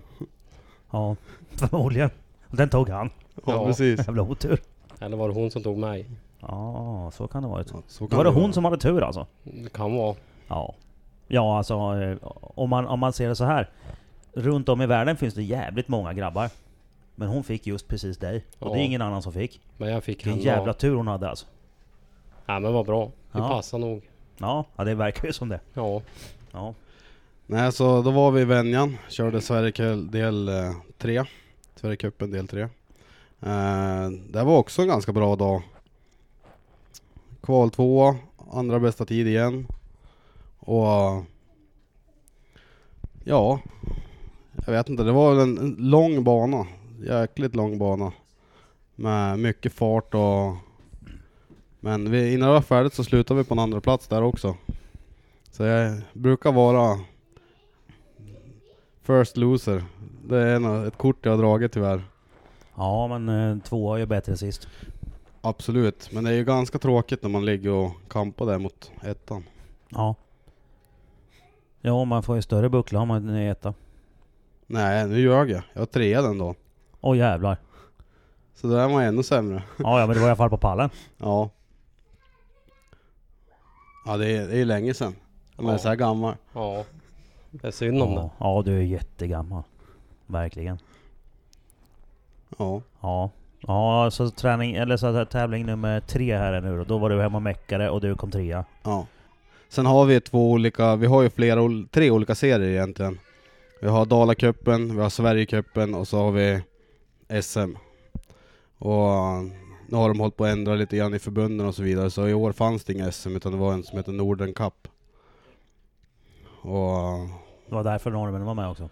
S1: Ja, förmodligen. Och Den tog han.
S2: Ja,
S3: Ja.
S2: precis.
S1: Jävla otur.
S3: Eller var det hon som tog mig?
S1: Ja, så kan det ha varit.
S2: Ja, så
S1: Då
S2: kan
S1: var det
S2: vara.
S1: hon som hade tur alltså?
S3: Det kan vara.
S1: Ja. Ja, alltså eh, om man, om man ser det så här. Runt om i världen finns det jävligt många grabbar. Men hon fick just precis dig. Och det är
S3: Ja.
S1: ingen annan som fick.
S3: Men jag fick
S1: Vilken
S3: henne.
S1: jävla
S3: Jävla...
S1: tur hon hade alltså.
S3: Ja, men vad bra. Det
S1: Ja.
S3: passar nog.
S1: Ja, ja, det verkar ju som det.
S3: Ja,
S1: Ja.
S2: Nej, så då var vi i Venjan. Körde Sverigekväll del eh, 3. Sverigecupen del 3. det var också en ganska bra dag. Kval 2, andra bästa tid igen. Och... eh, ja. Jag vet inte, det var väl en, en lång bana. Jäkligt lång bana. Med mycket fart och... Men vi, innan det var färdigt så slutade vi på en andra plats där också. Så jag brukar vara First loser. Det är en, ett kort jag har dragit tyvärr.
S1: Ja, men eh, tvåa är ju bättre än sist.
S2: Absolut, men det är ju ganska tråkigt när man ligger och kampar där mot ettan.
S1: Ja. Ja, man får ju större buckla om man är etta.
S2: Nej, nu ljög jag. Jag har trea den då.
S1: Åh jävlar.
S2: Så då är man ännu sämre.
S1: Ja, ja, men det var i alla fall på pallen.
S2: Ja. Ja, det är, det är länge sedan. När man är
S3: Ja.
S2: så här gammal.
S3: ja. Det är synd om
S1: Ja, ja, du är jättegammal. Verkligen.
S2: Ja.
S1: Ja. Ja, så träning, eller så här, tävling nummer tre här är nu då. Då var du hemma och meckade och du kom trea.
S2: ja. Sen har vi två olika, vi har ju flera, ol- tre olika serier egentligen. Vi har Dalacupen, vi har Sverigecupen och så har vi SM. Och nu har de hållit på att ändra lite grann i förbunden och så vidare, så i år fanns det inga SM utan det var en som heter Norden Cup. Och...
S1: Det var därför norrmännen var med också.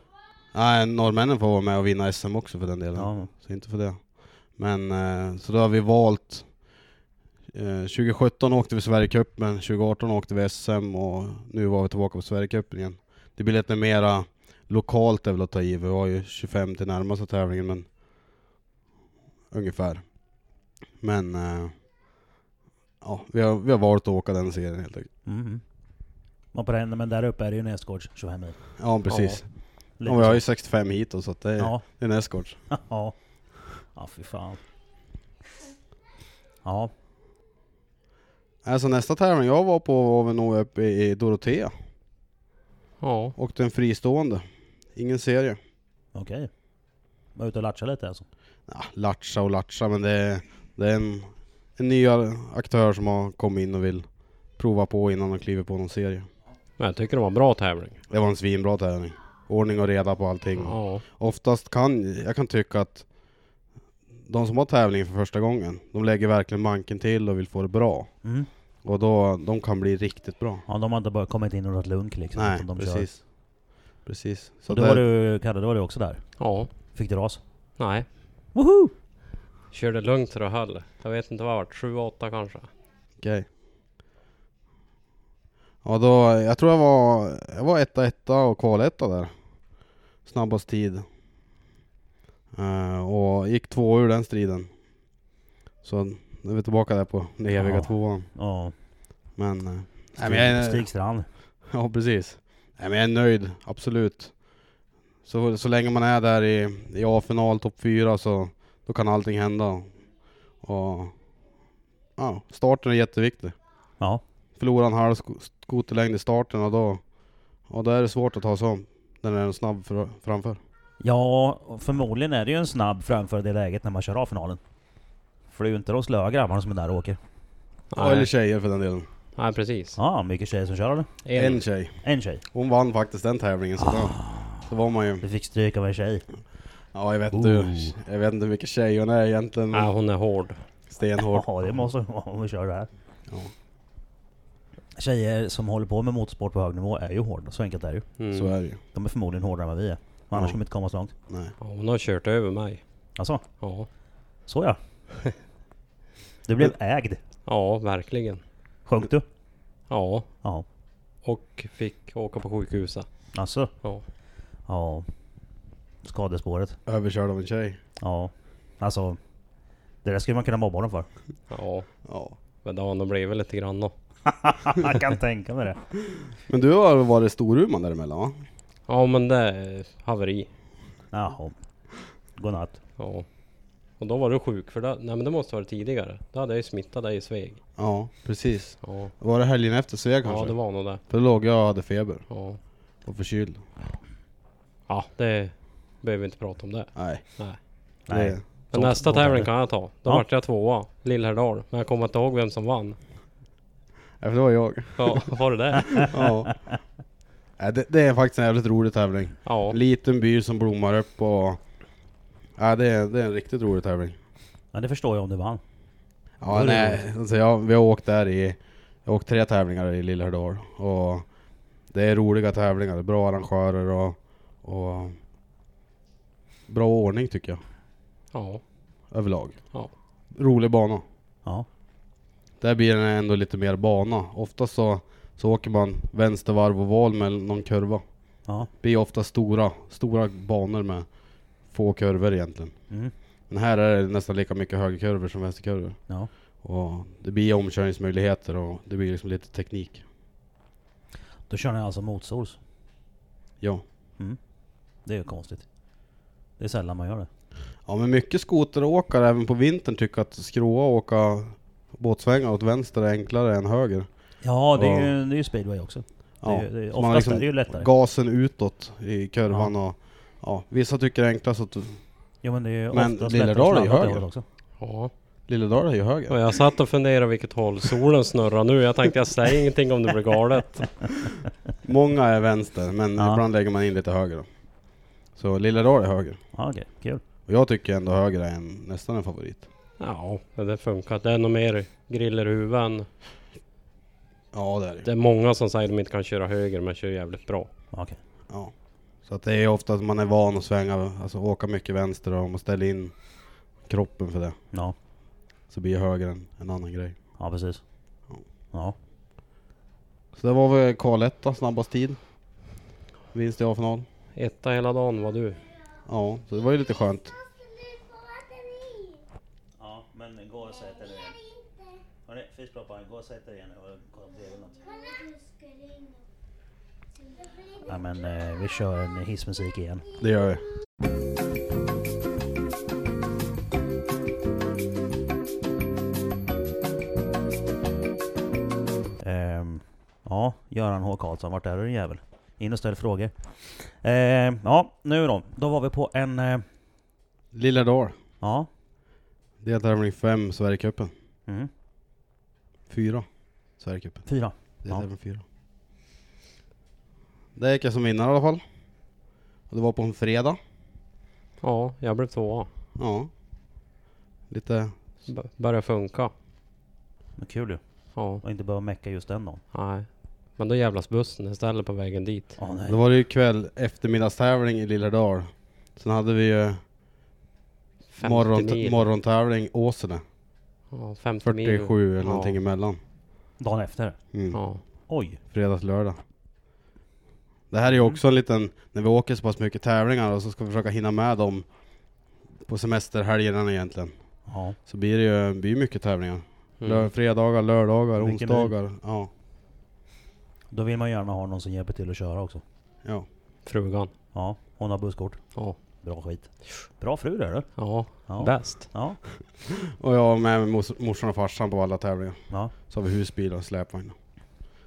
S2: Nej, norrmännen får vara med och vinna SM också för den delen.
S1: Ja.
S2: Så inte för det. Men eh, så då har vi valt eh, 2017 åkte vi Sverigecupen, 2018 åkte vi SM och nu var vi tillbaka på Sverigecupen igen. Det blir lite mera lokalt är väl att ta i. Vi var ju 25 till närmaste tävlingen men ungefär. Men eh, ja, vi har, vi har valt att åka den serien helt enkelt.
S1: Mm. Och på den, men där uppe är det ju nästgårds 25 mil.
S2: Ja precis.
S1: Lite
S2: och vi har ju
S1: så.
S2: 65 hit då, så att det är,
S1: Ja.
S2: det är nästgårds.
S1: ja. <laughs> Ja, fy fan. Ja.
S2: Alltså nästa tävling jag var på var vi nog uppe i Dorotea.
S3: Ja,
S2: Åkte en fristående. Ingen serie.
S1: Okej. Var ute och latchade lite alltså?
S2: Ja, latcha och latcha, men det är, det är en, en ny aktör som har kommit in och vill prova på innan de kliver på någon serie.
S3: Men jag tycker det var en bra tävling.
S2: Det var en svinbra tävling. Ordning och reda på allting.
S3: Ja.
S2: Oftast kan jag kan tycka att de som har tävling för första gången, de lägger verkligen manken till och vill få det bra.
S1: Mm.
S2: Och då, de kan bli riktigt bra.
S1: Ja, de har inte bara kommit in och dragit lunk liksom.
S2: Nej,
S1: utan de Kör.
S2: precis. Precis. Så
S1: Och då
S2: där-
S1: var du, Kalle, då var du också där.
S3: Ja.
S1: Fick du ras?
S3: Nej.
S1: Woho!
S3: Körde lugnt så det höll. Jag vet inte vad det vart. Sju, åtta kanske.
S2: Okej. Ja då, jag tror jag var, jag var etta, etta och kvaletta där. Snabbast tid. Eh, och gick två ur den striden. Så nu är vi tillbaka där på den eviga
S1: Ja.
S2: tvåan.
S1: Ja.
S2: Men... eh, nej, men
S1: Stig,
S2: jag,
S1: Stig Strand.
S2: ja precis. Nej, men jag är nöjd, absolut. Så, så länge man är där i, i A-final, topp fyra, så då kan allting hända. Och, ja, starten är jätteviktig
S1: Ja.
S2: förlorar en halv sko- skoterlängd i starten och då, och då är det svårt att ta sig om. Den är en snabb fr- framför.
S1: Ja, och förmodligen är det ju en snabb framför det läget när man kör av finalen. För det är ju inte de slöa grabbarna som är där och åker.
S2: Ja, eller
S3: Nej,
S2: tjejer för den delen.
S3: Nej precis.
S1: Ja, mycket tjejer som kör eller?
S2: En.
S3: En.
S2: tjej.
S1: En tjej.
S2: Hon vann faktiskt den tävlingen så då, då var man ju...
S1: Du fick stryk av en tjej.
S2: Ja jag vet
S1: Oh.
S2: inte, jag vet inte hur mycket tjej hon är egentligen.
S1: Mm.
S3: Nej, hon är hård.
S2: Stenhård.
S1: Ja, det måste hon vara om vi kör det här.
S2: Ja.
S1: Tjejer som håller på med motorsport på hög nivå är ju hårda, så enkelt är det ju.
S3: Mm.
S2: Så är det ju.
S1: De är förmodligen hårdare än vad vi är. Men annars
S2: Ja.
S1: kommer vi inte komma så långt.
S2: Nej.
S3: Ja, hon har kört över mig.
S1: Alltså,
S3: Ja.
S1: så
S2: <laughs>
S1: ja. Du blev ägd.
S3: Ja, verkligen.
S1: Sjönk du?
S3: Ja.
S1: Ja.
S3: Och fick åka på sjukhuset.
S1: Alltså,
S3: Ja.
S1: ja. Skadespåret.
S2: Överkörd av en tjej.
S1: Ja. Alltså. Det där skulle man kunna mobba honom för.
S3: Ja.
S2: Ja.
S3: Men det har nog blivit lite grann då.
S1: <laughs> Jag kan tänka mig det.
S2: Men du har varit Storuman däremellan va?
S3: Ja men det är haveri.
S1: Jaha. Godnatt.
S3: Ja. Och då var du sjuk för det, nej men det måste ha varit tidigare. Då hade jag ju smittat dig i Sveg.
S2: Ja, precis.
S3: Ja.
S2: Var det helgen efter Svea kanske?
S3: ja det var nog det.
S2: För då låg jag och hade feber
S3: Ja.
S2: och förkyld.
S3: ja det behöver vi inte prata om det.
S2: Nej.
S3: Nej.
S1: Nej.
S2: Det,
S3: Men
S1: Så-
S3: nästa
S1: så var
S3: tävling
S1: det.
S3: kan jag ta. Då
S1: Ja.
S3: vart jag tvåa. Lillhärdal. Men jag kommer inte ihåg vem som vann.
S2: ja, för det var jag.
S3: Ja, var det det?
S1: <laughs>
S2: ja. <laughs> Nej, det, det är faktiskt en jävligt rolig tävling.
S3: Ja.
S2: En liten by som blommar upp och... Ja, det, är, det är en riktigt rolig tävling.
S1: Ja, det förstår jag om du vann.
S2: Ja,
S3: Det är
S2: nej, alltså jag, vi har åkt där i... Jag har åkt tre tävlingar i Lillhärdal och... Det är roliga tävlingar, bra arrangörer och... och bra ordning tycker jag,
S3: Ja.
S2: överlag.
S3: Ja.
S2: Rolig bana.
S1: Ja.
S2: Där blir den ändå lite mer bana. Ofta så, så åker man vänstervarv och val med någon kurva.
S1: Ja.
S2: Det blir ofta stora, stora banor med få kurvor egentligen.
S1: Mm.
S2: Men här är det nästan lika mycket högerkurvor som vänsterkurvor.
S1: Ja.
S2: Och det blir omkörningsmöjligheter och det blir liksom lite teknik.
S1: Då kör ni alltså motsols.
S2: Ja.
S1: Det är ju konstigt. Det är sällan man gör det.
S2: Ja men mycket skoteråkare även på vintern tycker att skråa och åka båtsvängar åt vänster är enklare än höger.
S1: Ja, det är
S2: Ja.
S1: ju, det är ju speedway också.
S2: Ja.
S1: Det är, ju- det är,
S2: Så man har
S1: oftast
S2: liksom
S1: är det ju lättare.
S2: Gasen utåt i kurvan och ja, vissa tycker det är enklast att
S1: Jo men det är ju
S2: Men
S1: oftast
S2: Lilla
S1: lättare att
S2: Dal är ju
S1: sladda åt det
S2: höger.
S1: hållet också.
S3: Ja.
S2: Lilledal är ju höger.
S3: Och jag satt och funderade vilket håll solen snurrar nu. Jag tänkte jag säger ingenting om det blir galet.
S2: Många är vänster men
S1: Ja.
S2: ibland lägger man in lite höger då. Så Lilledal är höger.
S1: Ja okej, kul.
S2: Och jag tycker ändå höger är en, nästan en favorit.
S3: Ja, men det funkar. Det är nog mer griller i huvudet än
S2: Ja det är det.
S3: Det är många som säger att de inte kan köra höger men kör jävligt bra.
S1: Ja, Okej.
S2: Ja. Så att det är ofta att man är van att svänga, alltså åka mycket vänster och man ställer in kroppen för det.
S1: Ja.
S2: Så blir höger en, en annan grej.
S1: ja, precis. Ja.
S2: Så det var väl Karletta, snabbast tid. Vinst i A-final.
S3: Etta hela dagen var du.
S2: Ja, så det var ju lite skönt.
S1: Ja, men gå och sätt dig igen. Hörni, fiskplopparen, gå och sätt dig igen och kolla på TV något. Ja men eh, vi kör en hissmusik igen.
S2: Det gör vi.
S1: Ehm, ja, Göran H Karlsson, vart är du din jävel? In och ställ frågor. Eh, ja, nu då. Då var vi på en... Eh,
S2: Lilla Dal.
S1: ja.
S2: Deltävling 5, Sverigecupen.
S1: Mm,
S2: 4, Sverigecupen.
S1: fyra.
S2: Deltävling 4. Där gick jag som vinnare i alla fall. Och det var på en fredag.
S3: Ja, jag blev tvåa.
S2: Ja. Lite...
S3: B- började funka.
S1: Men kul ju.
S3: Ja,
S1: Och inte behöva mecka just den dagen.
S3: nej. Men då jävlas bussen istället på vägen dit.
S1: Ja, nej.
S2: Då var det ju kväll eftermiddagstävling i Lilla Dal. Sen hade vi ju
S3: 50
S2: morgon,
S3: mil.
S2: morgontävling Åsele.
S3: ja, 50 mil.
S2: 47 eller någonting
S3: Ja.
S2: emellan.
S1: Dagen efter.
S2: Mm.
S3: Ja.
S1: Oj.
S2: Fredags, lördag. Det här är ju
S3: Mm.
S2: också en liten, när vi åker så pass mycket tävlingar och så ska vi försöka hinna med dem på semesterhelgerna egentligen.
S1: Ja.
S2: Så blir det ju det blir mycket tävlingar. Lör,
S3: Mm.
S2: fredagar, lördagar,
S1: Mycket
S2: onsdagar. Ja,
S1: Då vill man gärna ha någon som hjälper till att köra också.
S2: ja.
S3: Frugan.
S1: Ja, hon har busskort.
S3: Ja.
S1: Bra skit. Bra fru där du.
S3: Ja,
S1: Ja.
S3: bäst.
S1: Ja.
S2: Och jag har med mig mors, morsan och farsan på alla tävlingar.
S1: Ja.
S2: Så har vi husbil och släpvagn.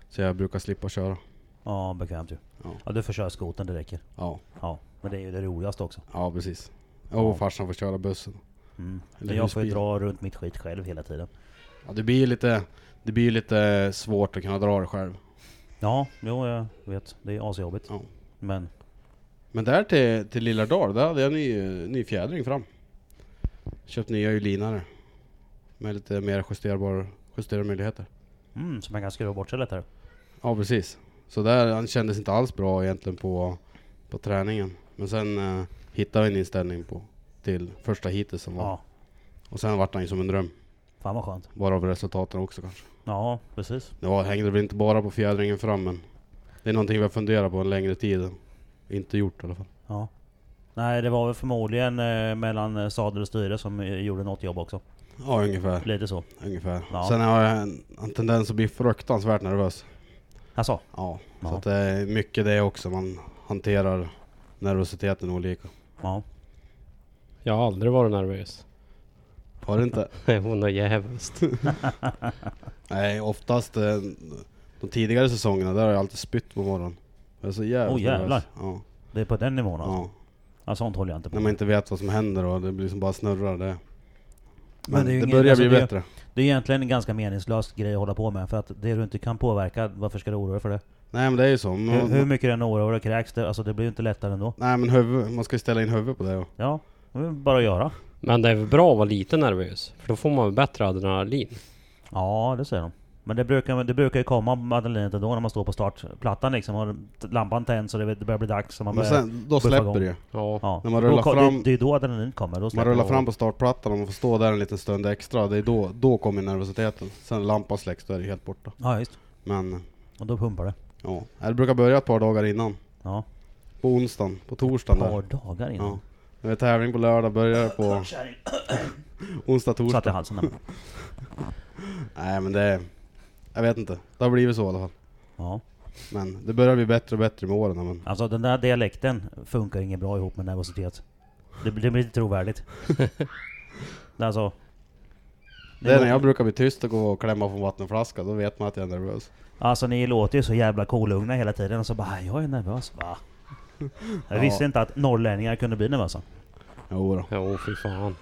S2: Så jag brukar slippa köra.
S1: ja, bekvämt ju.
S2: Ja.
S1: Ja, du får köra skotern, det räcker.
S2: Ja,
S1: Ja, men det är ju det roligaste också.
S2: ja precis. Och
S1: Ja.
S2: farsan får köra bussen.
S1: Mm.
S2: Eller
S1: Jag får ju
S2: husbil.
S1: dra runt mitt skit själv hela tiden.
S2: Ja, det blir ju lite, det blir ju lite svårt att kunna dra det själv.
S1: Ja, jo jag vet. Det är asjobbigt.
S2: Ja.
S1: Men
S2: Men där till, till Lilla Dal, där hade jag ny, ny fjädring fram. Köpt nya ulinare. Med lite mer justerbar, justerade möjligheter.
S1: mm, så man kan skruva bort sig lättare.
S2: Ja precis. Så där han kändes inte alls bra egentligen på, på träningen. Men sen eh, hittade vi en inställning på, till första heatet som var.
S1: Ja,
S2: Och sen vart han ju som en dröm.
S1: fan vad skönt.
S2: Bara av resultaten också kanske.
S1: Ja, precis.
S2: Det var, hängde väl inte bara på fjädringen fram men det är någonting vi har funderat på en längre tid. Inte gjort i alla fall.
S1: Ja. Nej, det var väl förmodligen eh, mellan eh, sadel och styre som eh, gjorde något jobb också.
S2: Ja ungefär.
S1: Lite så.
S2: ungefär.
S1: Ja.
S2: Sen har jag en, en tendens att bli fruktansvärt nervös.
S1: Alltså,
S2: Ja,
S1: Ja.
S2: så att det är mycket det också. Man hanterar nervositeten olika.
S1: ja.
S3: Jag har aldrig varit nervös. <laughs>
S2: Har du inte?
S3: Hon är jävligt.
S2: Nej, oftast eh, de tidigare säsongerna, där har jag alltid spytt på morgonen. Jag är så jävla
S1: Åh, jävlar.
S2: nervös. Ja,
S1: Det är på den nivån alltså. Ja.
S2: ja.
S1: sånt håller jag inte på
S2: När man inte vet vad som händer och det blir som bara snurrar det.
S1: det
S2: Men, det,
S1: är ju ingen-
S2: börjar
S1: alltså,
S2: bli
S1: det är-
S2: bättre.
S1: Det är egentligen en ganska meningslös grej att hålla på med, för att det du inte kan påverka, varför ska du oroa dig för det?
S2: Nej men det är ju så. Man,
S1: Hur, hur mycket du än oroar dig och kräks, det, alltså det blir ju inte lättare ändå.
S2: Nej men huvud, man ska ju ställa in huvudet på det. Och,
S1: Ja, det är bara att göra.
S3: Men det är väl bra att vara lite nervös. För då får man väl bättre adrenalin.
S1: Ja, det säger de. Men det brukar, det brukar ju komma adrenalinet ändå när man står på startplattan liksom, och lampan tänds och det börjar bli dags. Och man
S2: men
S1: börjar,
S2: sen, då
S1: buffa
S2: släpper
S1: igång.
S2: det ju.
S3: Ja.
S1: ja.
S2: när man
S1: Då
S2: rullar
S1: ko-
S2: fram-
S1: det, det är då adrenalinet kommer. Då
S2: Man
S1: släpper
S2: rullar
S1: det.
S2: fram på startplattan och man får stå där en liten stund extra. Det är då, då kommer nervositeten. Sen när lampan släcks, då är det helt borta.
S1: Ja, just.
S2: Men
S1: Och då pumpar det.
S2: ja, det brukar börja ett par dagar innan.
S1: Ja.
S2: På onsdagen, på torsdagen.
S1: Ett
S2: där.
S1: par dagar
S2: Ja.
S1: innan.
S2: Det är tävling på lördag, börjar på <coughs> onsdag,
S1: Ja. Satt i
S2: torsdag.
S1: halsen där.
S2: Nej men det är, Jag vet inte. Det har blivit så i alla fall.
S1: Ja.
S2: Men det börjar bli bättre och bättre med åren. Men
S1: Alltså den där dialekten funkar inget bra ihop med nervositet. Det, det blir inte
S2: <laughs>
S1: trovärdigt. Det är alltså...
S2: det är när
S1: låter-
S2: jag brukar bli tyst och gå och klämma på en vattenflaska, då vet man att jag är nervös.
S1: Alltså ni låter ju så jävla kolugna hela tiden och så bara jag är nervös. Va? Jag
S2: Ja.
S1: visste inte att norrlänningar kunde bli nervösa.
S2: Jo då.
S3: Jo, fy fan.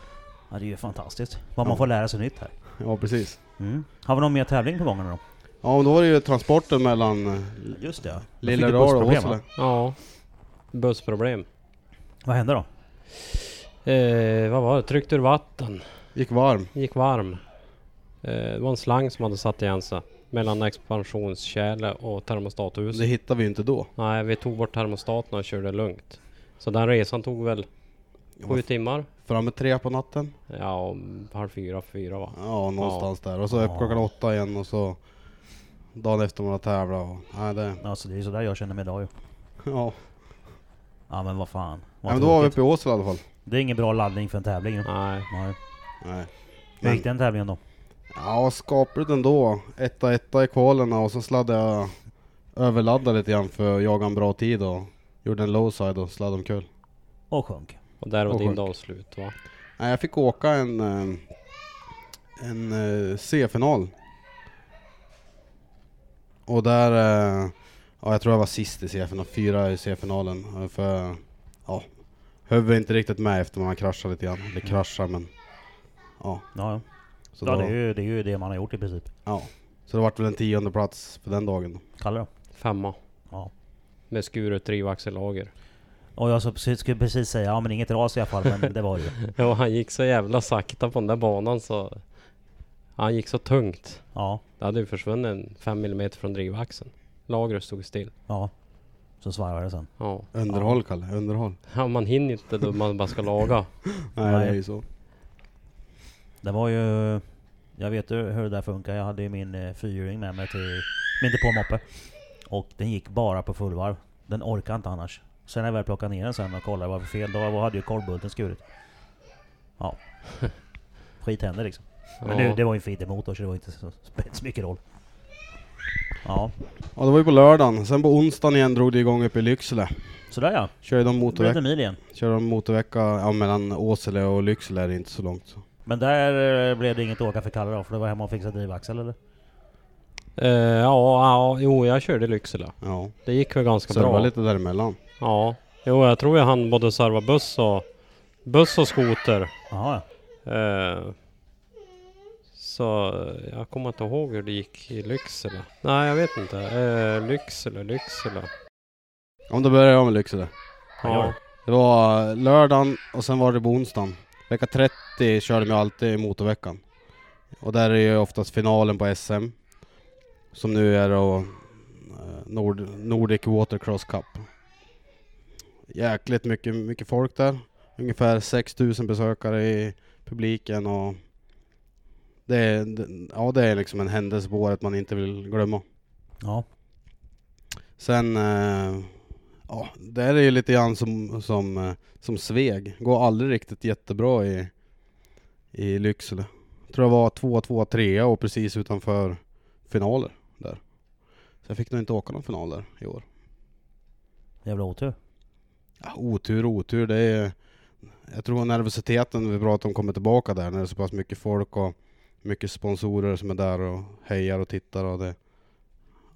S1: Ja, det är ju fantastiskt. Vad
S2: Ja.
S1: man får lära sig nytt här.
S2: Ja precis.
S1: Mm. Har vi någon mer tävling på gång nu då?
S2: Ja men då var det ju transporten mellan eh,
S1: Just det.
S2: Lilla Dal och Åsele.
S1: Åsele.
S3: Ja. Bussproblem.
S1: Vad hände då?
S3: Eh, vad var det? Tryckte ur vatten.
S2: Gick varm.
S3: Gick varm. Eh, det var en slang som hade satt igen sig. Mellan expansionskärle och termostathuset.
S2: Det hittade vi ju inte då.
S3: Nej, vi tog bort termostaten och körde lugnt. Så den resan tog väl sju timmar?
S2: Framme tre på natten.
S3: Ja, om halv fyra, fyra va?
S2: Ja, någonstans där. Och så upp klockan åtta igen och så dagen efter man har tävlat. Och, nej, det,
S1: Alltså det är ju sådär jag känner mig idag ju.
S2: ja.
S1: Ja men vad fan.
S2: nej,
S1: Vad
S2: men då var vi
S1: tråkigt.
S2: uppe i Åsele i alla fall.
S1: Det är ingen bra laddning för en tävling. ju.
S3: Nej.
S1: Nej.
S2: Nej.
S1: Hur
S2: Men-
S1: gick den tävlingen då?
S2: Ja, skapligt ändå. Etta, etta i kvalen och så sladdade jag överladdade lite grann för att jaga en bra tid och gjorde en lowside och sladdade omkull.
S1: Och sjönk.
S3: Och där var
S2: Och
S3: din
S2: sjuk.
S3: dag slut va?
S2: Nej, jag fick åka en, eh, en eh, C-final. Och där eh, Ja, jag tror jag var sist i C-finalen, fyra i C-finalen. Ja, För, ja, höll väl inte riktigt med efter man kraschade lite grann. Eller kraschade men, ja.
S1: Ja, ja.
S2: Så,
S1: ja
S2: då,
S1: det, är ju, det är ju det man har gjort i princip.
S2: ja. så det vart väl en tionde plats för den dagen. då.
S1: Kalle då?
S3: Femma.
S1: Ja.
S3: Med skuret drivaxellager.
S1: Och jag så precis- skulle precis säga, ja men inget ras i alla fall,
S2: <laughs>
S1: men det var det ju.
S3: Ja, han gick så jävla sakta på den där banan så... Han gick så tungt.
S1: Ja,
S3: Det hade ju försvunnit en 5 mm från drivaxeln. Lagret stod still.
S1: ja. Så svarvade det sen.
S3: Ja.
S2: Underhåll Kalle, underhåll.
S3: ja, man hinner inte då man bara ska laga.
S1: Nej.
S2: Nej, det är ju så.
S1: Det var ju... Jag vet ju hur det där funkar. Jag hade ju min eh, fyrhjuling med mig till min depåmoppe. Och den gick bara på fullvarv. Den orkade inte annars. Sen när jag väl plockade ner den sen och kollade vad det var för fel, då hade ju korvbulten skurit. Ja. Skit händer liksom. Men
S3: Ja.
S1: nu, det var ju en feedermotor så det var inte så, spelade inte så mycket roll. Ja,
S2: Ja, det var ju på lördagen. Sen på onsdagen igen drog det igång uppe i Lycksele.
S1: sådär ja.
S2: Körde de
S1: Då blev det
S2: motorvecka,
S1: en mil igen.
S2: körde de motorvecka ja, mellan Åsele och Lycksele är det inte så långt. Så.
S1: Men där eh, blev det inget åka för Kalle då, för det var hemma och fixade drivaxel eller?
S3: Eh, ja, ja, jo jag körde i Lycksele.
S2: Ja,
S3: Det gick väl ganska
S2: så det var
S3: bra.
S2: lite däremellan.
S3: Ja. Jo, jag tror jag hann både serva buss och... Buss och skoter.
S1: Jaha ja.
S3: Eh, så eh, jag kommer inte ihåg hur det gick i Lycksele. Nej, jag vet inte. Eh, Lycksele, Lycksele.
S2: Om då börjar jag med Lycksele.
S1: Ja, gör det.
S2: Det var lördagen och sen var det på onsdagen. Vecka 30 körde man alltid i motorveckan. Och där är ju oftast finalen på SM. Som nu är då eh, Nord, Nordic Watercross Cup. Jäkligt mycket, mycket folk där. Ungefär 6000 besökare i publiken och det är, det- ja, det är liksom en händelse på året man inte vill glömma.
S1: Ja,
S2: Sen, eh, ja, där är ju lite grann som, som, eh, som Sveg. Går aldrig riktigt jättebra i, i Lycksele. Tror jag var två, två, trea och precis utanför finaler där. Så jag fick nog inte åka någon final där i år.
S1: jävla otur.
S2: Ja, otur, otur. Det är, jag tror nervositeten vi pratade om kommer tillbaka där när det är så pass mycket folk och mycket sponsorer som är där och hejar och tittar och det.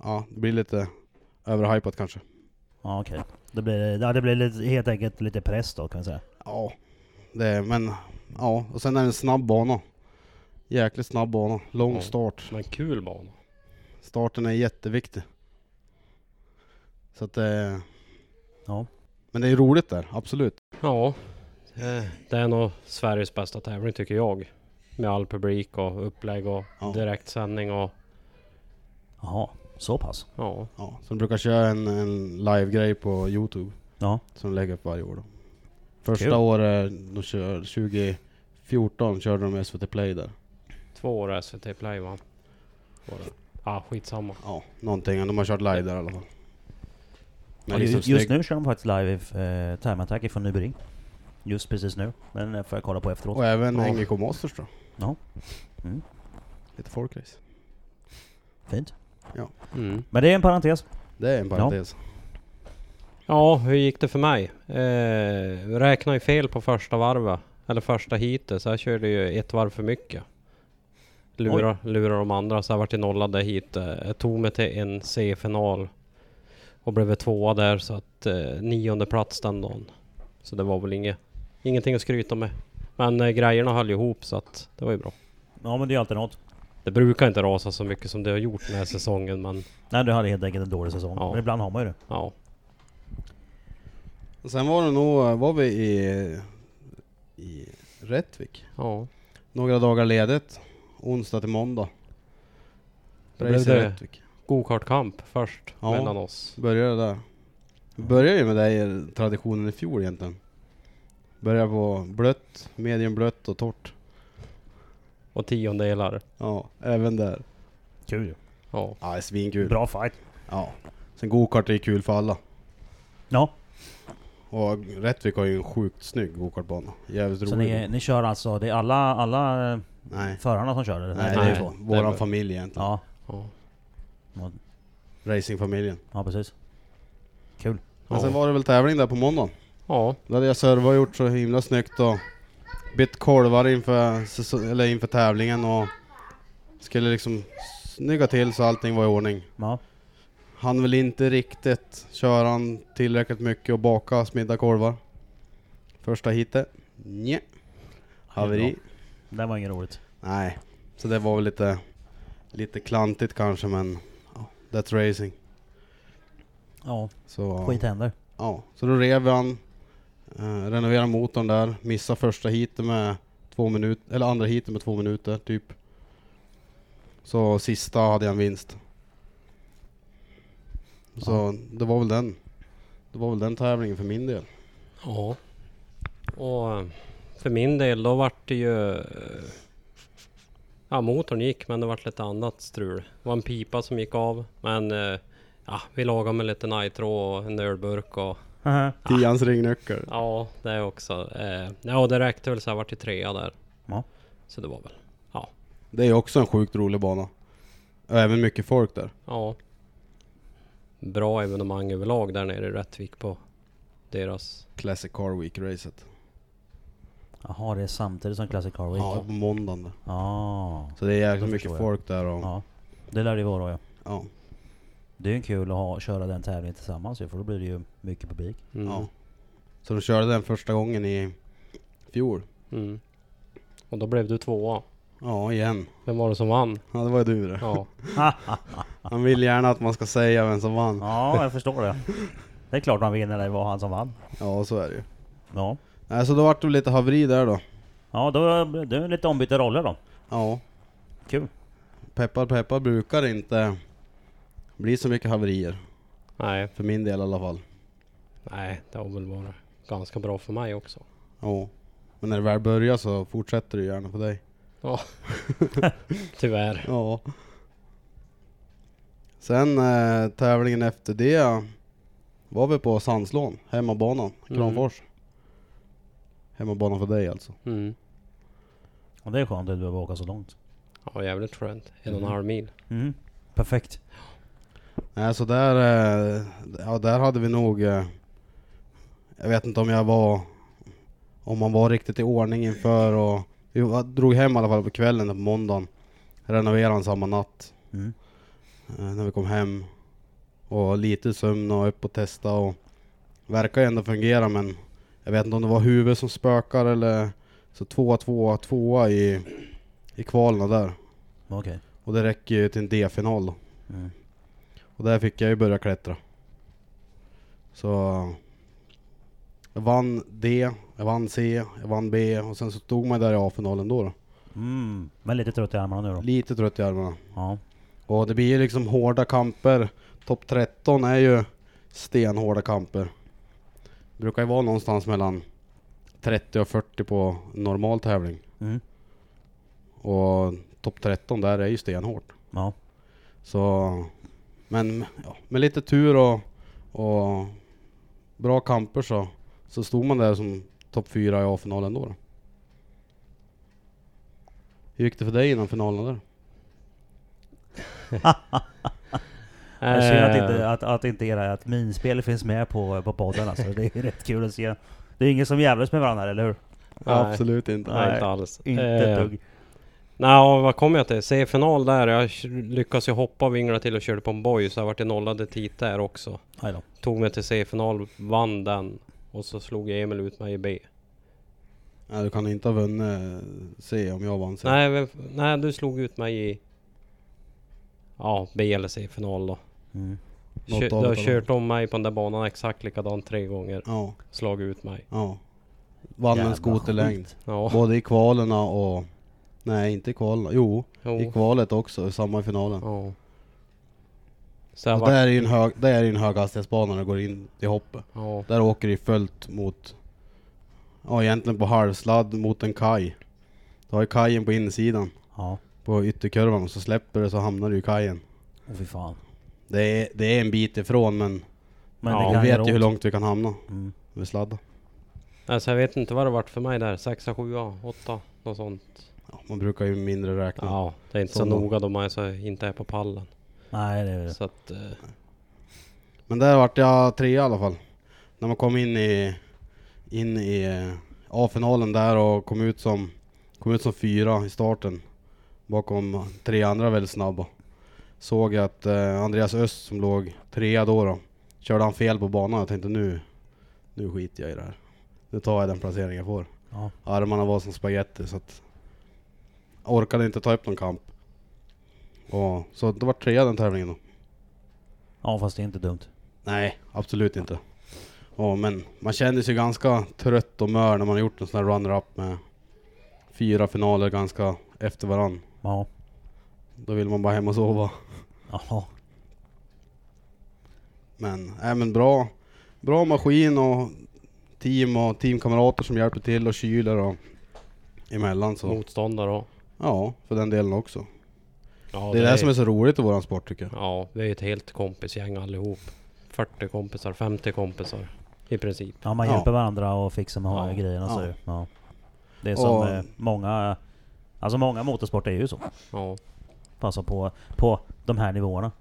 S2: Ja, det blir lite överhypat kanske.
S1: Ja okej. Det blir, ja, det blir lite, helt enkelt lite press då kan vi säga.
S2: Ja, det är, men ja, och sen är det en snabb bana. Jäkligt snabb bana, lång
S3: Ja.
S2: start.
S3: Men kul bana.
S2: Starten är jätteviktig. Så att det...
S1: Ja.
S2: Men det är roligt där, absolut.
S3: Ja. eh, Det är nog Sveriges bästa tävling tycker jag. Med all publik och upplägg och
S2: Ja.
S3: direktsändning och
S1: Jaha, så pass?
S3: ja.
S2: Ja, så de brukar köra en, en live-grej på Youtube
S1: Ja.
S2: som de lägger upp varje år. Då. Första
S1: Kul.
S2: året de kör, 2014 körde de SVT Play där.
S3: Två år SVT Play va? Var det? Ah, skitsamma.
S2: Ja, någonting. De har kört live där i alla fall. Men
S1: Ja,
S2: liksom
S1: just, just
S2: snygg-
S1: nu kör de faktiskt live eh, Time Attack ifrån Nybring. Just precis nu. Den eh, får jag kolla på efteråt.
S2: Och även
S1: Ja.
S2: NGK Masters då.
S1: Ja. Mm.
S2: Lite folkrace.
S1: Fint.
S3: Mm.
S1: Men det är en parentes.
S2: Det är en parentes.
S3: Ja, hur gick det för mig? Eh, räknade ju fel på första varvet. Eller första heatet, så jag körde ju ett varv för mycket. Lura, lura de andra, så jag vart ju nollad det heatet. Jag tog mig till en C-final och blev tvåa där, så att eh, nionde plats den dagen. Så det var väl inget, ingenting att skryta med. Men eh, grejerna höll ju ihop, så att det var ju bra.
S1: Ja men det är alltid något.
S3: Det brukar inte rasa så mycket som det har gjort den här säsongen, men
S1: Nej du hade helt enkelt en dålig säsong.
S3: Ja.
S1: Men ibland har man ju det.
S3: ja.
S2: Sen var det nog, var vi i, i Rättvik.
S3: ja.
S2: Några dagar ledigt. Onsdag till måndag.
S3: Då blev
S2: Race i
S3: det-
S2: Rättvik.
S3: Go-kart-kamp först
S2: Ja.
S3: mellan oss.
S2: Började där. Vi började ju med dig traditionen i fjol egentligen. Började på blött, medium blött och torrt.
S3: Och tiondelar.
S2: Ja, även där.
S1: Kul ju.
S3: Ja.
S2: Ja, det är svinkul.
S1: Bra fight.
S2: Ja. Sen gokart är ju kul för alla.
S1: Ja.
S2: Och Rättvik har ju en sjukt snygg gokartbana. Jävligt
S1: Så
S2: rolig.
S1: ni, ni kör alltså, det är alla, alla eh,
S2: Nej.
S1: förarna som kör det?
S2: Nej,
S1: det
S2: det
S1: är
S2: är
S1: två.
S2: våran
S3: Det-
S2: familj egentligen.
S1: Ja.
S3: ja.
S2: Racingfamiljen.
S1: ja, precis. Kul.
S2: Men
S3: Ja.
S2: sen var det väl tävling där på måndagen.
S3: Ja,
S2: Då hade jag servat och gjort så himla snyggt och bytt kolvar inför, säso- eller inför tävlingen och skulle liksom snygga till så allting var i ordning.
S1: Ja.
S2: Han vill inte riktigt köra han tillräckligt mycket och baka smidda korvar. Första hitet. Nja. Haveri.
S1: Det där var inget roligt.
S2: Nej. Så det var väl lite, lite klantigt kanske men ja, that's racing.
S1: Ja,
S2: Så, ja.
S1: skit <laughs> händer.
S2: Ja, så då rev han, eh, renoverade motorn där, missade första heatet med två minuter, eller andra heatet med två minuter typ. Så sista hade jag en vinst. Så det var väl den. Det var väl den tävlingen för min del.
S3: Ja. Och eh, för min del då vart det ju... eh, Ja, motorn gick men det vart lite annat strul. Det var en pipa som gick av men... eh, Ja, vi lagade med lite nitro och en ölburk och...
S2: Tians ringnyckel.
S3: Ja, det också. Eh, ja, det räckte väl så jag vart ju trea där.
S1: Ja.
S3: Så det var väl...
S2: Det är ju också en sjukt rolig bana. Och även mycket folk där.
S3: Ja. Bra evenemang överlag där nere i Rättvik på deras...
S2: Classic Car Week-racet.
S1: Jaha, det är samtidigt som Classic Car Week?
S2: Ja, på måndagen. där.
S1: Ah.
S2: Så det är
S1: Då
S2: jäkligt mycket
S1: förstår jag.
S2: folk där och...
S1: Ja. Det lär det ju vara ja.
S2: ja.
S1: Det är ju kul att ha, köra den tävlingen tillsammans ju, för då blir det ju mycket publik.
S3: Mm.
S2: Ja. Så de körde den första gången i fjol.
S3: Mm. Och då blev du tvåa.
S2: Ja, igen.
S3: Vem var det som vann?
S2: Ja, det var ju du det.
S3: Ja.
S2: <laughs> Han vill gärna att man ska säga vem som vann.
S1: Ja, jag förstår det. <laughs> Det är klart man vinner när det var han som vann.
S2: Ja, så är det ju.
S1: Ja,
S2: Nej, så då vart det lite haveri där då.
S1: ja då blev det lite ombytta roller då.
S2: Ja,
S1: Kul.
S2: peppar peppar brukar inte bli så mycket haverier.
S3: <laughs> Nej,
S2: För min del i alla fall.
S3: nej, det har väl varit ganska bra för mig också.
S2: Ja. Men när det väl börjar så fortsätter det gärna på dig.
S3: Ja. Tyvärr.
S2: Ja. Sen eh, tävlingen efter det var vi på Sandslån, hemmabanan, Kramfors. Hemmabanan för dig alltså.
S3: Mm.
S1: Och det är skönt att du behöver åka så långt.
S3: Ja, jävligt skönt. En och en halv mil.
S1: Mm. Perfekt.
S2: Nej, så där, eh, ja, där hade vi nog... eh, Jag vet inte om jag var... Om man var riktigt i ordning inför och... Vi var- drog hem i alla fall på kvällen på måndagen. Renoverade den samma natt
S1: Mm.
S2: eh, när vi kom hem. Och lite sömn och upp och testa och... Verkar ju ändå fungera men... Jag vet inte om det var huvudet som spökar eller... Så tvåa, tvåa, tvåa i, i kvalen där.
S1: Okej.
S2: Och det räcker ju till en D-final då.
S1: Mm.
S2: Och där fick jag ju börja klättra. Så... Jag vann D, jag vann C, jag vann B och sen så stod man där i A-finalen då, då.
S1: Mm. Men lite trött i armarna nu då.
S2: Lite trött i armarna.
S1: Ja.
S2: Och det blir ju liksom hårda kamper. Topp 13 är ju stenhårda kamper. Brukar ju vara någonstans mellan 30 och 40 på normal tävling.
S1: Mm.
S2: Och topp 13 där är ju stenhårt.
S1: Ja.
S2: Så, men ja, med lite tur och, och bra kamper så, så stod man där som topp fyra i A-finalen då. då. Hur gick det för dig innan finalen där?
S1: Jag ser att
S3: Eh,
S1: inte, att, att inte era, att minspel finns med på, på podden alltså. Det är ju rätt kul att se. Det är ingen som jävlas med varandra, eller hur?
S3: Nej.
S2: Absolut inte.
S3: Nej, inte alls.
S1: Inte
S3: Eh,
S1: ett dugg.
S3: Nej, vad kom jag till? C-final där. Jag sh- lyckas ju hoppa och vingla till och körde på en boj så jag vart ju nollad i tit där också.
S1: Nej då.
S3: Tog mig till C-final, vann den och så slog Emil ut mig i B.
S2: Nej, du kan inte ha vunnit eh, C om jag vann C.
S3: Nej, vem, nej, du slog ut mig i... Ja, B eller C-final då.
S1: Mm.
S2: Något
S3: Kö,
S2: av det
S3: du har
S2: där.
S3: kört om mig på den där banan exakt likadant tre gånger.
S2: Ja,
S3: Slagit ut mig.
S2: ja. Vann
S1: Jävla
S2: en skoterlängd.
S1: skit.
S3: Ja,
S2: Både i kvalerna och... Nej, inte i kvalerna. Jo, i
S3: jo.
S2: kvalet också. Samma i finalen.
S3: Ja. Så jag
S2: Och
S3: var,
S2: där är ju en, hög, där är ju en höghastighetsbana när du går in i hoppet.
S3: ja,
S2: Där åker det följt mot, ja egentligen på halvsladd mot en kaj. Du har ju kajen på insidan,
S1: Ja.
S2: på ytterkurvan och så släpper det så hamnar du i kajen.
S1: Åh fy fan.
S2: Det är, det är en bit ifrån men
S1: Men
S3: Ja,
S1: det
S2: vi
S1: kan göra
S2: vet ju hur
S1: ont.
S2: långt vi kan hamna
S1: Mm.
S2: med sladdar.
S3: alltså jag vet inte vad det vart för mig där. Sexa, sjua, åtta, något sånt.
S2: Ja, man brukar ju mindre räkna.
S3: Ja, det är inte så
S2: Sån då.
S3: noga då man är så, inte är på pallen.
S1: Nej, det är det.
S3: Så att... eh,
S2: Men där vart jag tre i alla fall. När man kom in i, in i eh, A-finalen där och kom ut som, kom ut som fyra i starten. Bakom tre andra väldigt snabba. såg jag att eh, Andreas Öst som låg trea då, då körde han fel på banan. Jag tänkte nu, nu skiter jag i det här. Nu tar jag den placering jag får.
S1: Ja.
S2: Armarna var som spaghetti så att jag orkade inte ta upp någon kamp. Och, så det var trea den tävlingen då.
S1: Ja fast det är inte dumt.
S2: Nej, absolut inte. Ja, men man känner sig ganska trött och mör när man har gjort en sån här runner-up med fyra finaler ganska efter varann.
S1: Ja.
S2: Då vill man bara hem och sova.
S1: Jaha.
S2: Men, äh, men bra, bra maskin och team och teamkamrater som hjälper till och kyler och emellan så.
S3: Motståndare och...
S2: Ja, för den delen också.
S3: Ja,
S2: det är det som är så roligt i våran sport tycker jag.
S3: Ja, vi är ett helt kompisgäng allihop. 40 kompisar, 50 kompisar i princip.
S1: Ja man
S2: Ja.
S1: hjälper varandra och fixar med
S3: Ja.
S1: grejerna så.
S2: Ja.
S1: Ja. Ja. Det är som
S2: Och-
S1: eh, många... Alltså många motorsporter är ju så.
S3: Ja,
S1: Passa på, på de här nivåerna.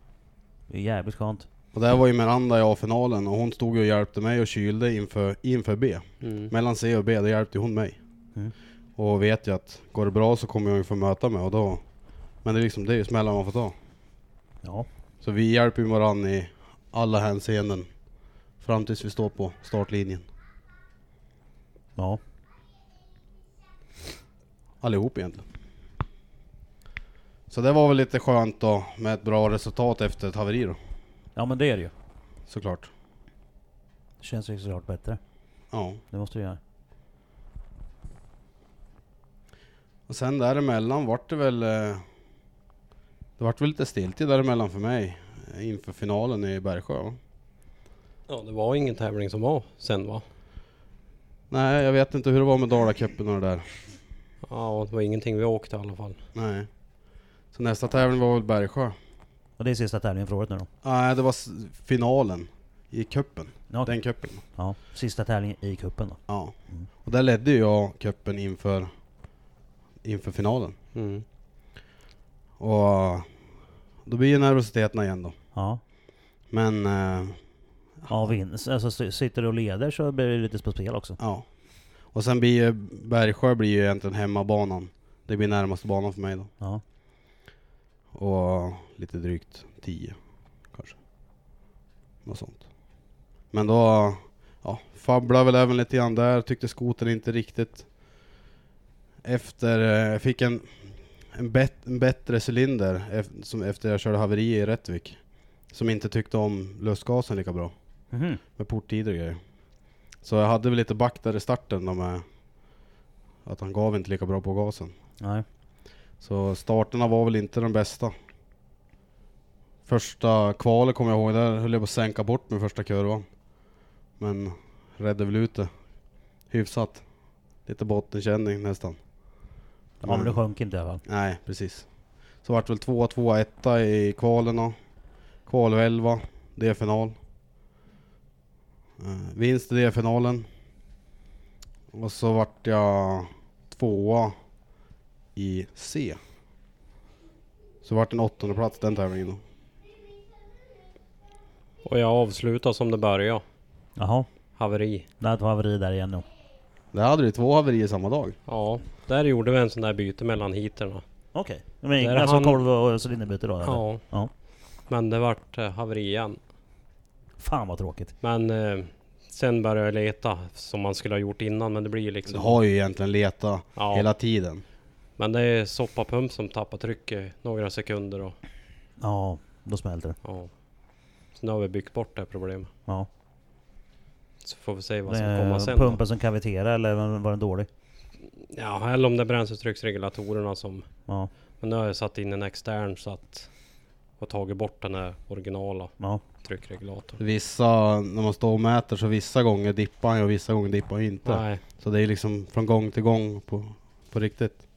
S1: Det är jävligt skönt.
S2: Och där var ju Miranda i A-finalen och hon stod ju och hjälpte mig och kylde inför, inför B.
S3: mm.
S2: Mellan C och B, då hjälpte ju hon mig.
S1: Mm.
S2: Och vet jag att går det bra så kommer jag ju få möta mig och då... Men det är liksom, det är ju smällar man får ta.
S1: Ja.
S2: Så vi hjälper ju varandra i alla hänseenden. Fram tills vi står på startlinjen.
S1: Ja.
S2: Allihop egentligen. Så det var väl lite skönt då med ett bra resultat efter ett haveri då.
S1: Ja men det är det ju.
S2: Såklart.
S1: Det känns ju såklart bättre.
S2: Ja.
S1: Det måste du göra.
S2: Och sen däremellan vart det väl... eh, Det vart väl lite stiltje däremellan för mig. eh, Inför finalen i Bergsjö va?
S3: ja, det var ingen tävling som var sen va?
S2: Nej, jag vet inte hur det var med Dalacupen och det där.
S3: Ja, det var ingenting vi åkte i alla fall.
S2: Nej. Så nästa tävling var väl Bergsjö?
S1: Och det är sista tävlingen för året nu då.
S2: Nej, det var s- finalen i cupen.
S1: Ja,
S2: Den cupen.
S1: ja. Sista tävlingen i kuppen då.
S2: Ja.
S1: Mm.
S2: Och där ledde ju jag cupen inför, inför finalen.
S3: Mm.
S2: Och då blir ju nervositeterna igen då.
S1: Ja.
S2: Men eh,
S1: Ja, vin. Alltså, s- sitter du och leder så blir det lite på spel också.
S2: ja. Och sen blir ju Bergsjö blir ju egentligen hemmabanan. Det blir närmaste banan för mig då.
S1: Ja.
S2: Och lite drygt 10 kanske. Något sånt. Men då ja, fabblade väl även lite grann där, tyckte skotern inte riktigt. Efter, eh, jag fick en, en, bet, en bättre cylinder ef- som efter jag körde haveri i Rättvik. Som inte tyckte om lustgasen lika bra,
S1: Mhm.
S2: med porttider och grejer. Så jag hade väl lite back där i starten då med att han gav inte lika bra på gasen.
S1: Nej.
S2: Så starterna var väl inte den bästa. Första kvalet kommer jag ihåg, där höll jag på att sänka bort min första kurvan. Men räddade väl ut det. Hyfsat. Lite bottenkänning nästan.
S1: Ja, men det sjönk inte i alla fall.
S2: Nej, precis. Så vart väl tvåa, tvåa, etta i kvalen då. Kval 11, D-final. Eh, vinst i D-finalen. Och så vart jag tvåa i C. Så vart en åttonde plats den tävlingen då.
S3: Och jag avslutade som det började.
S1: Jaha.
S3: Haveri.
S1: Där var haveri där igen nu.
S2: Där hade du två haverier samma dag.
S3: Ja, där gjorde vi en sån där byte mellan heaterna.
S1: Okej. Men
S3: Där
S1: alltså
S3: han-
S1: kolv och cylinderbyte då? eller?
S3: Ja.
S1: Ja.
S3: Men det vart eh, haveri igen.
S1: Fan vad tråkigt.
S3: Men eh, sen började jag leta som man skulle ha gjort innan. Men det blir
S2: Så du
S3: liksom...
S2: har ju egentligen letat
S3: ja.
S2: hela tiden.
S3: Men det är soppapump som tappar trycket några sekunder och...
S1: Ja, då smälter det.
S3: Ja. Så nu har vi byggt bort det här problemet.
S1: Ja.
S3: Så får vi se vad som kommer
S1: Det
S3: sen.
S1: är
S3: då.
S1: pumpen som kaviterar eller var- var den dålig?
S3: Ja, eller om det är bränsletrycksregulatorerna som...
S1: Ja.
S3: Men nu har jag satt in en extern så att... Och tagit bort den här originala
S1: Ja.
S3: tryckregulatorn.
S2: Vissa, när man står och mäter så vissa gånger dippar han ju och vissa gånger dippar han inte.
S3: Nej,
S2: Så det är liksom från gång till gång på, på riktigt.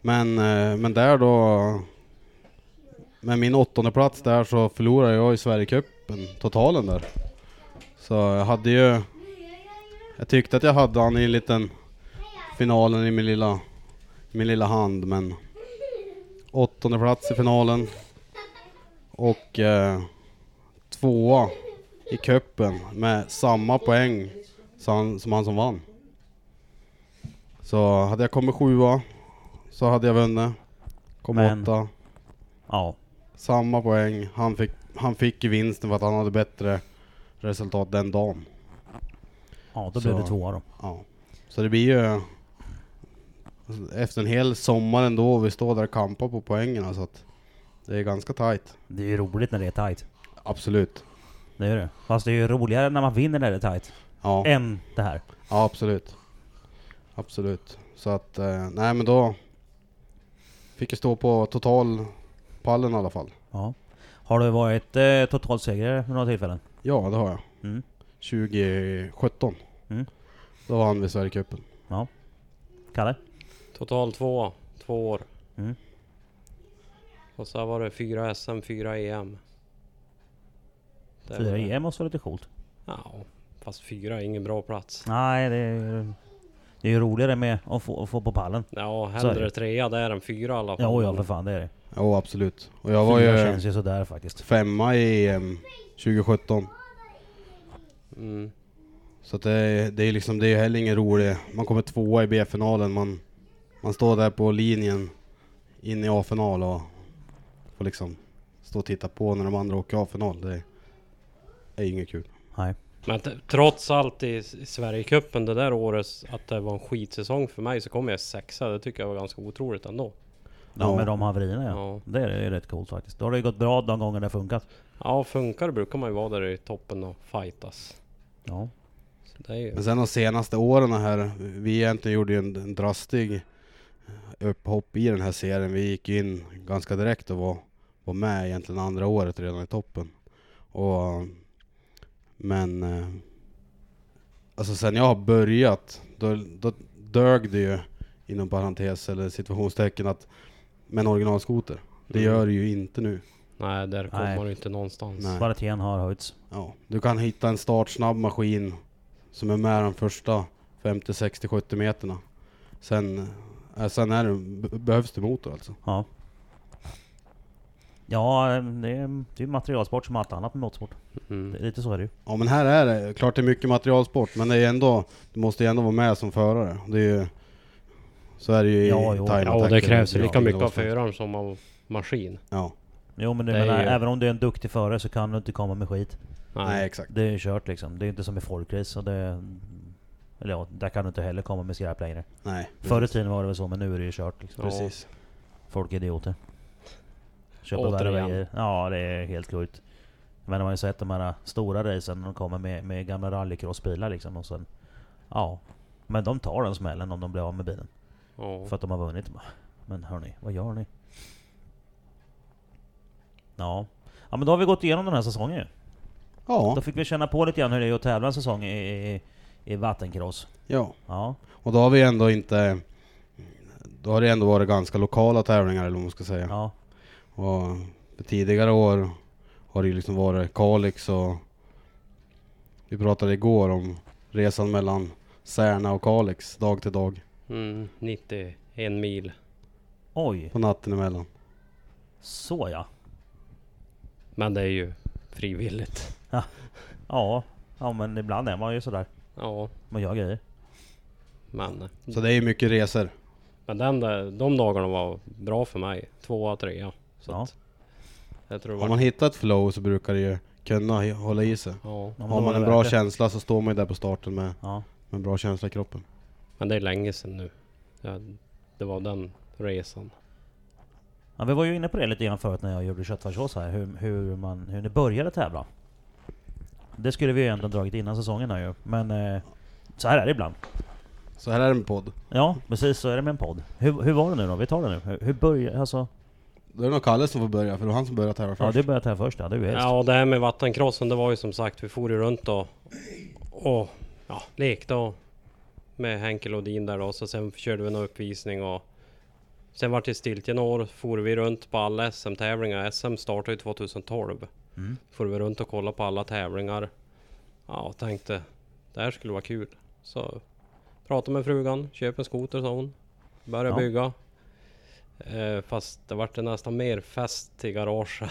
S2: Men, eh, men där då... Med min åttonde plats där så förlorade jag i Sverigecupen totalen där. Så jag hade ju... Jag tyckte att jag hade han i en liten finalen i min lilla, min lilla hand men... Åttonde plats i finalen. Och eh, tvåa i cupen med samma poäng som han som, han som vann. Så hade jag kommit sjua så hade jag vunnit. Kom
S1: Men-
S2: åtta.
S1: Ja.
S2: Samma poäng. Han fick, han fick ju vinsten för att han hade bättre resultat den dagen.
S1: Ja, då
S2: Så.
S1: blev det tvåa då.
S2: Ja. Så det blir ju... Efter en hel sommar ändå, vi står där och kampar på poängen så att Det är ganska tight.
S1: Det är ju roligt när det är tight.
S2: Absolut.
S1: Det är det. Fast det är ju roligare när man vinner när det är tight.
S2: Ja,
S1: Än det här.
S2: ja absolut. Absolut. Så att, eh, nej men då... Fick jag stå på totalpallen i alla fall.
S1: Ja. Har du varit eh, totalsegrare vid några tillfällen?
S2: Ja, det har jag.
S1: Mm.
S2: 2017.
S1: Mm.
S2: Då vann vi Sverigecupen.
S1: Kalle?
S3: Total två, två år.
S1: Mm.
S3: Och så var det fyra SM, fyra EM. Det är
S1: Fyra E
S3: väl det.
S1: EM måste vara lite coolt.
S3: Ja, fast fyra är ingen bra plats.
S1: Nej, det är, det är ju roligare med att få, att få på pallen.
S3: Ja,
S1: Så är
S3: hellre
S1: det.
S3: trea där än fyra i alla fall.
S1: Ja, ja för fan det är det.
S2: Ja, absolut. Och jag var
S1: Fyra
S2: ju
S1: känns ju sådär faktiskt.
S2: femma i EM 2017.
S3: Mm.
S2: Så att det, det är liksom, det är heller ingen rolig... Man kommer tvåa i B-finalen, man, man står där på linjen in i A-final och får liksom stå och titta på när de andra åker i A-final. Det är inget kul.
S1: Nej.
S3: Men t- trots allt i, S- i Sverigecupen det där året, att det var en skitsäsong för mig, så kom jag sexa. Det tycker jag var ganska otroligt ändå.
S1: Ja,
S2: Ja.
S1: med de haverierna ja.
S3: Ja.
S1: Det är, det är rätt coolt faktiskt. Då har det ju gått bra de gånger det har funkat.
S3: Ja, funkar det brukar man ju vara där i toppen och fightas.
S1: Ja.
S3: Så det är ju...
S2: Men sen de senaste åren här, vi egentligen gjorde ju en, en drastig upphopp i den här serien. Vi gick ju in ganska direkt och var, var med egentligen andra året redan i toppen. Och, men eh, alltså sen jag har börjat, då, då dög det ju inom parentes eller situationstecken att med en originalskoter. Det
S3: Mm.
S2: gör det ju inte nu.
S3: Nej, där kommer
S1: Nej.
S3: man ju inte någonstans.
S2: Nej.
S1: Kvaliteten har höjts.
S2: Ja, du kan hitta en startsnabb maskin som är med de första 50, 60, 70 meterna. Sen, eh, sen är det, be- behövs det motor alltså.
S1: Ja. Ja, det är, det är materialsport som allt annat med motorsport. Det
S3: Mm.
S1: är lite så är det ju.
S2: Ja men här är det, klart det är mycket materialsport men det är ändå, du måste ju ändå vara med som förare. Det är ju, så är det ju
S1: Ja,
S2: i
S1: jo.
S2: time
S3: Ja, och det
S2: attacker.
S3: krävs ju lika
S2: Ja,
S3: mycket av
S2: någonstans.
S3: föraren som av maskin.
S2: Ja,
S1: Jo men du
S3: Det är
S1: menar,
S3: ju-
S1: även om du är en duktig förare så kan du inte komma med skit.
S2: nej exakt.
S1: Det är ju kört liksom. Det är inte som i folkrace. och Det, eller ja, där kan du inte heller komma med skräp längre.
S2: Nej,
S1: Förr i tiden var det väl så, men nu är det ju kört. Liksom.
S2: precis.
S1: Folk är idioter. Köpa
S3: Återigen.
S1: värre grejer. Ja, det är helt sjukt. Men de har ju sett de här stora racen när de kommer med, med gamla rallycrossbilar liksom. Och sen, ja. Men de tar den smällen om de blir av med bilen.
S3: Ja.
S1: För att de har vunnit. Men hörni, vad gör ni? Ja. Ja men då har vi gått igenom den här säsongen ju. Då
S2: Ja,
S1: fick vi känna på lite grann hur det är att tävla en säsong i, i, i vattenkross.
S2: ja.
S1: Ja.
S2: Och då har vi ändå inte, då har det ändå varit ganska lokala tävlingar eller vad man ska säga.
S1: ja.
S2: Och för tidigare år har det ju liksom varit Kalix och vi pratade igår om resan mellan Särna och Kalix dag till dag
S3: Mm, 91 mil.
S1: Oj,
S2: på natten emellan.
S1: så ja.
S3: Men det är ju frivilligt.
S1: Ja. Ja men ibland är man ju sådär.
S3: Ja,
S1: Man gör grejer.
S3: men,
S2: Så det är ju mycket resor.
S3: men den där, de dagarna var bra för mig. Tvåa, trea. Så
S1: Ja.
S3: att, jag tror det
S2: Om
S3: var...
S2: man hittar ett flow så brukar det ju kunna he- hålla i sig.
S3: Ja,
S1: Ja, men
S2: Har
S1: då
S2: man
S1: är
S2: en
S1: det
S2: bra
S1: värt det.
S2: känsla så står man ju där på starten med,
S1: Ja.
S2: med en bra känsla i kroppen.
S3: men det är länge sedan nu. Ja, det var den resan.
S1: ja. Vi var ju inne på det lite grann förut när jag gjorde köttfärssås här. Hur, hur, man, hur ni började tävla. Det skulle vi ju egentligen dragit innan säsongen här ju. Men eh, så här är det ibland.
S2: Så här är det med podd.
S1: Ja, precis så är det med en podd. Hur, hur var det nu då? Vi tar det nu. Hur, hur började... Alltså...
S2: Då är det nog Kalle som får börja för det var han som började tävla
S1: Ja,
S2: först.
S1: du började här först ja. Du är helst.
S3: Ja, det här med vattenkrossen, det var ju som sagt, vi for ju runt och, och ja, lekte och med Henke Lodin där då, så sen körde vi någon uppvisning och sen vart det stiltje några år, for vi runt på alla SM-tävlingar. SM startade ju 2012.
S1: Mm.
S3: For vi runt och kollade på alla tävlingar. Ja, och tänkte det här skulle vara kul. Så pratade med frugan, köp en skoter sa hon. Började
S1: Ja.
S3: bygga. Eh, fast det vart det nästan mer fest i garaget.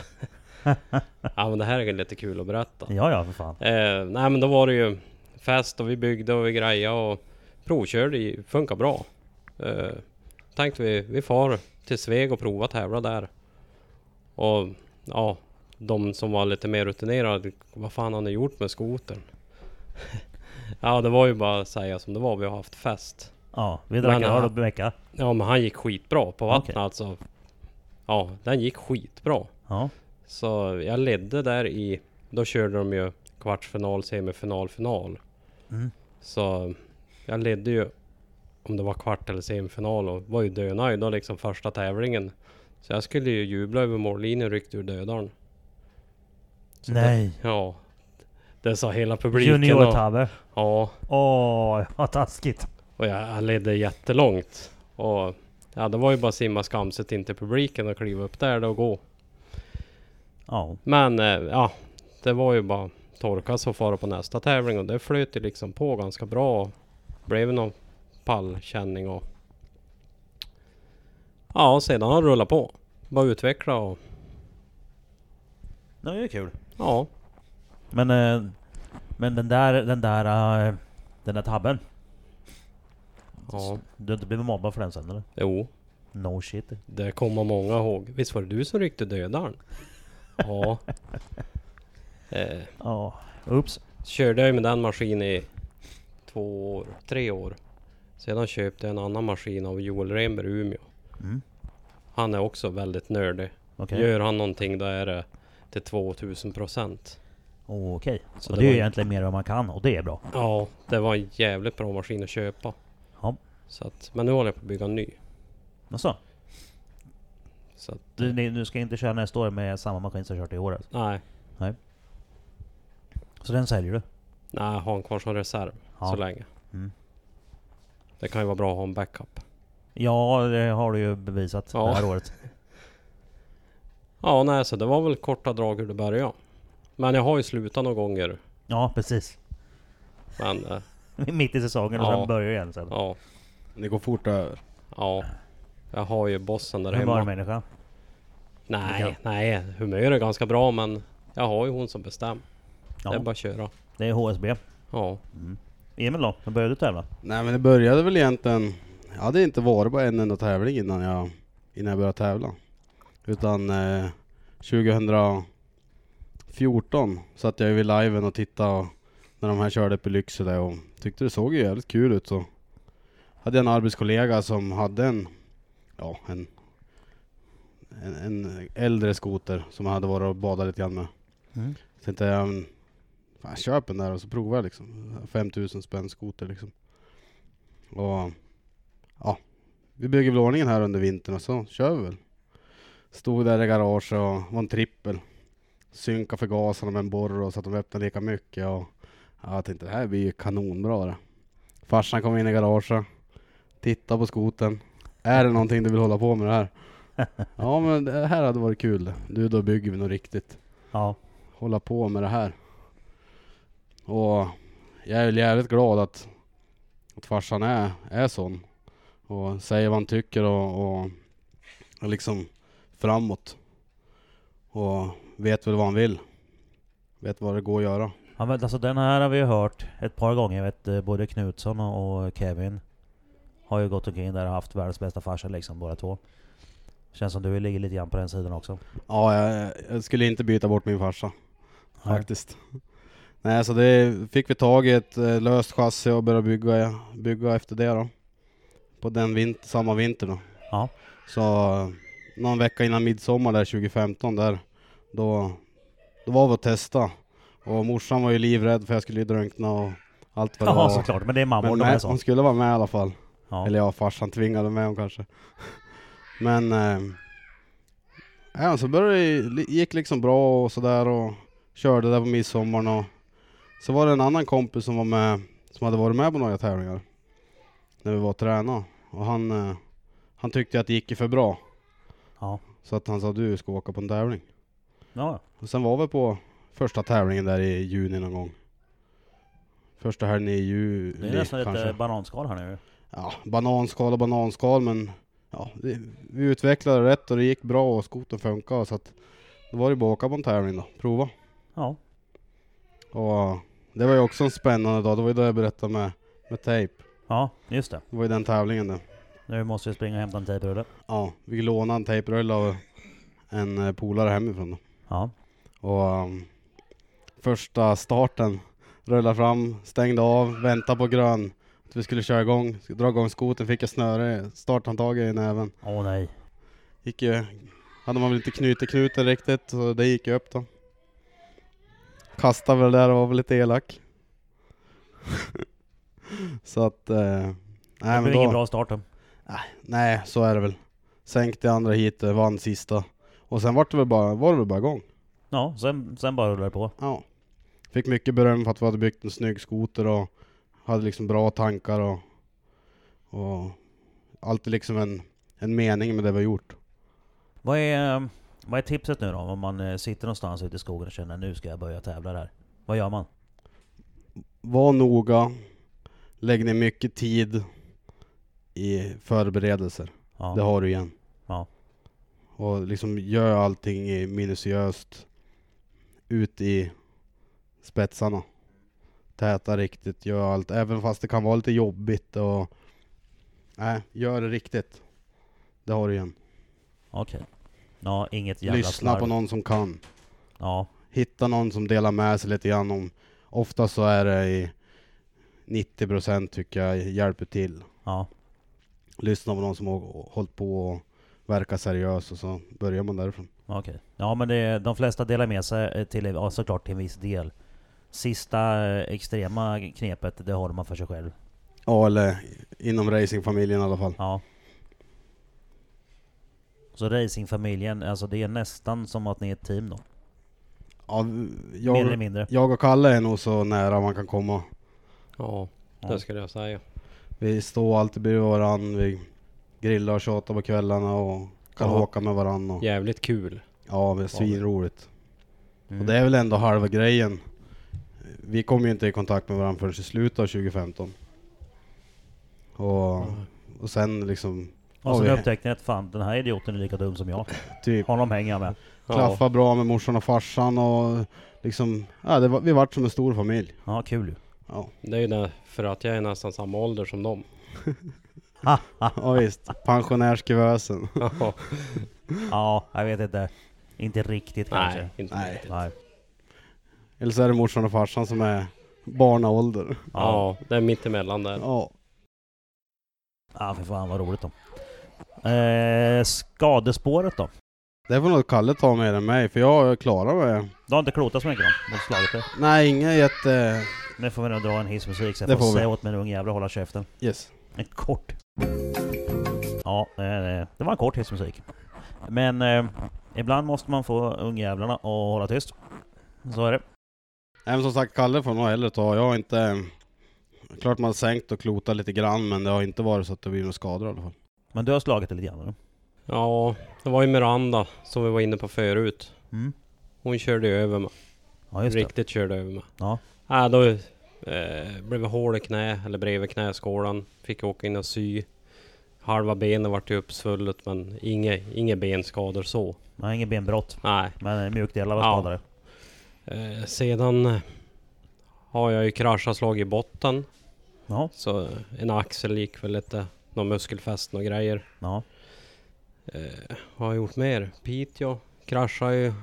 S3: ja men det här är lite kul att berätta.
S1: Ja, ja för fan.
S3: Eh, nej men då var det ju fest och vi byggde och vi grejade och provkörde. i- Funkar bra. Eh, tänkte vi, vi far till Sveg och prova tävla där. Och ja, de som var lite mer rutinerade, vad fan har ni gjort med skotern? <laughs> ja, det var ju bara att säga som det var, vi har haft fest.
S1: Ja, vi drack
S3: Men,
S1: öl
S3: ja.
S1: och bräcka.
S3: Ja, men han gick skitbra på vattnet
S1: Okej.
S3: alltså. Ja, den gick skitbra.
S1: Ja,
S3: Så jag ledde där i... Då körde de ju kvartsfinal, semifinal, final.
S1: Mm.
S3: Så jag ledde ju om det var kvart eller semifinal och var ju dönöjd då liksom första tävlingen. Så jag skulle ju jubla över mållinjen ryckt ur dödaren. Så
S1: nej.
S3: Det, ja. Det sa hela publiken. och,
S1: Junior-tabbe.
S3: Ja.
S1: Åh, vad taskigt.
S3: Och jag, jag ledde jättelångt. Och ja, det var ju bara att simma skamset in till publiken och kliva upp där då och gå.
S1: Ja,
S3: Men eh, ja, det var ju bara torkas och fara på nästa tävling och det flöt ju liksom på ganska bra. Blev någon pallkänning och... Ja, och sedan har det rullat på. Bara utveckla och...
S1: det var ju kul.
S3: Ja,
S1: Men, eh, men den där, den där, eh, den där tabben.
S3: ja.
S1: Du har inte blivit mobbad för den sen eller?
S3: Jo,
S1: No shit.
S3: det kommer många ihåg. Visst var det du som ryckte dödaren? Ja. Eh,
S1: Ja, oops.
S3: körde jag ju med den maskinen i två år, tre år. Sedan köpte jag en annan maskin av Joel Rehnberg i Umeå.
S1: Mm.
S3: Han är också väldigt nördig.
S1: Okej.
S3: Gör han någonting då är det till 2000 procent.
S1: Okej.
S3: Så
S1: Och
S3: det
S1: det är ju
S3: var-
S1: egentligen mer än vad man kan och det är bra.
S3: Ja, det var en jävligt bra maskin att köpa.
S1: Ja.
S3: Så att, men nu håller jag på att bygga en ny.
S1: Jaså?
S3: Så att,
S1: Du, ni, du ska inte köra nästa år med samma maskin som kört i år alltså.
S3: nej,
S1: Så den säljer du?
S3: nej, jag har en kvar som reserv
S1: Ja.
S3: så länge.
S1: Mm.
S3: Det kan ju vara bra att ha en backup.
S1: Ja, det har du ju bevisat
S3: Ja.
S1: det här året.
S3: Ja, nej, så det var väl korta drag hur det började. Men jag har ju slutat några gånger.
S1: Ja, precis. <laughs>
S3: Men eh,
S1: Mitt i säsongen och
S3: Ja.
S1: sen börjar igen sen.
S3: ja,
S2: Det går fort över.
S3: ja. Jag har ju bossen där hemma.
S1: Humörmänniska.
S3: Nej, nej, humöret är ganska bra men jag har ju hon som bestämmer. Det är
S1: Ja,
S3: bara att köra.
S1: det är HSB.
S3: Ja,
S1: Emil då? När började du tävla?
S2: Nej men det började väl egentligen... Jag hade inte varit på en enda tävling innan jag, innan jag började tävla. Utan eh, 2014 satt jag ju vid liven och tittade när de här körde upp i Lycksele och tyckte det såg ju jävligt kul ut. Så hade jag en arbetskollega som hade en, ja, en, en, en äldre skoter som jag hade varit och badat lite grann med.
S1: Mm.
S2: Så tänkte jag, men, fan, köp en där och så provar jag liksom. 5000 spänn skoter liksom. Och ja, vi bygger väl ordningen här under vintern och så kör vi väl. Stod där i garaget och var en trippel. Synka förgasarna med en borr och så att de öppnade lika mycket. Och, ja, jag tänkte det här blir ju kanonbra det. Farsan kom in i garaget, tittade på skoten. Är det någonting du vill hålla på med det här? Ja men det här hade varit kul. Du då bygger vi något riktigt
S1: Ja.
S2: hålla på med det här. Och jag är väl jävligt glad att, att farsan är, är sån. Och säger vad han tycker och, och, och liksom framåt. Och vet väl vad han vill. Vet vad det går att göra.
S1: Ja, men alltså den här har vi ju hört ett par gånger. Jag vet, eh, både Knutsson och och Kevin har ju gått omkring där och haft världens bästa farsa liksom, båda två. Känns som du ligger lite grann på den sidan också.
S2: Ja, jag, jag skulle inte byta bort min farsa.
S1: Nej.
S2: Faktiskt. Nej, så det fick vi tag i ett eh, löst chassi och började bygga, bygga efter det då. På den vinter, samma vinter då.
S1: Ja.
S2: Så eh, någon vecka innan midsommar där 2015 där, då, då var vi och testa. Och morsan var ju livrädd för jag skulle ju drunkna och allt vad det
S1: Ja,
S2: var.
S1: såklart. Men det är mammor
S2: Men
S1: de är
S2: med,
S1: så.
S2: hon skulle vara med i alla fall.
S1: Ja.
S2: Eller ja, farsan tvingade med honom kanske. <laughs> Men... Eh, ja, så började det, li- gick liksom bra och sådär och körde där på midsommaren och... Så var det en annan kompis som var med, som hade varit med på några tävlingar. När vi var och tränade. Och han, eh, han tyckte att det gick ju för bra.
S1: Ja.
S2: Så att han sa du ska åka på en tävling.
S1: Ja.
S2: Och sen var vi på första tävlingen där i juni någon gång. Första helgen i juli
S1: Det är nästan
S2: kanske.
S1: lite bananskal här nu.
S2: ja, bananskal och bananskal men ja, det, vi utvecklade rätt och det gick bra och skotern funkade så att då var det bara att åka på en tävling då, prova.
S1: Ja.
S2: Och det var ju också en spännande dag, det var ju då jag berättade med, med tejp.
S1: Ja, just det.
S2: Det var ju den tävlingen där.
S1: Nu måste vi springa och hämta en tejprulle.
S2: Ja, vi lånade en tejprulle av en eh, polare hemifrån då.
S1: Ja.
S2: Och ehm, första starten, rullade fram, stängde av, väntade på grön. Att vi skulle köra igång, skulle dra igång skoten, fick jag snöre, starthandtaget i näven.
S1: Åh nej.
S2: Gick ju, hade man väl inte knutit knuten riktigt, så det gick ju upp då. Kastade väl där och var väl lite elak. <laughs> så att... Eh,
S1: Det
S2: nej,
S1: blev
S2: men
S1: ingen
S2: då,
S1: bra start då.
S2: nej, så är det väl. Sänkte i andra hit, vann sista. Och sen var det väl bara, var det väl bara igång.
S1: Ja, sen, sen bara rullade det på.
S2: Ja. Fick mycket beröm för att vi hade byggt en snygg skoter och hade liksom bra tankar och, och alltid liksom en, en mening med det vi har gjort.
S1: Vad är, eh, vad är tipset nu då? Om man eh, sitter någonstans ute i skogen och känner nu ska jag börja tävla där. Vad gör man?
S2: Var noga, lägg ner mycket tid i förberedelser.
S1: Ja.
S2: Det har du igen.
S1: Ja.
S2: Och liksom gör allting i- minutiöst ut i spetsarna. Täta riktigt, gör allt. Även fast det kan vara lite jobbigt och... Nej, gör det riktigt. Det har du igen.
S1: Okej. Ja, inget jävla
S2: Lyssna
S1: slarv.
S2: på någon som kan.
S1: Ja,
S2: Hitta någon som delar med sig lite grann om... Ofta så är det i 90% tycker jag hjälper till.
S1: ja.
S2: lyssna på någon som har hållit på och verkar seriös och så börjar man därifrån.
S1: Okej. Ja men det, de flesta delar med sig eh, till, ja, såklart till en viss del. Sista eh, extrema knepet, det håller man för sig själv.
S2: Ja, eller inom racingfamiljen i alla fall.
S1: Ja. Så racingfamiljen, alltså det är nästan som att ni är ett team då?
S2: Ja,
S1: Mer eller
S2: jag,
S1: mindre?
S2: jag och Kalle är nog så nära man kan komma.
S3: Ja,
S1: Ja.
S3: det skulle jag säga.
S2: Vi står alltid bredvid varandra, vi grillar och tjatar på kvällarna och kan
S3: Ja.
S2: åka med varandra. Och,
S3: Jävligt kul.
S2: ja, det är svinroligt.
S1: Mm.
S2: Och det är väl ändå halva grejen. Vi kom ju inte i kontakt med varandra förrän i slutet av 2015. Och, och sen liksom,
S1: Och sen
S2: Oj.
S1: upptäckte ni att fan, den här idioten är lika dum som jag.
S2: typ
S1: Honom hänger jag med.
S3: Ja,
S2: klaffade bra med morsan och farsan och liksom, ja, det var, vi vart som en stor familj.
S1: Ja, kul ju. <laughs>
S2: Ja,
S3: det är ju det, för att jag är nästan samma ålder som dem.
S2: ja visst, pensionärsgevösen.
S3: Ja,
S1: Ja, jag vet inte. Inte riktigt kanske.
S3: Nej, inte
S2: Nej.
S3: riktigt.
S1: Nej.
S2: Eller så är det morsan och farsan som är barnaålder.
S1: Ja.
S3: Ja, det är mittemellan där.
S2: Ja,
S1: ja, för fan vad roligt då. Eh, skadespåret då?
S2: det får nog Kalle ta mer än mig för jag klarar mig.
S1: Du har inte klotat så mycket då? Mot slaget där.
S2: Nej, inga jätte...
S1: Nu får vi nog dra en hissmusik så
S2: Det
S1: jag får
S2: får vi.
S1: säga åt min unge jävla att hålla käften.
S2: Yes.
S1: En kort. Ja, eh, det var en kort hissmusik. Men eh, ibland måste man få ungjävlarna att hålla tyst. Så är det.
S2: Även som sagt, Kalle får nog hellre ta. Jag har inte... Klart man har sänkt och klotat lite grann men det har inte varit så att det blir några skador i alla fall.
S1: Men du har slagit det lite grann eller?
S3: Ja, det var ju Miranda som vi var inne på förut.
S1: Mm.
S3: Hon körde ju över mig.
S1: Ja just det.
S3: Riktigt körde över mig.
S1: Ja.
S3: Ja, då eh, blev det hål i knä, eller bredvid knäskålan. Fick åka in och sy. Halva benet vart ju uppsvullet men inga, inga benskador så.
S1: Man har inget benbrott.
S3: Nej.
S1: Men eh, mjukdelar var
S3: Ja.
S1: skadade.
S3: Eh, sedan eh, har jag ju kraschat slag i botten.
S1: Ja.
S3: Så en axel gick väl lite, någon muskelfäst och grejer.
S1: Ja.
S3: Eh, vad har jag gjort mer? Piteå kraschade ju.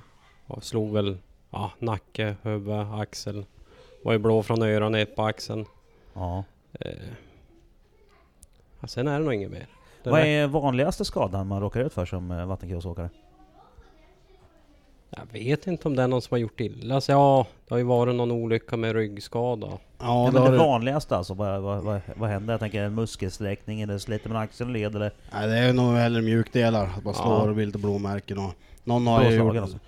S3: Och slog väl ja, nacke, huvud, axel. Var ju blå från öronen ner på axeln.
S1: ja.
S3: Eh, ja, sen är det nog inget mer. Det
S1: Vad
S3: räcker-
S1: är vanligaste skadan man råkar ut för som eh, vattenkrosåkare?
S3: Jag vet inte om det är någon som har gjort illa sig. Ja, det har ju varit någon olycka med ryggskada.
S2: Ja,
S1: Ja,
S2: det
S1: men
S2: har
S1: det
S2: du.
S1: vanligaste alltså, vad, vad, vad, vad händer? Jag tänker en muskelsläckning eller sliter man axeln och led eller
S2: Nej, det är nog hellre mjukdelar. Att man
S3: Ja.
S2: slår och blir lite blåmärken och... Någon har ju
S1: blåslagen
S2: gjort
S1: alltså.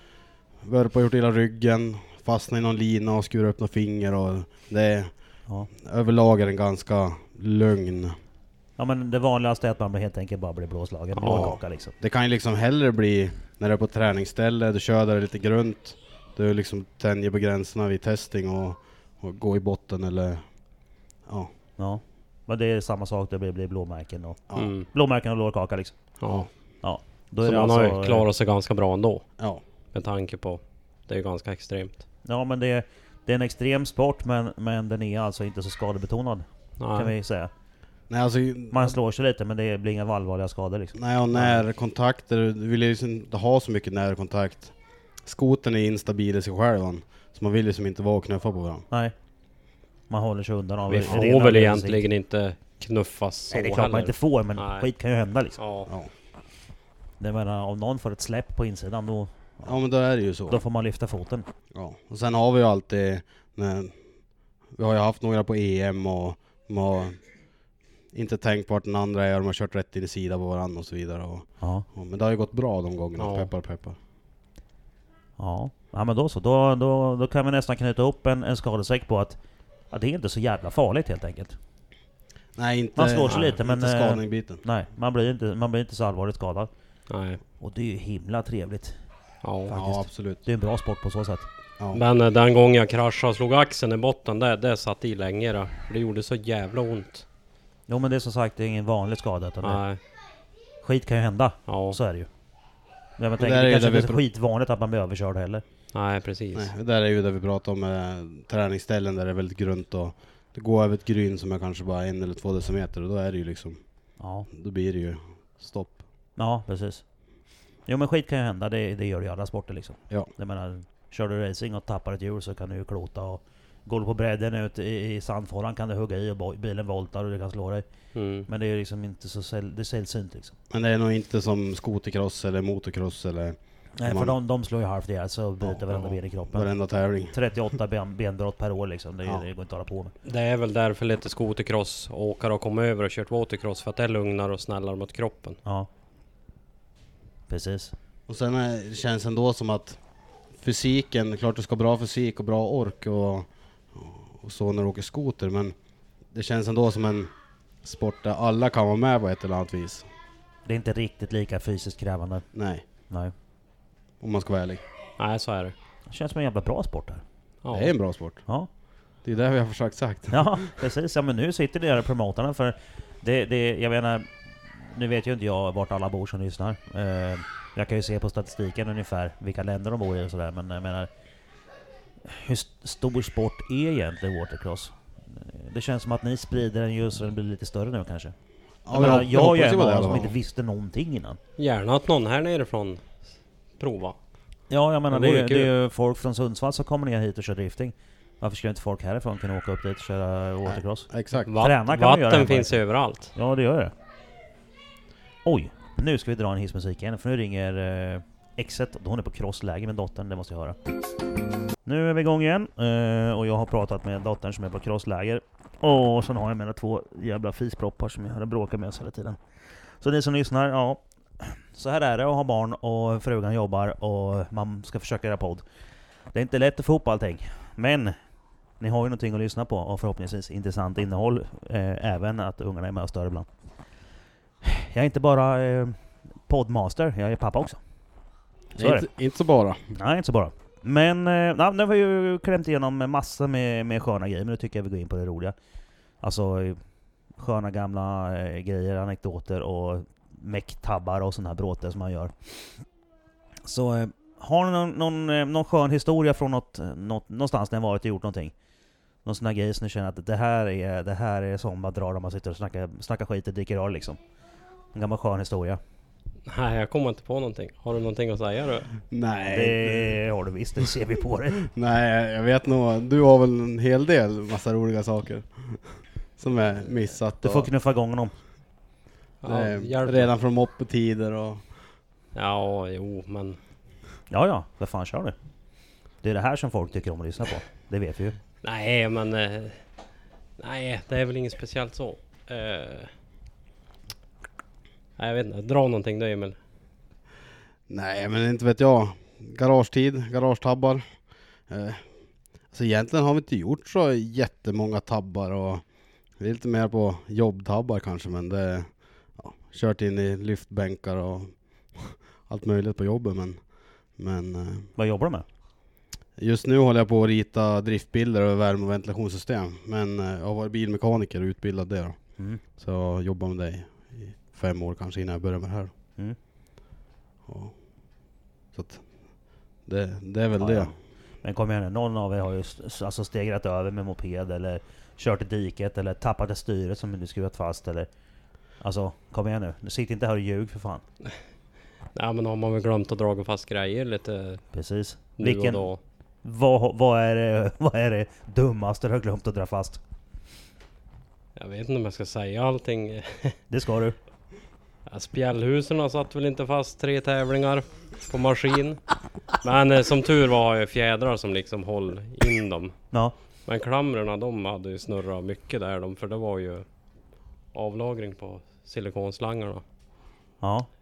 S2: Värpa gjort illa ryggen, fastnat i någon lina och skurit upp några finger och det är
S1: Ja.
S2: överlag är den ganska lugn.
S1: ja men det vanligaste är att man helt enkelt bara blir blåslagen,
S2: Ja.
S1: blåkaka liksom.
S2: Det kan ju liksom hellre bli när du är på ett träningsställe, du kör där lite grunt, du liksom tänjer på gränserna vid testing och, och går i botten eller ja.
S1: Ja. Men det är samma sak, det blir, blir blåmärken och
S2: Ja.
S3: Mm.
S1: blåmärken och lårkaka liksom.
S3: Ja.
S1: Ja. Då
S3: Så
S1: det
S3: man har
S1: alltså,
S3: ju
S1: eh,
S3: klarat sig ganska bra ändå.
S2: ja.
S3: Med tanke på, det är ju ganska extremt.
S1: Ja men det är, det är en extrem sport men, men den är alltså inte så skadebetonad
S3: Nej.
S1: kan vi säga.
S2: Nej, alltså,
S1: Man slår sig lite men det blir inga allvarliga skador liksom.
S2: nej och närkontakter, du vill ju liksom inte ha så mycket närkontakt. Skoten är instabil i sig själv, han. så man vill ju liksom inte vara och knuffa på varandra.
S1: Nej. Man håller sig undan av
S3: Vi
S1: rena
S3: får väl
S1: översikt.
S3: egentligen inte knuffas så
S1: Nej det är klart man
S3: heller.
S1: inte får men
S3: Nej.
S1: skit kan ju hända liksom.
S3: Ja.
S2: Ja.
S1: Det menar, om någon får ett släpp på insidan då,
S2: ja, men då är det ju så.
S1: då får man lyfta foten.
S2: Ja, och sen har vi ju alltid, när, vi har ju haft några på EM och de har inte tänkt på vart den andra är, de har kört rätt in i sidan på varandra och så vidare. Och,
S1: Ja.
S2: och, men det har ju gått bra de gångerna,
S3: Ja.
S2: peppar peppar.
S1: Ja, ja men då så. Då, då, då kan vi nästan knyta upp en, en skadesäck på att ja, det är inte så jävla farligt helt enkelt.
S2: Nej inte,
S1: Man slår sig
S2: nej,
S1: lite, men,
S2: inte
S1: eh,
S2: skadningbiten.
S1: Nej, man blir inte, man blir inte så allvarligt skadad.
S3: Nej.
S1: Och det är ju himla trevligt.
S3: Ja.
S2: Ja absolut.
S1: Det är en bra sport på så sätt.
S2: Ja.
S3: Men eh, den gången jag kraschade och slog axeln i botten, det, det satt i länge då. Det gjorde så jävla ont.
S1: Jo men det är som sagt det är ingen vanlig skada utan det,
S3: Nej.
S1: skit kan ju hända.
S3: Ja.
S1: Så är det ju. Ja, men
S2: Och
S1: tänk,
S2: där är
S1: det
S2: ju
S1: kanske
S2: där vi
S1: inte är så
S2: pro-
S1: skitvanligt att man blir överkörd heller.
S3: Nej, precis.
S2: Nej, det där är ju det vi pratar om, eh, träningsställen där det är väldigt grunt och det går över ett gryn som är kanske bara en eller två decimeter och då är det ju liksom,
S1: Ja,
S2: då blir det ju stopp.
S1: ja precis. Jo men skit kan ju hända, det, det gör det i alla sporter liksom.
S2: Ja.
S1: Jag menar, kör du racing och tappar ett hjul så kan du ju klota och Går du på bredden ut i, i sandfåran kan du hugga i och bo- bilen voltar och du kan slå dig.
S3: Mm.
S1: Men det är liksom inte så säll, det är sällsynt liksom.
S2: Men det är nog inte som skotercross eller motocross eller
S1: Nej för
S2: Man-
S1: de, de slår ju halvt ihjäl sig och bryter varenda ben i kroppen.
S2: varenda tävling.
S1: 38 ben, benbrott per år liksom, det, är-
S2: Ja.
S1: det går inte att hålla på med.
S3: Det är väl därför lite skotercross-åkare har kommit över och kört watercross, för att det är lugnare och snällare mot kroppen.
S1: Ja. Precis.
S2: Och sen eh, känns det ändå som att fysiken, klart du ska ha bra fysik och bra ork och, och så när du åker skoter men det känns ändå som en sport där alla kan vara med på ett eller annat vis.
S1: Det är inte riktigt lika fysiskt krävande.
S2: Nej,
S1: Nej.
S2: om man ska vara ärlig.
S3: Nej, så är det.
S1: Det känns som en jävla bra sport här.
S3: Ja.
S2: Det är en bra sport.
S1: Ja.
S2: Det är det vi har försökt sagt.
S1: Ja, precis. Ja, men nu sitter det där och promotarna för det, det, jag menar, nu vet ju inte jag vart alla bor som lyssnar. Eh, jag kan ju se på statistiken ungefär vilka länder de bor i och sådär, men jag menar, hur st- stor sport är egentligen watercross? Eh, Det känns som att ni sprider den ju så den blir lite större nu kanske.
S2: Ja,
S1: jag menar,
S2: hop-
S1: jag är
S2: hoppas ju
S1: ju en
S2: på
S1: av
S2: det i
S1: dem
S2: alla
S1: som
S2: fall.
S1: inte visste någonting innan.
S3: Gärna att någon här nerifrån prova.
S1: Ja, jag menar
S3: Det
S1: det,
S3: vore
S1: är- det
S3: kul.
S1: är ju folk från Sundsvall som kommer ner hit och kör drifting. Varför skulle inte folk härifrån kunna åka upp dit och köra watercross?
S2: Exakt.
S3: Vatt,
S1: Träna kan man göra
S3: vatten
S1: hemma.
S3: finns överallt.
S1: Ja, det gör det. Oj, nu ska vi dra en hissmusik igen, för nu ringer eh, exet. Hon är på crossläge med dottern, det måste jag höra. Nu är vi igång igen, eh, och jag har pratat med dottern som är på crossläger. Och sen har jag mina två jävla fisproppar som jag hade bråkat med oss hela tiden. Så ni som lyssnar, ja. Så här är det att ha barn och frugan jobbar och man ska försöka göra podd. Det är inte lätt att få ihop allting. Men ni har ju någonting att lyssna på och förhoppningsvis intressant innehåll. Eh, även att ungarna är med och stör ibland. Jag är inte bara eh, poddmaster, jag är pappa också. Så är det.
S2: Inte, inte så bara.
S1: Nej, inte så bara. Men eh, nej, nu har vi ju klämt igenom massa med, med sköna grejer, men nu tycker jag vi går in på det roliga. Alltså eh, sköna gamla eh, grejer, anekdoter och mecktabbar och sådana här bråte som man gör. Så eh, har ni någon, någon, eh, någon skön historia från något, eh, något, någonstans när ni har varit och gjort någonting? Någon sån här grej som ni känner att det här är, det här är som man drar när man sitter och snackar, snackar skit och dricker öl liksom. En gammal skön historia.
S3: Nej, jag kommer inte på någonting. Har du någonting att säga du?
S2: Nej,
S1: Det har du visst, det ser vi på dig.
S2: nej, jag vet nog. Du har väl en hel del massa roliga saker som är missat.
S1: Du får
S2: och-
S1: knuffa igång honom.
S3: Ja,
S2: Eh,
S3: hjälp.
S2: redan från moppetider och...
S3: Ja, jo, men...
S1: Ja, ja, för fan kör du. Det är det här som folk tycker om att lyssna på. Det vet vi ju.
S3: Nej, men... eh, Nej, det är väl inget speciellt så. Eh, Nej, jag vet inte. Dra någonting då Emil.
S2: Nej men inte vet jag. Garagetid, garagetabbar. Eh, alltså egentligen har vi inte gjort så jättemånga tabbar och vi är lite mer på jobbtabbar kanske men det... Ja, kört in i lyftbänkar och <laughs> allt möjligt på jobbet men... Men eh,
S1: Vad jobbar du med?
S2: just nu håller jag på att rita driftbilder över värme och ventilationssystem men eh, jag har varit bilmekaniker och utbildad det då.
S1: Mm.
S2: Så jag jobbade med dig i fem år kanske innan jag började med det här.
S1: Mm.
S2: Ja. Så att det, det är väl
S1: Ja,
S2: det.
S1: ja. Men kom igen nu, någon av er har ju s- alltså stegrat över med moped eller kört i diket eller tappat ett styre som du skruvat fast eller... Alltså, kom igen nu. Sitt inte här och ljug för fan.
S3: Nej men har man väl glömt att dra fast grejer lite
S1: Precis.
S3: nu
S1: Vilken,
S3: och då.
S1: vad, vad, är det, <laughs> vad är det dummaste du har glömt att dra fast?
S3: Jag vet inte om jag ska säga allting.
S1: Det ska du.
S3: Ja, Spjällhusen satt väl inte fast tre tävlingar på maskin. Men eh, som tur var har jag fjädrar som liksom håller in dem.
S1: Ja.
S3: Men klamrorna de hade ju snurrat mycket där de för det var ju avlagring på silikonslangarna.
S1: ja. Så,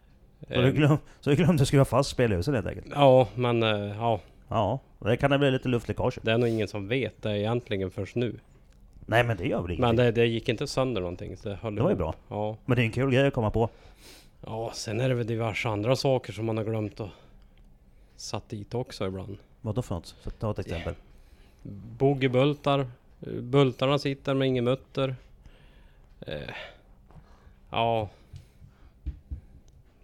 S3: Eh,
S1: du glöm, så du glömde skruva fast spelhuset helt enkelt?
S3: Ja men eh, ja,
S1: Ja. Det kan det bli lite luftläckage.
S3: det är nog ingen som vet det egentligen först nu.
S1: Nej men det gör väl
S3: Men
S1: ingenting.
S3: det, det gick inte sönder någonting så det höll
S1: Det var ju
S3: ihop.
S1: bra.
S3: Ja.
S1: Men det är en kul grej att komma på.
S3: ja, sen är det väl diverse andra saker som man har glömt att satt dit också ibland.
S1: Vadå för något? Så ta ett exempel.
S3: Boogiebultar. Eh, Bultarna sitter med ingen mutter. Eh, ja.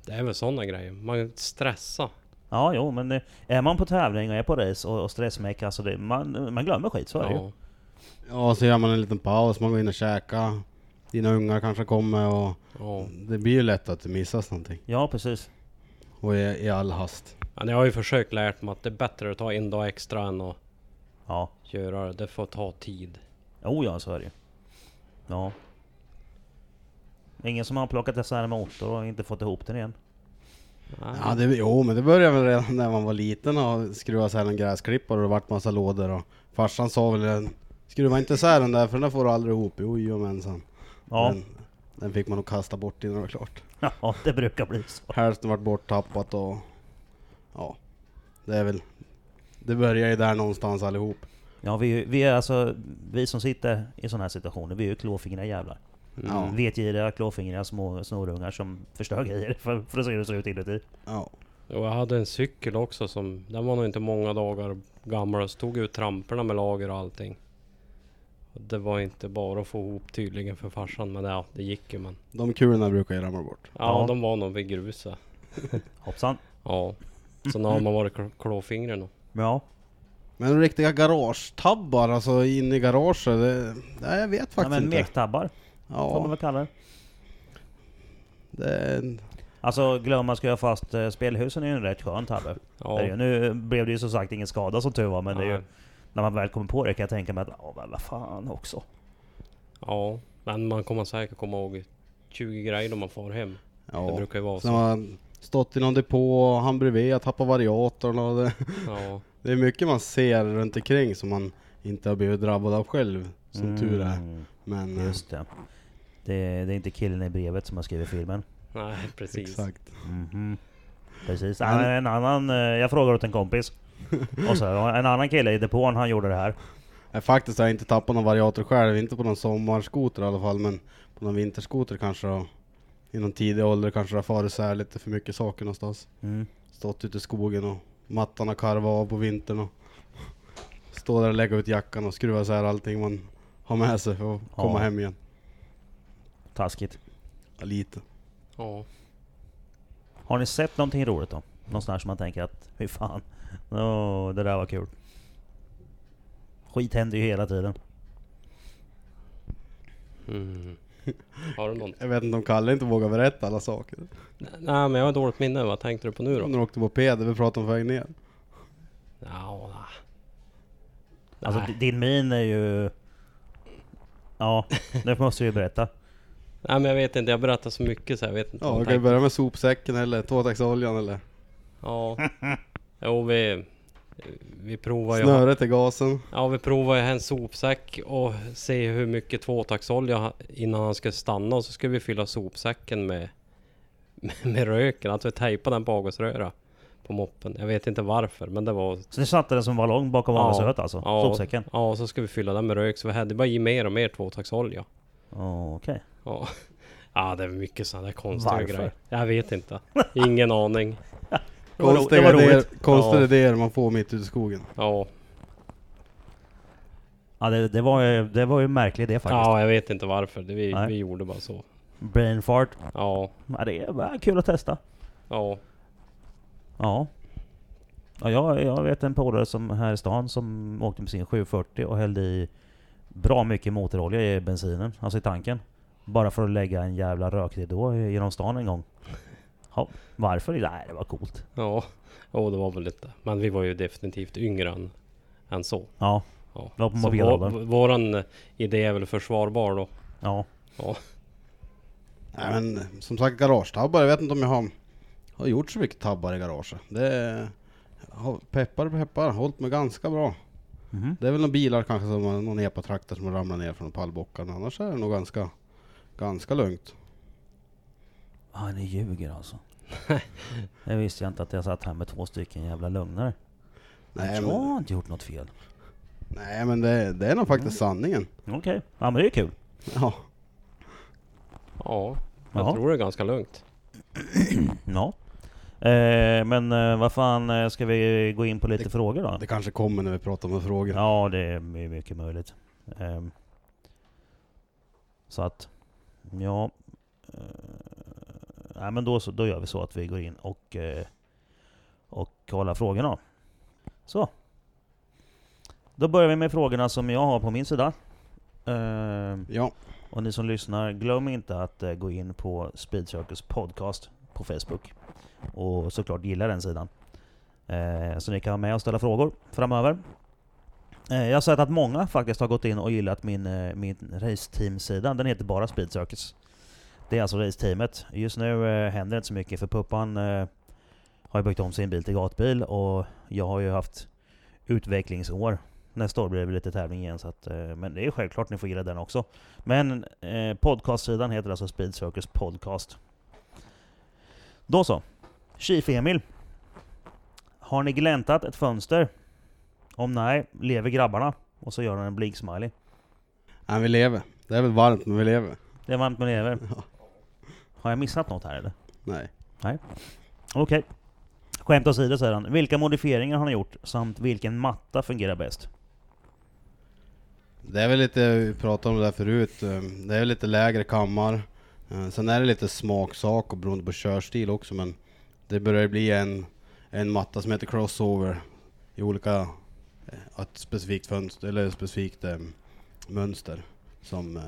S3: Det är väl sådana grejer. Man stressar.
S1: Ja, jo, men eh, är man på tävling och är på race och, och stressmäcka så det, man, man glömmer skit, så är det ju.
S3: Ja.
S2: Ja, så gör man en liten paus, man går in och käkar. Dina ungar kanske kommer och
S3: ja.
S2: det blir ju lätt att det missas någonting.
S1: Ja, precis.
S2: Och i, i all hast.
S3: Men jag har ju försökt lärt mig att det är bättre att ta en dag extra än att
S1: Ja,
S3: göra det. Det får ta tid.
S1: jo ja, så är det ju. Ja. Ingen som har plockat isär en motor och inte fått ihop den igen.
S2: Ja, det, jo, men det började väl redan när man var liten och skruva isär en gräsklippare och det vart massa lådor. Och farsan sa väl skruva inte isär den där för den där får du aldrig ihop. Jo, jomensan.
S1: Ja,
S2: Den, den fick man nog kasta bort innan det var klart.
S1: <laughs> ja det brukar bli så.
S2: Hälften vart borttappat och ja, det är väl. Det börjar ju där någonstans allihop.
S1: Ja, vi, är ju- vi är alltså, vi som sitter i sådana här situationer, vi är ju klåfingriga jävlar.
S2: Ja,
S1: Vetgiriga, klåfingriga små snorungar som förstör grejer för, för att se hur det ser ut inuti.
S2: ja.
S3: Och jag hade en cykel också som, den var nog inte många dagar gammal. Jag stod ut tramporna med lager och allting. Och Det var inte bara att få ihop tydligen för farsan, men ja, det gick ju. Men
S2: De kulorna brukar ju ramla bort.
S3: ja,
S1: Ja.
S3: de var nog vid gruset.
S1: Hoppsan.
S3: Ja. Så nu har man varit kl- klåfingrig nog.
S1: Ja.
S2: Men riktiga garagetabbar, alltså in i garaget, det, nej, jag vet
S1: ja
S2: faktiskt
S1: men
S2: inte.
S1: mektabbar, får man
S2: Ja,
S1: väl kalla det.
S2: det är en,
S1: Alltså glömma ska jag fast eh, spelhusen är ju en rätt skön tabbe. Det är ju-
S3: Ja.
S1: Nu blev det ju som sagt ingen skada som tur var men det är ju,
S3: Nej.
S1: när man väl kommer på det kan jag tänka mig att ja men vad fan också.
S3: ja, men man kommer säkert komma ihåg 20 grejer när man far hem. Det
S2: ja.
S3: brukar ju vara
S2: Sen
S3: så.
S2: har han stått i någon depå, och han bredvid, jag tappar variatorn och det, <laughs>
S3: Ja.
S2: det är mycket man ser runt omkring som man inte har blivit drabbad av själv, som tur är.
S1: Mm,
S2: Men eh,
S1: Just det. det. Det är inte killen i brevet som har skrivit filmen.
S3: Nej, precis.
S2: exakt.
S1: Mhm. Precis.
S2: Men-
S1: Ja, men en annan, eh, jag frågar åt en kompis. Och så, en annan kille i depån han gjorde det här.
S2: Jag Eh, faktiskt har jag inte tappat någon variator själv, inte på någon sommarskoter i alla fall, men på någon vinterskoter kanske då. I någon tidig ålder kanske det har farit isär lite för mycket saker någonstans.
S1: Mm.
S2: Stått ute i skogen och mattan har karvat av på vintern och <laughs> stå där och lägga ut jackan och skruva isär allting man har med sig för att
S1: Ja.
S2: komma hem igen.
S1: Taskigt.
S2: Ja, lite.
S3: Ja.
S1: Har ni sett någonting roligt då? Någon sån här som man tänker att fy fan, åh det där var kul. Skit händer ju hela tiden.
S3: Mm. Har du någon?
S2: Jag vet inte om Kalle inte vågar berätta alla saker.
S3: Nej, men jag har dåligt minne. Vad tänkte du på nu då?
S2: När du åkte moped, det vi pratade om på väg ner.
S3: Ja, nej.
S1: Alltså
S3: Nej.
S1: di- din min är ju... Ja, det måste du ju berätta.
S3: Nej men jag vet inte, jag berättar så mycket så jag vet inte
S2: Ja,
S3: vad
S2: vi
S3: jag
S2: kan ju
S3: tänkte.
S2: börja med sopsäcken eller tvåtaktsoljan eller
S3: Ja. Jo vi... Vi provar ju...
S2: snöret i gasen.
S3: Ja vi provar ju en sopsäck och se hur mycket tvåtaktsolja ha- innan han skulle stanna och så skulle vi fylla sopsäcken med... <laughs> Med, med röken, att vi tejpade den på avgasröra. På moppen. Jag vet inte varför men det var...
S1: Så ni satte den som ballong bakom
S3: Ja,
S1: avgasröret alltså?
S3: ja.
S1: Sopsäcken?
S3: Ja och så skulle vi fylla den med rök så vi hade bara i mer och mer tvåtaktsolja.
S1: Åh, Okej.
S3: Ja. <laughs> Ja det är mycket sådana där konstiga
S1: Varför?
S3: grejer. Jag vet inte. Ingen aning.
S1: Det var ro-
S2: Konstiga,
S1: det var
S2: idéer,
S1: roligt.
S2: konstiga
S3: Ja.
S2: idéer man får mitt ute i skogen.
S3: Ja.
S1: Ja, det, det, var ju, det var ju en märklig idé <laughs> faktiskt.
S3: Ja, jag vet inte varför. Det, vi,
S1: Nej.
S3: vi gjorde bara så.
S1: Brain fart.
S3: Ja,
S1: Ja, det är bara kul att testa.
S3: ja.
S1: Ja. Ja, jag, jag vet en polare som här i stan som åkte med sin 740 och hällde i bra mycket motorolja i bensinen, alltså i tanken. Bara för att lägga en jävla rökridå genom stan en gång. Ja, varför? Nej, det var coolt.
S3: Ja, oh, det var väl lite. Men vi var ju definitivt yngre än, än så.
S1: Ja,
S3: Ja.
S1: Det var på
S3: Så
S1: mobilåldern.
S3: vå- våran eh, idé är väl försvarbar då.
S1: ja.
S3: Ja.
S2: Nej, men som sagt garagetabbar, jag vet inte om jag har, har gjort så mycket tabbar i garaget. Det är, har- peppar peppar, hållit mig ganska bra.
S1: Mhm.
S2: Det är väl några bilar kanske som har- någon epatraktor som har ramlat ner från pallbockar, men annars är det nog ganska, ganska lugnt.
S1: Ah, ni ljuger alltså. Det visste jag inte att jag satt här med två stycken jävla lögnare.
S2: Nej
S1: jag
S2: men,
S1: har inte gjort något fel.
S2: nej, men det, det är nog faktiskt sanningen.
S1: Okej, ja men det är kul.
S2: Ja.
S3: Ja, jag
S1: Jaha.
S3: tror det är ganska lugnt.
S1: Ja. Eh, men eh, vad fan, eh, ska vi gå in på lite frågor då?
S2: Det kanske kommer när vi pratar om frågor.
S1: Ja, det är my- mycket möjligt. Ehm, så att, ja. Eh, nej, men då, så, då gör vi så att vi går in och, eh, och kollar frågorna. Så. Då börjar vi med frågorna som jag har på min sida. Ehm,
S2: Ja,
S1: och ni som lyssnar, glöm inte att eh, gå in på Speed Circus podcast på Facebook. Och såklart gilla den sidan. Eh, så ni kan vara med och ställa frågor framöver. Eh, jag har sett att många faktiskt har gått in och gillat min, eh, min raceteam-sida. Den heter bara Speed Circus. Det är alltså raceteamet. Just nu eh, händer inte så mycket för Puppan eh, har ju byggt om sin bil till gatbil och jag har ju haft utvecklingsår. Nästa år blir det väl lite tävling igen, så att, eh, men det är självklart ni får gilla den också. Men eh, podcastsidan heter alltså Speed Circus Podcast. Då så. Chief Emil. Har ni gläntat ett fönster? Om nej, lever grabbarna? Och så gör han en blink-smiley.
S2: nej, vi lever. Det är väl varmt men vi lever.
S1: Det är varmt men
S3: <laughs>
S1: lever.
S2: Ja.
S1: Har jag missat något här eller?
S2: Nej.
S1: Okej. Skämt åsido säger han. Vilka modifieringar har ni gjort? Samt vilken matta fungerar bäst?
S2: Det är väl lite, vi pratade om det där förut, eh, det är väl lite lägre kammar. Eh, Sen är det lite smaksak och beroende på körstil också men det börjar ju bli en, en matta som heter Crossover i olika, eh, ett specifikt fönster eller ett specifikt eh, mönster som eh,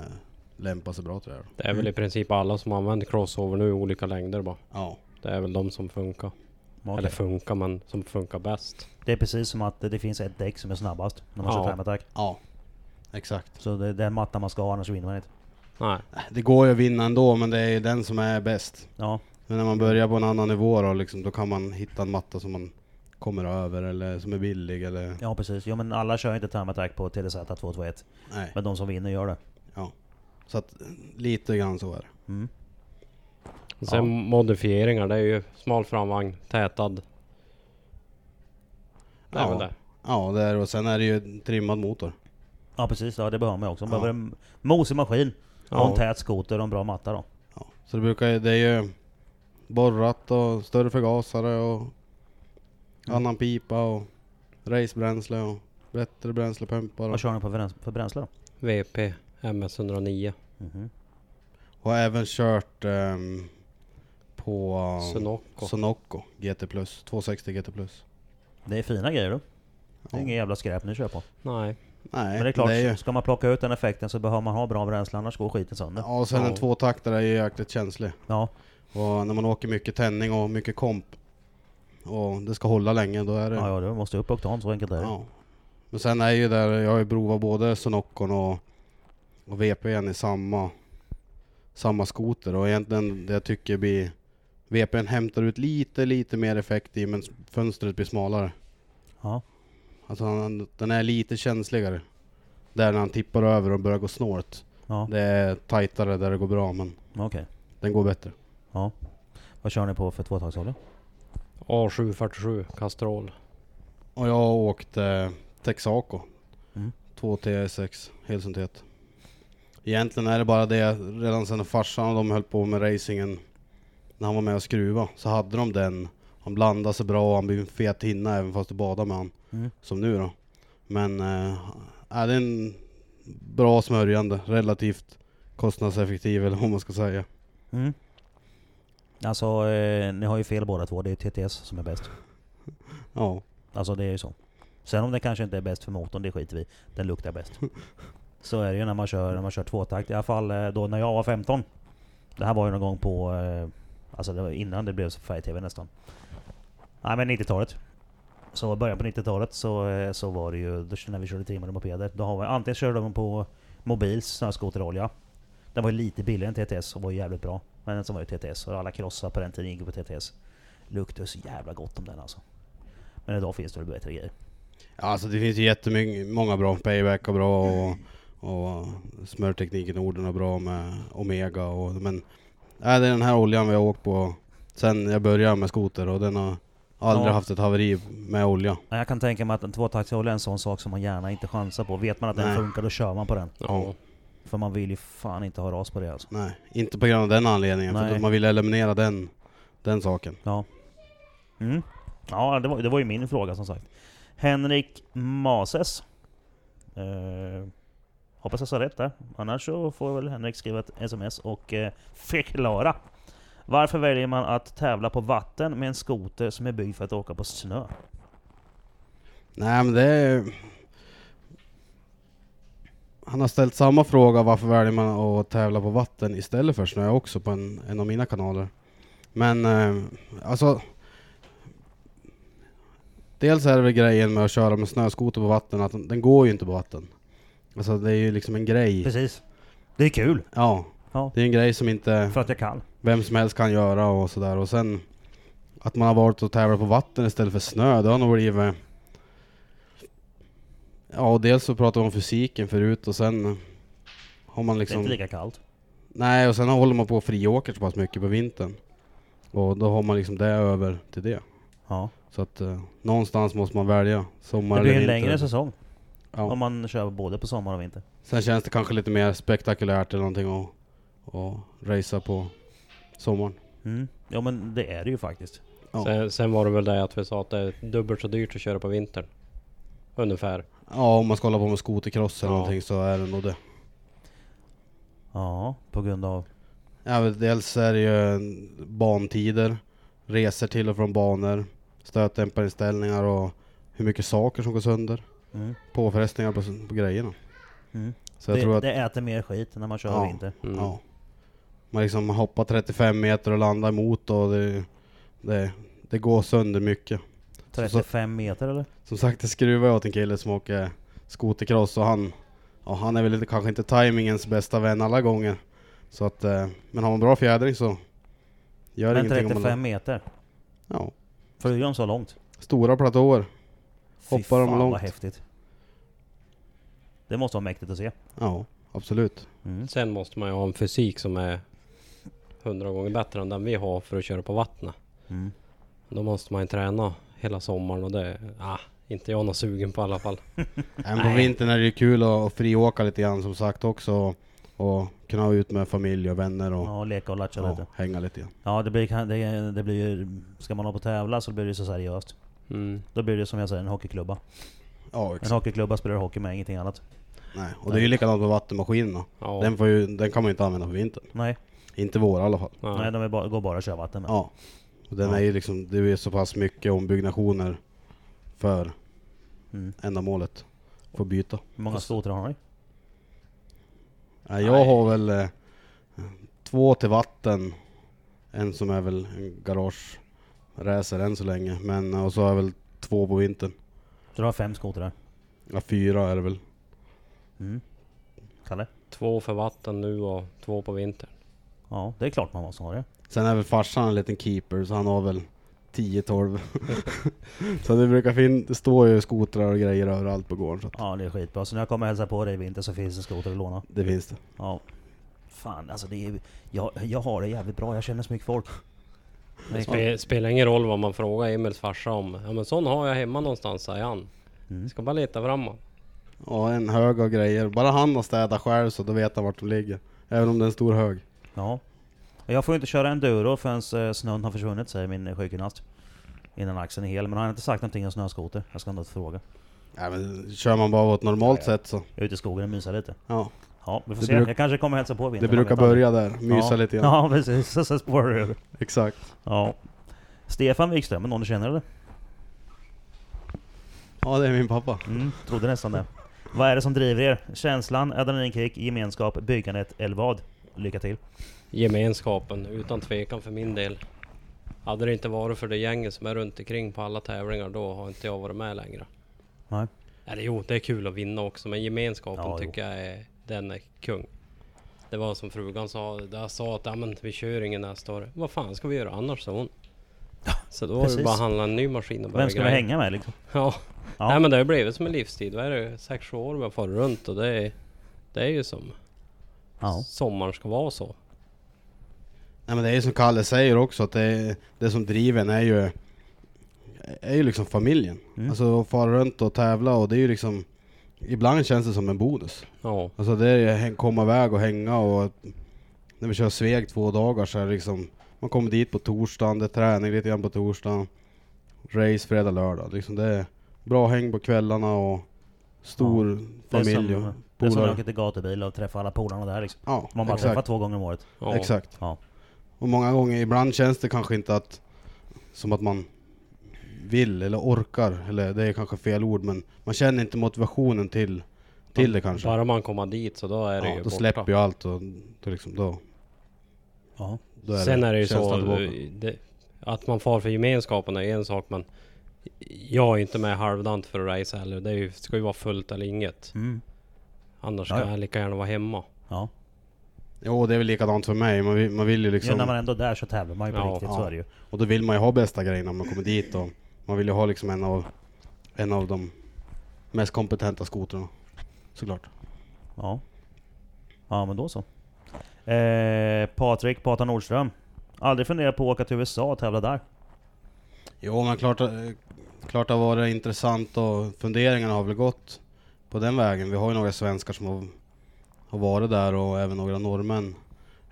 S2: lämpar sig bra till det här.
S3: Det är
S1: Mm.
S3: väl i princip alla som använder crossover nu i olika längder bara.
S2: Ja,
S3: Det är väl de som funkar.
S1: Okej.
S3: Eller funkar men som funkar bäst.
S1: Det är precis som att det finns ett däck som är snabbast när man
S3: Ja.
S1: kör time attack.
S2: ja, exakt.
S1: Så det är den mattan man ska ha annars vinner man inte.
S3: Nej,
S2: Det går ju att vinna ändå men det är ju den som är bäst.
S1: Ja,
S2: Men när man börjar på en annan nivå då, liksom, då kan man hitta en matta som man kommer över eller som är billig eller...
S1: ja precis. Jo men alla kör inte time attack på TDZ 221.
S2: Nej.
S1: Men de som vinner gör det.
S2: Så att eh, lite grann så är det.
S1: Mm.
S3: Och Sen
S1: Ja.
S3: modifieringar, det är ju smal framvagn, tätad. Det är
S2: Ja.
S3: väl det.
S2: Ja, det är, och sen är det ju en trimmad motor.
S1: Ja precis, ja, det behöver man också. Man
S2: Ja.
S1: behöver en mosig maskin, och en
S3: Ja.
S1: tät skoter och en bra matta då.
S2: Ja. Så det brukar ju- det är ju borrat och större förgasare och
S1: Mm.
S2: annan pipa och racebränsle och bättre bränslepumpar.
S1: Vad
S2: Och,
S1: kör ni på för bräns- för bränsle då?
S3: VP MS 109.
S1: Mhm.
S2: och har även kört ehm, på eh,
S3: Sunoco.
S2: Sunoco GT+, 260 GT+.
S1: Det är fina grejer du. Det är
S2: Ja.
S1: inget jävla skräp ni kör på.
S3: Nej.
S2: Nej,
S1: Men det är klart,
S2: ju...
S1: ska man plocka ut den effekten så behöver man ha bra bränsle annars går skiten sönder.
S2: Ja, och sen
S3: Ja.
S2: en tvåtaktare är ju jäkligt känslig.
S1: Ja,
S2: Och när man åker mycket tändning och mycket komp och det ska hålla länge, då är det...
S1: ja, ja du måste upp oktan, så enkelt är det.
S2: Ja. Men sen är ju där, jag har ju provat både Sonocon och, och VPN i samma, samma skoter och egentligen det jag tycker blir VPN hämtar ut lite, lite mer effekt i men fönstret blir smalare.
S1: Ja.
S2: Alltså han, den är lite känsligare. Där när han tippar över och börjar gå snålt.
S1: Ja,
S2: Det är tajtare där det går bra men
S1: okej.
S2: den går bättre.
S1: Vad kör ni på för tvåtaktsolja?
S3: A747 kastrol.
S2: Och jag har åkt eh, Texaco.
S1: Mm.
S2: 2 T6 helsyntet. Egentligen är det bara det, redan sedan farsan och de höll på med racingen när han var med och skruva så hade de den. Han blandade sig bra och han blev en fet hinna även fast du badade med han.
S1: Mm.
S2: Som nu då. Men eh, är det är en bra smörjande, relativt kostnadseffektiv eller vad man ska säga.
S1: Mm. Alltså, eh, ni har ju fel båda två. Det är TTS som är bäst.
S2: Ja,
S1: Alltså det är ju så. Sen om den kanske inte är bäst för motorn, det skiter vi i. Den luktar bäst. Så är det ju när man kör, när man kör tvåtakt. I alla fall eh, då när jag var 15. Det här var ju någon gång på... eh, Alltså det var innan det blev så färg-tv nästan. Nej men 90-talet. Så i början på 90-talet så, eh, så var det ju då när vi körde trimmade mopeder. Då har vi, antingen körde de på Mobils snöskoterolja. Den var ju lite billigare än TTS och var ju jävligt bra. Men den som var ju TTS och alla krossar på den tiden gick ju på TTS. Luktade så jävla gott om den alltså. Men idag finns det väl bättre grejer.
S2: Ja, Alltså det finns ju jättemånga bra, Payback och bra och, och smörtekniken Norden är bra med Omega och men nej, det är den här oljan vi har åkt på sen jag började med skoter och den har aldrig
S1: Ja.
S2: haft ett haveri med olja.
S1: Men Jag kan tänka mig att en tvåtaktsolja är en sån sak som man gärna inte chansar på. Vet man att den
S2: Nej.
S1: funkar då kör man på den.
S3: Ja.
S1: För man vill ju fan inte ha ras på det alltså.
S2: Nej, inte på grund av den anledningen för
S1: Nej.
S2: att man vill eliminera den, den saken.
S1: Ja. Mm. Ja, det var, det var ju min fråga som sagt. Henrik Mases. Eh, hoppas jag sa rätt där. Annars så får väl Henrik skriva ett sms och eh, förklara. Varför väljer man att tävla på vatten med en skoter som är byggd för att åka på snö?
S2: Nej men det är... Han har ställt samma fråga varför väljer man att tävla på vatten istället för snö också på en, en av mina kanaler. Men eh, alltså... Dels är det väl grejen med att köra med snöskoter på vatten att den, den går ju inte på vatten. Alltså det är ju liksom en grej.
S1: Precis. Det är kul.
S2: Ja.
S1: Ja.
S2: Det är en grej som inte
S1: För att jag kan.
S2: vem som helst kan göra och sådär. Och sen att man har valt att tävla på vatten istället för snö, det har nog blivit... Ja, och dels så pratade vi om fysiken förut och sen har man
S1: Det är inte
S2: liksom...
S1: lika kallt.
S2: Nej, och sen håller man på och friåker så pass mycket på vintern. Och då har man liksom det över till det.
S1: Ja.
S2: Så att eh, någonstans måste man välja. Sommar
S1: Det blir
S2: eller
S1: en
S2: vinter.
S1: längre säsong. Om
S2: Ja.
S1: man kör både på sommar och vinter.
S2: Sen känns det kanske lite mer spektakulärt eller någonting att, att racea på sommaren.
S1: Mm. Ja men det är det ju faktiskt.
S2: Ja.
S3: Sen, sen var det väl det att vi sa att det är dubbelt så dyrt att köra på vintern. Ungefär.
S2: Ja, om man ska hålla på med skotercross eller
S3: Ja.
S2: någonting så är det nog det.
S1: Ja, på grund av...
S2: Ja, men dels är det ju en- bantider, resor till och från banor, stötdämparinställningar och hur mycket saker som går sönder.
S1: Mm.
S2: Påfrestningar på, s- på grejerna.
S1: Mm.
S2: Så jag
S1: det,
S2: tror att
S1: det äter mer skit när man kör
S2: Ja.
S1: vinter.
S3: Mm.
S2: ja, man liksom hoppar 35 meter och landar emot och det, det, det går sönder mycket.
S1: 35 meter eller?
S2: Som sagt, det skruvar jag åt en kille som åker skotercross och han, ja, han är väl lite, kanske inte timingens bästa vän alla gånger. Så att, eh, men har man bra fjädring så gör det
S1: Men
S2: ingenting om
S1: 35
S2: man...
S1: meter?
S2: Ja,
S1: Flyger de så långt?
S2: stora platåer.
S1: Fy
S2: Hoppar de
S1: fan,
S2: långt?
S1: vad häftigt. Det måste vara mäktigt att se.
S2: Ja, absolut.
S1: Mm.
S3: Sen måste man ju ha en fysik som är hundra gånger bättre än den vi har för att köra på vattnet.
S1: Mm.
S3: Då måste man ju träna hela sommaren och det... Ah, inte jag någon sugen på i alla fall.
S2: Även på
S3: Nej.
S2: vintern är det ju kul att, att friåka lite grann som sagt också. Och kunna vara ut med familj och vänner och
S1: Ja, leka och latcha
S2: ja,
S1: lite.
S2: hänga lite grann.
S1: Ja, det blir, kan- det, det blir ju... Ska man hålla på och tävla så blir det ju så seriöst.
S3: Mm.
S1: Då blir det som jag säger, en hockeyklubba.
S2: Ja,
S1: En
S2: exakt.
S1: hockeyklubba spelar hockey med, ingenting annat.
S2: Nej. Och det är ju likadant med vattenmaskinerna.
S3: Ja.
S2: Den, får ju, den kan man ju inte använda på vintern.
S1: Nej,
S2: Inte våra i alla fall.
S3: ja.
S1: nej de är bara, går bara att köra vatten med.
S2: Ja. Och den
S1: Ja.
S2: är ju liksom, det är ju så pass mycket ombyggnationer för
S1: Mm.
S2: ändamålet. Får byta.
S1: Hur många skotrar har ni?
S2: Nej, jag
S3: Nej.
S2: har väl eh, två till vatten. En som är väl en garageracer än så länge. Men eh, och så har jag väl två på vintern.
S1: Så du har fem skotrar?
S2: Ja, fyra är det väl.
S1: Mm. Kalle?
S3: Två för vatten nu och två på vintern.
S1: Ja, det är klart man måste ha det.
S2: Sen är väl farsan en liten keeper så han har väl 10-12. <laughs> så det brukar fin- det står ju skotrar och grejer överallt på gården. Så att
S1: Ja, det är skitbra. Så när jag kommer hälsa på dig i vinter så finns det skoter att låna.
S2: det finns det.
S1: Ja. Fan alltså, det är, jag, jag har det jävligt bra. Jag känner så mycket folk.
S3: Det spe, spelar ingen roll vad man frågar Emils farsa om. Ja men sån har jag hemma någonstans säger han.
S1: Mm.
S3: Ska bara leta framåt.
S2: Ja, en hög av grejer. Bara han har städat själv så då vet han vart de ligger. Även om det är en stor hög.
S1: Ja. Jag får ju inte köra enduro förrän eh, snön har försvunnit, säger min eh, sjukgymnast. Innan axeln är hel. Men han har inte sagt någonting om snöskoter. Jag ska ändå fråga.
S2: Nej, men kör man bara på ett normalt sätt så.
S1: Jag är ute i skogen och mysar lite.
S2: Ja,
S1: Ja, vi får
S2: Det
S1: se.
S2: bruk-
S1: Jag kanske kommer hälsa på i vinter.
S2: det
S1: man
S2: brukar
S1: vet aldrig.
S2: börja där. Mysa
S1: ja.
S2: lite grann.
S1: Ja, <laughs> precis. Så, så spårar det ur.
S2: Exakt.
S1: Ja. Stefan Wikström, är någon du känner eller?
S2: Ja, det är min pappa.
S1: Mm, trodde nästan det. Vad är det som driver er? Känslan, adrenalinkick, gemenskap, byggandet eller vad? Lycka till.
S3: Gemenskapen, utan tvekan för min del. Hade det inte varit för det gänget som är runt omkring på alla tävlingar, då har inte jag varit med längre.
S1: Nej.
S3: Eller jo, det är kul att vinna också, men gemenskapen
S1: Ja, jo.
S3: tycker jag är, den är kung. Det var som frugan sa, jag sa att ja, men, vi kör ingen nästa år. Vad fan ska vi göra annars, sa hon. Så då var det
S1: precis.
S3: bara att handla en ny maskin och börja
S1: Vem ska vi
S3: greja.
S1: hänga med liksom?
S3: Ja.
S1: Ja.
S3: Nej men det har ju blivit som en livstid. Vad är det? 6-7 år vi har farit runt och det är, det är ju som
S1: Ja.
S3: sommaren ska vara så.
S2: Nej men det är ju som Kalle säger också att det, det som driver en är ju, är ju liksom familjen.
S1: Mm.
S2: Alltså att fara runt och tävla och det är ju liksom, ibland känns det som en bonus.
S3: Ja.
S2: Alltså det är ju häng- komma iväg och hänga och att när vi kör Sveg två dagar så är det liksom, man kommer dit på torsdagen, det är träning lite grann på torsdagen, race fredag, lördag. Liksom det är bra häng på kvällarna och stor
S1: Det är
S2: familj och
S1: som, det är som att
S2: polare.
S1: åka till gatubil och träffa alla polarna där liksom.
S2: Ja,
S1: Man bara
S2: exakt.
S1: träffar två gånger om året.
S3: ja.
S2: Exakt.
S1: Ja.
S2: Och många gånger, ibland känns det kanske inte att som att man vill eller orkar, eller det är kanske fel ord, men man känner inte motivationen till, till det kanske.
S3: Bara man kommer dit så då är det
S2: ja,
S3: ju
S2: då
S3: borta.
S2: släpper ju allt och då, liksom, då,
S1: Ja.
S2: då är
S3: Sen
S2: det,
S3: är det ju
S2: känslan
S3: så eh,
S2: tillbaka.
S3: det, att man far för gemenskapen är en sak men jag är inte med halvdant för att racea heller. Det är ju, ska ju vara fullt eller inget.
S1: Mm.
S3: Annars
S1: Ja,
S3: kan
S1: ja.
S3: jag lika gärna vara hemma.
S1: Ja.
S2: Jo, det är väl likadant för mig. Man vill, man vill ju
S1: ja.
S2: liksom,
S1: När man ändå är där så tävlar man ju på
S3: Ja.
S1: riktigt,
S2: Ja.
S1: så är det ju.
S2: och då vill man ju ha bästa grejerna när man kommer dit och man vill ju ha liksom en av, en av de mest kompetenta skotrarna. Såklart.
S1: Ja. Ja men då så. Eh, Patrik, Pata Nordström. Aldrig funderat på att åka till USA och tävla där?
S2: Jo, men klart, eh, klart det har varit intressant och funderingarna har väl gått på den vägen. Vi har ju några svenskar som har, har varit där och även några norrmän.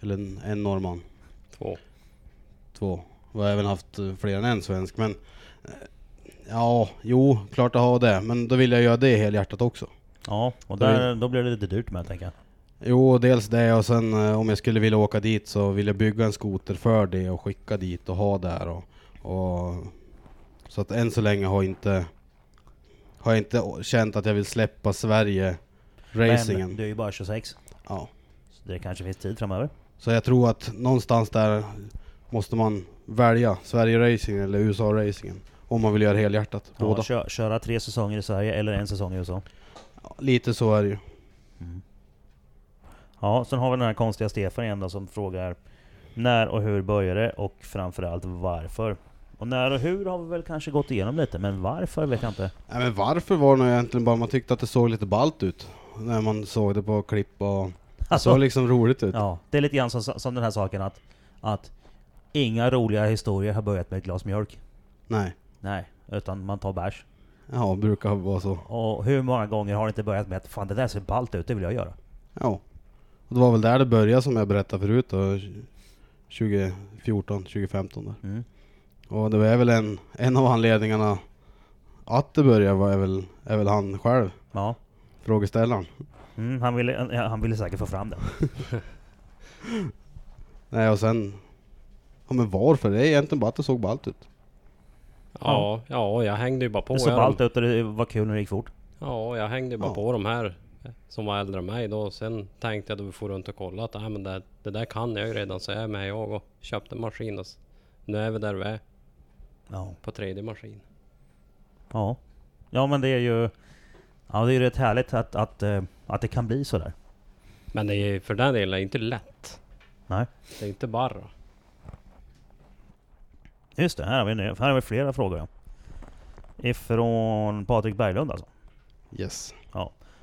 S2: Eller en, en norrman,
S3: Två.
S2: två. Vi har även haft eh, fler än en svensk. Men eh, ja, jo, klart det har det. Men då vill jag göra det helhjärtat också.
S1: Ja, och där, då blir det lite dyrt med tänker jag.
S2: Jo, dels det och sen eh, om jag skulle vilja åka dit så vill jag bygga en skoter för det och skicka dit och ha där. Och, och, så att än så länge har inte har jag inte å- känt att jag vill släppa Sverige racingen.
S1: Men du är ju bara 26.
S2: Ja.
S1: Så det kanske finns tid framöver.
S2: Så jag tror att någonstans där måste man välja Sverige racingen eller USA racingen om man vill göra helhjärtat.
S1: Ja,
S2: Båda.
S1: kö, köra tre säsonger i Sverige eller en säsong i USA.
S2: Ja, Lite så är det ju.
S1: Ja, sen har vi den här konstiga Stefan igen då, som frågar När och hur började det och framförallt varför? Och när och hur har vi väl kanske gått igenom lite, men varför vet jag inte.
S2: Nej, men varför var det nog egentligen bara man tyckte att det såg lite balt ut när man såg det på klipp och det såg liksom roligt ut.
S1: Alltså, ja, det är lite grann som, som den här saken att, att inga roliga historier har börjat med ett glas mjölk.
S2: Nej.
S1: Nej, utan man tar bärs.
S2: Ja, brukar vara så.
S1: Och hur många gånger har det inte börjat med att fan det där ser ballt ut, det vill jag göra.
S2: Ja. Och det var väl där det började som jag berättade förut då, 2014, 2015 där.
S1: Mm.
S2: Och det var väl en, en av anledningarna att det började var är väl, är väl han själv,
S1: Ja.
S2: frågeställaren.
S1: Mm, han, ville, ja, han ville säkert få fram det.
S2: Nej och sen, ja men varför? Det är egentligen bara att det såg ballt ut.
S1: Ja.
S3: Ja, ja, jag hängde ju bara på.
S1: det såg
S3: jag-
S1: ballt ut och det var kul när det gick fort.
S3: Ja, jag hängde bara
S2: Ja.
S3: på de här eh, som var äldre än mig då. Sen tänkte jag då vi for runt och kollade att "Nej, men det, det där kan jag ju redan så jag är med jag och köpte en maskin. Och s- nu är vi där vi är
S1: Ja.
S3: på tredje maskin.
S1: Ja. Ja men det är ju... Ja det är ju rätt härligt att, att, eh, att det kan bli sådär.
S3: Men det är ju för den delen inte lätt.
S1: Nej.
S3: Det är inte bara.
S1: Just det, här har vi, nu- här har vi flera frågor. ja. Ifrån Patrik Berglund alltså.
S2: Yes.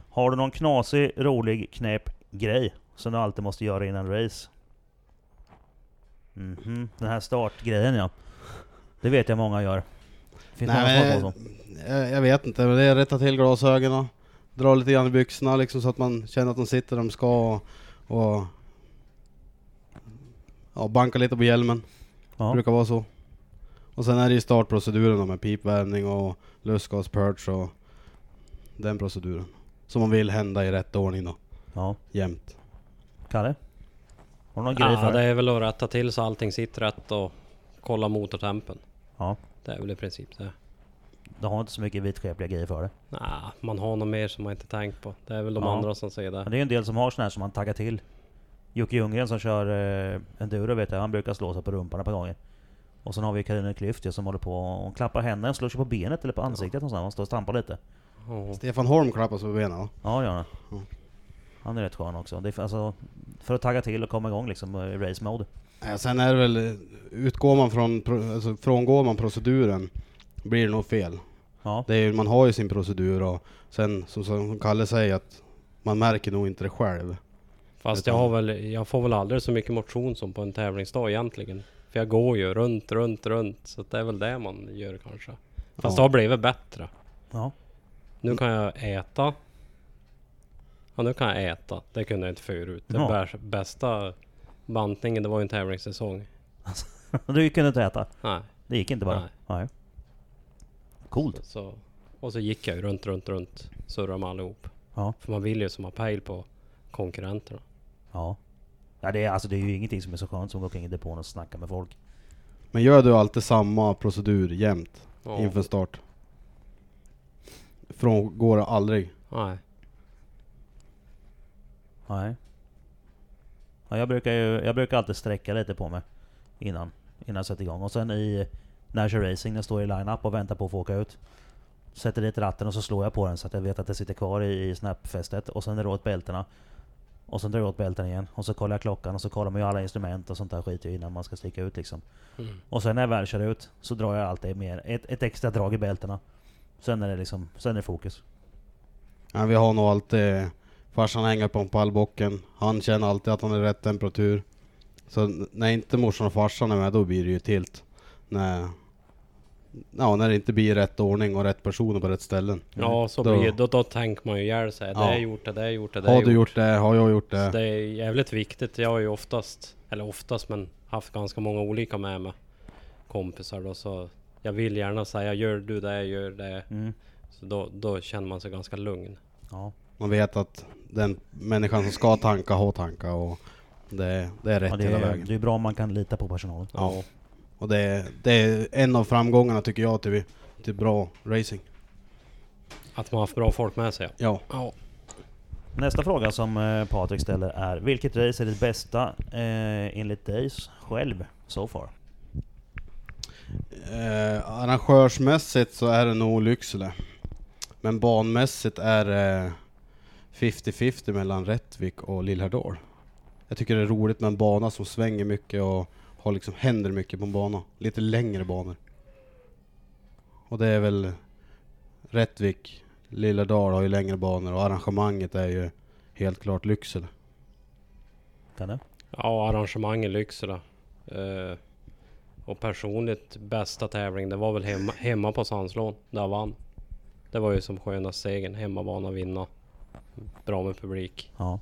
S1: Har du någon knasig, rolig, knäpp grej som du alltid måste göra innan race? Mhm, den här startgrejen ja. Det vet jag många gör. Finns det någon som har
S2: Nej,
S1: på så?
S2: Eh, jag, jag vet inte, men det är rätta till glasögonen, dra lite grann i byxorna liksom så att man känner att de sitter där de ska och, och ja, banka lite på hjälmen.
S1: Ja.
S2: brukar vara så. Och sen är det ju startproceduren då med pipvärmning och lustgaspurge och den proceduren. Som man vill hända i rätt ordning då,
S1: ja.
S2: jämt.
S1: Kalle? Har du någon grej
S3: Ja,
S1: för
S3: det är väl att rätta till så allting sitter rätt och kolla motortempen.
S1: Ja.
S3: Det är väl i princip det.
S1: Du har inte så mycket vitskepliga grejer för det.
S3: Nah, man har något mer som man inte tänkt på. Det är väl de
S1: Ja.
S3: andra som säger
S1: Men
S3: det.
S1: det är ju en del som har såna här som man taggar till. Jocke Ljunggren som kör eh, enduro vet jag, han brukar slå sig på rumpan på gången. Och sen har vi Karina Klyft ja, som håller på och klappar händerna och slår sig på benet eller på ansiktet någonstans. Han står och stampar lite.
S3: Ja.
S2: Stefan Holm klappar sig på benen va?
S1: Ja, det gör han.
S2: Mm.
S1: Han är rätt skön också. Det är, för- alltså, för att tagga till och komma igång liksom eh, i race mode.
S2: Ja, sen är det väl, eh, utgår man från, pro- alltså, frångår man proceduren blir det nog fel.
S1: Ja,
S2: Det är, ju- man har ju sin procedur och sen som, som Kalle säger att man märker nog inte det själv.
S3: Fast jag, har väl, jag får väl aldrig så mycket motion som på en tävlingsdag egentligen. För jag går ju runt, runt, runt. Så att det är väl det man gör kanske. Fast det har blivit bättre.
S1: ja. <laughs>
S3: Nu kan jag äta. Ja, nu kan jag äta. Det kunde jag inte förut. Den
S1: Ja.
S3: bärs- bästa bantningen, det var ju en tävlingssäsong.
S1: Du kunde inte äta.
S3: Nej,
S1: Det gick inte bara.
S3: Nej.
S1: Nej. Coolt.
S3: så... Och så gick jag ju runt, runt, runt. Surrade med allihop.
S1: Ja.
S3: För man vill ju som har pejl på konkurrenterna.
S1: Ja. Ja, det, är, alltså, det är ju ingenting som är så skönt som att gå omkring i depån och snacka med folk.
S2: Men gör du alltid samma procedur jämt
S3: Ja.
S2: inför start? Frångår det aldrig?
S3: Nej.
S1: Nej. Ja, jag, brukar ju, jag brukar alltid sträcka lite på mig innan, innan jag sätter igång. Och sen i när jag kör racing, när jag står i line-up och väntar på att få åka ut. Sätter dit ratten och så slår jag på den så att jag vet att det sitter kvar i, i snapfästet. Och sen drar jag åt bältena. Och sen drar jag åt bältena igen. Och så kollar jag klockan och så kollar man ju alla instrument och sånt där skit ju innan man ska sticka ut liksom.
S3: Mm.
S1: Och sen när jag väl kör ut så drar jag alltid mer, ett, ett extra drag i bältena. Sen är det liksom, sen är det fokus.
S2: Ja, vi har nog alltid farsan hänger på en pallbocken. Han känner alltid att han är rätt temperatur. Så n- när inte morsan och farsan är med då blir det ju tilt. När, ja, när det inte blir rätt ordning och rätt personer på rätt ställen.
S1: Mm.
S3: Ja, så
S2: Mm. Då-
S3: blir då, då tänker man ju ihjäl sig. Det
S2: Ja.
S3: är gjort, det det är gjort, det är
S2: Har du gjort det? Har jag gjort
S3: Så
S2: det?
S3: det är jävligt viktigt. Jag har ju oftast, eller oftast men haft ganska många olika med mig. Kompisar då så jag vill gärna säga gör du det, gör det.
S1: Mm.
S3: Så då, då känner man sig ganska lugn.
S1: Ja.
S2: Man vet att den människan som ska tanka har tanka och det, det är rätt
S1: Ja, det,
S2: hela
S1: är,
S2: vägen.
S1: det är bra om man kan lita på personalen.
S2: Ja. Och det, är- det är en av framgångarna tycker jag till, till bra racing.
S3: Att man har haft bra folk med sig.
S2: Ja.
S3: Ja.
S1: Nästa fråga som eh, Patrik ställer är Vilket race är det bästa eh, enligt dig s- själv so far?
S2: Eh, arrangörsmässigt så är det nog Lycksele. Men banmässigt är det 50-50 mellan Rättvik och Lillhärdal. Jag tycker det är roligt med en bana som svänger mycket och har liksom, händer mycket på en bana. Lite längre banor. Och det är väl Rättvik, Lillhärdal har ju längre banor och arrangemanget är ju helt klart Lycksele.
S1: Kan du?
S3: Ja, arrangemang i Lycksele. Eh, och personligt bästa tävling, det var väl hemma, hemma på Sandslån. Där jag vann. Det var ju som skönaste segern. Hemmabana vinna. Bra med publik.
S1: Ja.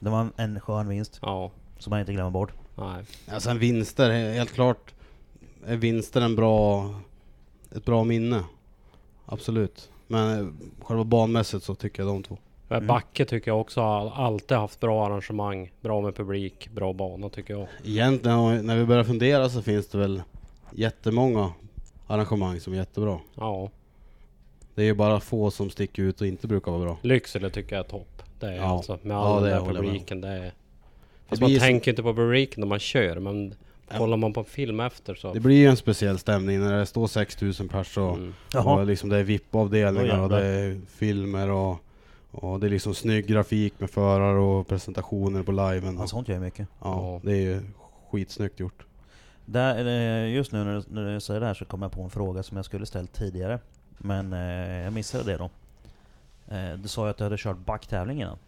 S1: Det var en- en skön vinst
S3: Ja,
S1: som man inte glömmer bort.
S3: nej.
S2: Ja, sen Alltså, vinster, he- helt klart är vinster en bra, ett bra minne. Absolut. Men eh, själva banmässigt så tycker jag de två.
S3: Mm. Backe tycker jag också har alltid haft bra arrangemang, bra med publik, bra bana tycker jag.
S2: Egentligen, om- när vi börjar fundera så finns det väl jättemånga arrangemang som är jättebra.
S3: Ja,
S2: Det är ju bara få som sticker ut och inte brukar vara bra.
S3: Lycksele tycker jag är topp. Det är
S2: Ja.
S3: alltså med
S2: Ja,
S3: all
S2: det
S3: den där
S2: håller jag med om.
S3: publiken. Det är... Fast
S2: Det blir
S3: man
S2: ju så-
S3: tänker inte på publiken när man kör, men kollar man på film efter så...
S2: Det blir ju en speciell stämning när det står 6000 pers och,
S3: Mm.
S1: Jaha.
S2: och liksom det är VIP-avdelningar
S1: Oj,
S2: och det är filmer och, och det är liksom snygg grafik med förare och presentationer på liven.
S1: Ja, sånt gör ju mycket.
S2: Ja,
S3: Ja.
S2: det är ju skitsnyggt gjort.
S1: Där, eh, just nu när du, när du säger det här så kommer jag på en fråga som jag skulle ställt tidigare. Men eh, jag missade det då. Eh, du sa ju att du hade kört backtävling innan.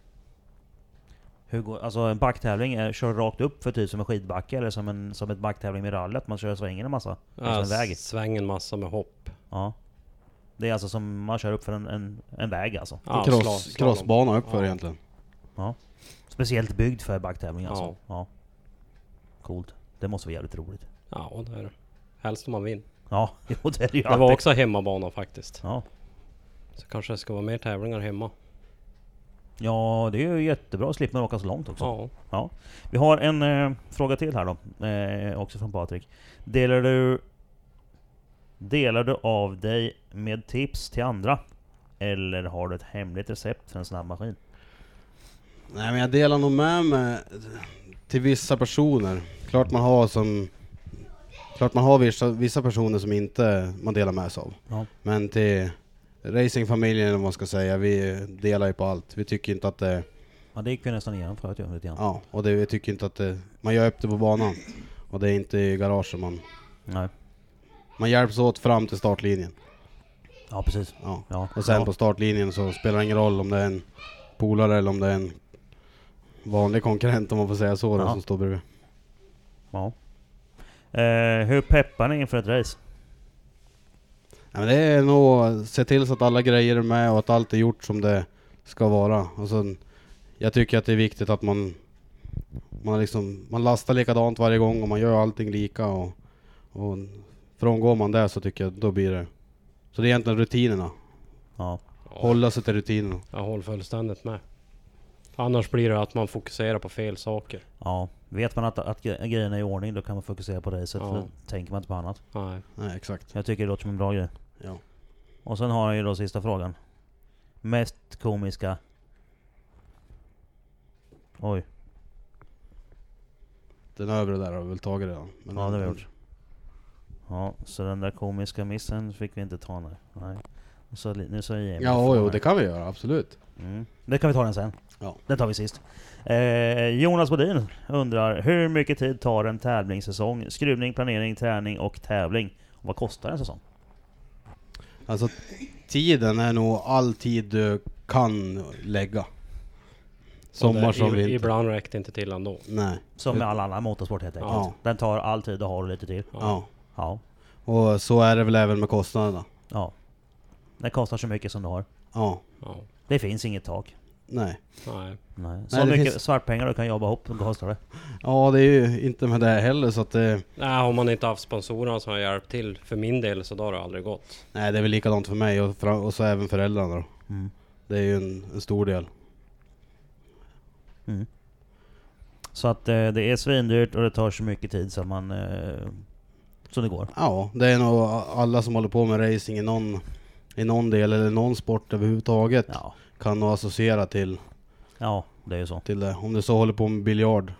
S1: Hur går, alltså en backtävling, är, kör rakt upp för typ som en skidbacke eller som en som ett backtävling med rally? Att man kör svängen en massa?
S3: Ja,
S1: Alltså en väg?
S3: svängen massa med hopp.
S1: Ja. Det är alltså som man kör upp för en, en, en väg alltså.
S3: Ja, sla-
S2: Cross,
S3: slalom.
S2: crossbana uppför
S3: Ja.
S2: egentligen.
S1: Speciellt byggd för backtävling alltså.
S3: Ja.
S1: Ja. Coolt. Det måste vara jävligt roligt.
S3: Ja, det är det. Helst om man vinner.
S1: Ja, <laughs> jo, det är det ju
S3: Det var
S1: alltid.
S3: också hemmabana faktiskt.
S1: Ja.
S3: Så kanske det ska vara mer tävlingar hemma.
S1: ja, det är ju jättebra att slippa åka så långt också.
S3: Ja.
S1: Vi har en eh, fråga till här då, eh, också från Patrik. Delar du Delar du av dig med tips till andra? Eller har du ett hemligt recept för en snabbmaskin?
S2: Nej men jag delar nog med mig till vissa personer. Klart man har som... Klart man har vissa, vissa personer som inte man delar med sig av.
S1: Ja.
S2: Men till racingfamiljen eller vad man ska säga, vi delar ju på allt. Vi tycker inte att det...
S1: Ja, det gick vi nästan igenom förut ju, lite grann.
S2: Ja, och det, vi tycker inte att det... Man gör upp det på banan. Och det är inte i garagen man...
S1: Nej.
S2: Man hjälps åt fram till startlinjen.
S1: ja, precis.
S2: Ja.
S1: Ja.
S2: Och sen
S1: ja.
S2: på startlinjen så spelar det ingen roll om det är en polare eller om det är en vanlig konkurrent om man får säga så, då,
S1: Ja.
S2: som står bredvid.
S1: Ja. Eh, hur peppar ni inför ett race?
S2: Ja, men det är nog att se till så att alla grejer är med och att allt är gjort som det ska vara. Och sen, jag tycker att det är viktigt att man, man, liksom, man lastar likadant varje gång och man gör allting lika. Och, och frångår man det så tycker jag då blir det... Så det är egentligen rutinerna.
S1: Ja.
S2: Hålla sig till rutinerna.
S3: Jag håller fullständigt med. Annars blir det att man fokuserar på fel saker.
S1: ja. Vet man att, att gre- grejerna är i ordning då kan man fokusera på racet.
S3: Ja.
S1: Då tänker man inte på annat.
S3: Nej.
S2: Nej, exakt.
S1: Jag tycker det låter som en bra grej.
S2: Ja.
S1: Och sen har han ju då sista frågan. Mest komiska... Oj.
S2: Den övre där har vi väl tagit redan. Men
S1: Ja, det har vi gjort. Ja, så den där komiska missen fick vi inte ta nu. Nej. Och så, li- nu sa jag Emil
S2: Ja,
S1: ifrån
S2: jo,
S1: här.
S2: det kan vi göra, absolut.
S1: Mm. Det kan vi ta den sen.
S2: Ja.
S1: Den tar vi sist. Eh, Jonas Bodin undrar, hur mycket tid tar en tävlingssäsong? Skruvning, planering, träning och tävling. Och vad kostar en säsong?
S2: Alltså, tiden är nog all tid du kan lägga. Sommar
S3: Och det-
S2: som
S3: i-
S2: vinter.
S3: Ibland räckte inte till ändå.
S2: Nej.
S1: Som med all annan motorsport helt enkelt.
S2: Ja.
S1: Den tar all tid och har lite till.
S2: Ja.
S1: Ja.
S2: Och så är det väl även med kostnaderna.
S1: ja. Den kostar så mycket som du har.
S2: Ja.
S3: Ja.
S1: Det finns inget tak.
S2: Nej.
S3: Nej.
S1: Nej. Så
S2: Nej, det
S1: mycket
S2: finns-
S1: svartpengar du kan jobba ihop, då kostar det.
S2: Ja, det är ju inte med det heller så att det...
S3: Nej, har man inte haft sponsorerna som har hjälpt till för min del så då har det aldrig gått.
S2: Nej, det är väl likadant för mig och, fra- och så även föräldrarna då.
S1: Mm.
S2: Det är ju en, en stor del.
S1: Så att eh, det är svindyrt och det tar så mycket tid som man... Eh, som det går.
S2: Ja, det är nog alla som håller på med racing i någon, i någon del eller någon sport överhuvudtaget
S1: Ja.
S2: kan nog associera till,
S1: Ja, det är ju så.
S2: till det. Om du så håller på med biljard,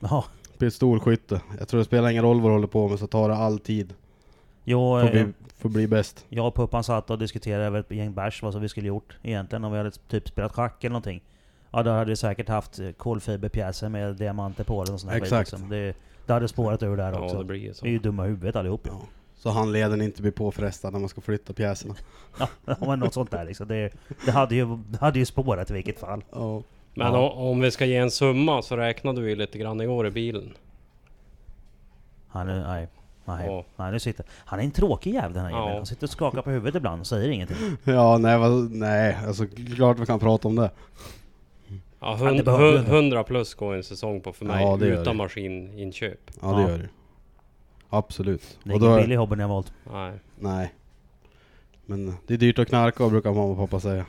S1: Ja.
S2: pistolskytte. Jag tror det spelar ingen roll vad du håller på med så tar det all tid.
S1: Jo,
S2: Får
S1: eh,
S2: bli, får bli bäst.
S1: Jag och Puppan satt och diskuterade över ett gäng bärs vad som vi skulle gjort egentligen om vi hade typ spelat schack eller någonting. Ja då hade vi säkert haft eh, kolfiberpjäser med diamanter på eller någon sån här
S2: Exakt.
S1: Skit, liksom. det, det hade spårat ur där
S3: Ja,
S1: också.
S3: det blir ju
S1: Vi är
S3: så.
S1: ju dumma i huvudet allihop.
S2: Ja. Så handleden inte blir påfrestad när man ska flytta pjäserna.
S1: Ja, <laughs> men något sånt där liksom. Det, det, hade ju, det hade ju spårat i vilket fall.
S2: Ja.
S3: Men
S1: Ja.
S3: o- om vi ska ge en summa så räknade vi lite grann igår i bilen.
S1: Han är, nej, nej,
S3: Ja.
S1: nej, nu sitter, han är en tråkig jävel den här
S3: Ja.
S1: jäveln. Han sitter och skakar på huvudet ibland och säger
S2: <laughs>
S1: ingenting.
S2: Ja, nej, vad, nej, alltså klart vi kan prata om det.
S3: Ja,
S1: det
S3: hund,
S1: behöver du
S3: hu-
S1: inte.
S3: 100 plus går en säsong på för mig
S2: Ja, det gör
S3: utan
S2: det.
S3: maskininköp.
S2: Ja, det
S1: Ja.
S2: gör det Absolut.
S1: Det är
S2: Och
S1: ingen
S2: då,
S1: billig hobby ni har valt.
S3: Nej.
S2: nej. Men det är dyrt att knarka brukar mamma och pappa säga.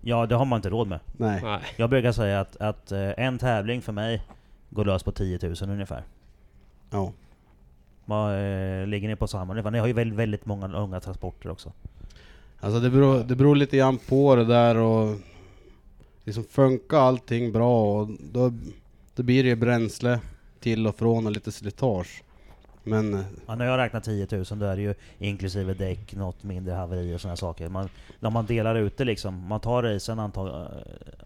S1: Ja, det har man inte råd med.
S2: Nej.
S3: Nej.
S1: Jag brukar säga att, att eh, en tävling för mig går lös på 10 000 ungefär.
S2: Ja.
S1: Vad eh, ligger ni på samma nivå? Ni har ju väldigt, väldigt många unga transporter också.
S2: Alltså det beror, det beror lite grann på det där och liksom funkar allting bra och då, då blir det ju bränsle till och från och lite slitage. Men
S1: Ja, när jag räknar 10 000 då är det ju inklusive däck, något mindre haveri och sådana saker. Man, när man delar ut det liksom, man tar racen, antag, eh,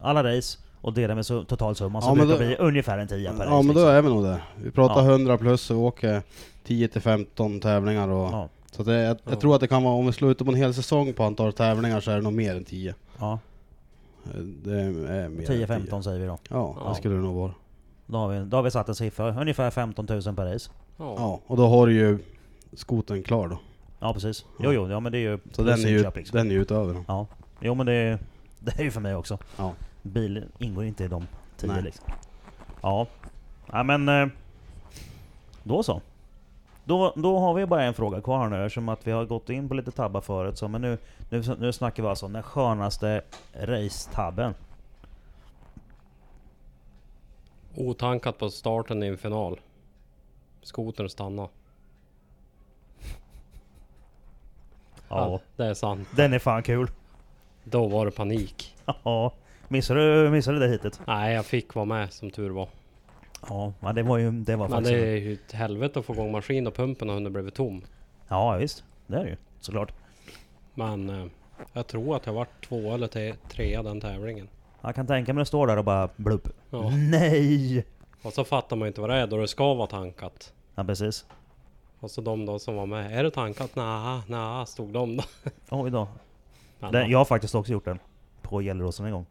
S1: alla race och delar med su- totalsumman så
S2: Ja, men
S1: brukar det
S2: då-
S1: bli ungefär en 10 per
S2: ja,
S1: race.
S2: men då
S1: liksom.
S2: är vi nog där. Vi pratar
S1: Ja.
S2: 100 plus och vi åker 10 till 15 tävlingar och
S1: ja,
S2: Så att det, jag, jag
S3: Ja.
S2: tror att det kan vara, om vi slår ut det på en hel säsong på antal tävlingar så är det nog mer än 10.
S1: ja,
S2: Eh, Det är mer än 10.
S1: 10-15 säger vi då.
S2: Ja,
S3: Ja.
S2: det skulle det nog vara.
S1: Då har, vi, då har vi satt en siffra, ungefär 15 000 per race.
S3: Ja.
S2: Ja, och då har du ju skoten klar då.
S1: Ja precis. Jo, jo, ja, men det är ju...
S2: Så den är, ju,
S1: Liksom.
S2: den är ju utöver. då.
S1: Ja. Jo men det är, det är ju <laughs> för mig också.
S2: Ja.
S1: Bil ingår inte i de tio
S2: Nej.
S1: liksom. Ja. ja men eh, då så. Då, då har vi bara en fråga kvar här nu eftersom att vi har gått in på lite tabbar förut. Så, men nu, nu, nu snackar vi alltså om den skönaste racetabben.
S3: Otankat på starten i en final. Skotern stanna.
S1: Ja,
S3: det är sant.
S1: den är fan kul. <laughs>
S3: Då var det panik.
S1: Ja. Missade du, missade du det hitet?
S3: Nej, jag fick vara med som tur var.
S1: Ja, men det var ju... Det var
S3: Men
S1: faktiskt...
S3: det är ju ett helvete att få igång maskin och pumpen har hunnit blivit tom.
S1: Ja, visst. Det är det ju. Såklart.
S3: Men eh, jag tror att jag varit två eller te- trea den tävlingen.
S1: Jag kan tänka mig att det står där och bara blupp.
S3: Ja.
S1: Nej!
S3: Och så fattar man ju inte vad det är då det ska vara tankat.
S1: Ja, precis.
S3: Och så de då som var med. Är det tankat? Nja, nja, stod de då. <laughs>
S1: Oj då.
S3: Men,
S1: Den, jag har faktiskt också gjort den. På Gelleråsen en gång.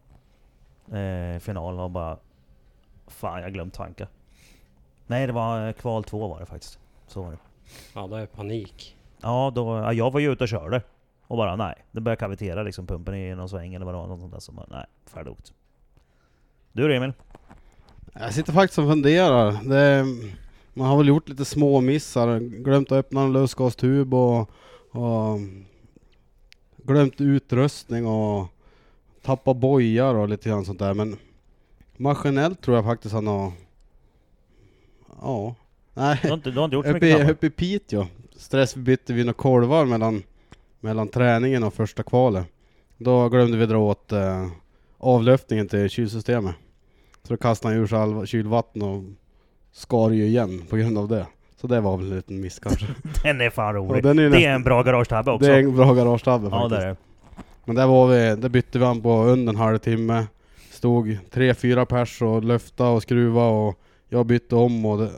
S1: Eh, final och bara... Fan, jag har glömt tanka. Nej, det var eh, kval två var det faktiskt. Så var det.
S3: Ja, det är panik.
S1: Ja, då, ja, jag var ju ute och körde. Och bara nej, den började kavitera liksom pumpen i någon sväng eller vad det var. Något sånt där. Så bara, nej, färdokt. Du då Emil?
S2: Jag sitter faktiskt och funderar. Det, man har väl gjort lite små missar. Glömt att öppna en lustgastub och, och glömt utrustning och tappa bojar och lite grann sånt där. Men maskinellt tror jag faktiskt han har... Ja. Nej.
S1: Du har inte, du har inte
S2: <laughs>
S1: gjort så
S2: Uppe
S1: mycket
S2: i,
S1: tappar?
S2: uppe i Piteå stressbytte vi några kolvar mellan, mellan träningen och första kvalet. Då glömde vi dra åt eh, avlöpningen till kylsystemet. Så då kastade han ur sig all kylvatten och skar ju igen på grund av det. Så det var väl en liten
S1: <laughs>
S2: miss kanske.
S1: Den är fan rolig.
S2: Och den är ju
S1: det är
S2: nästan-
S1: en bra garagetabbe också.
S2: det är en bra garagetabbe
S1: ja,
S2: faktiskt.
S1: det är det.
S2: Men där var vi, där bytte vi han på under en halvtimme. Stod tre, fyra pers och löfta och skruva och jag bytte om och det,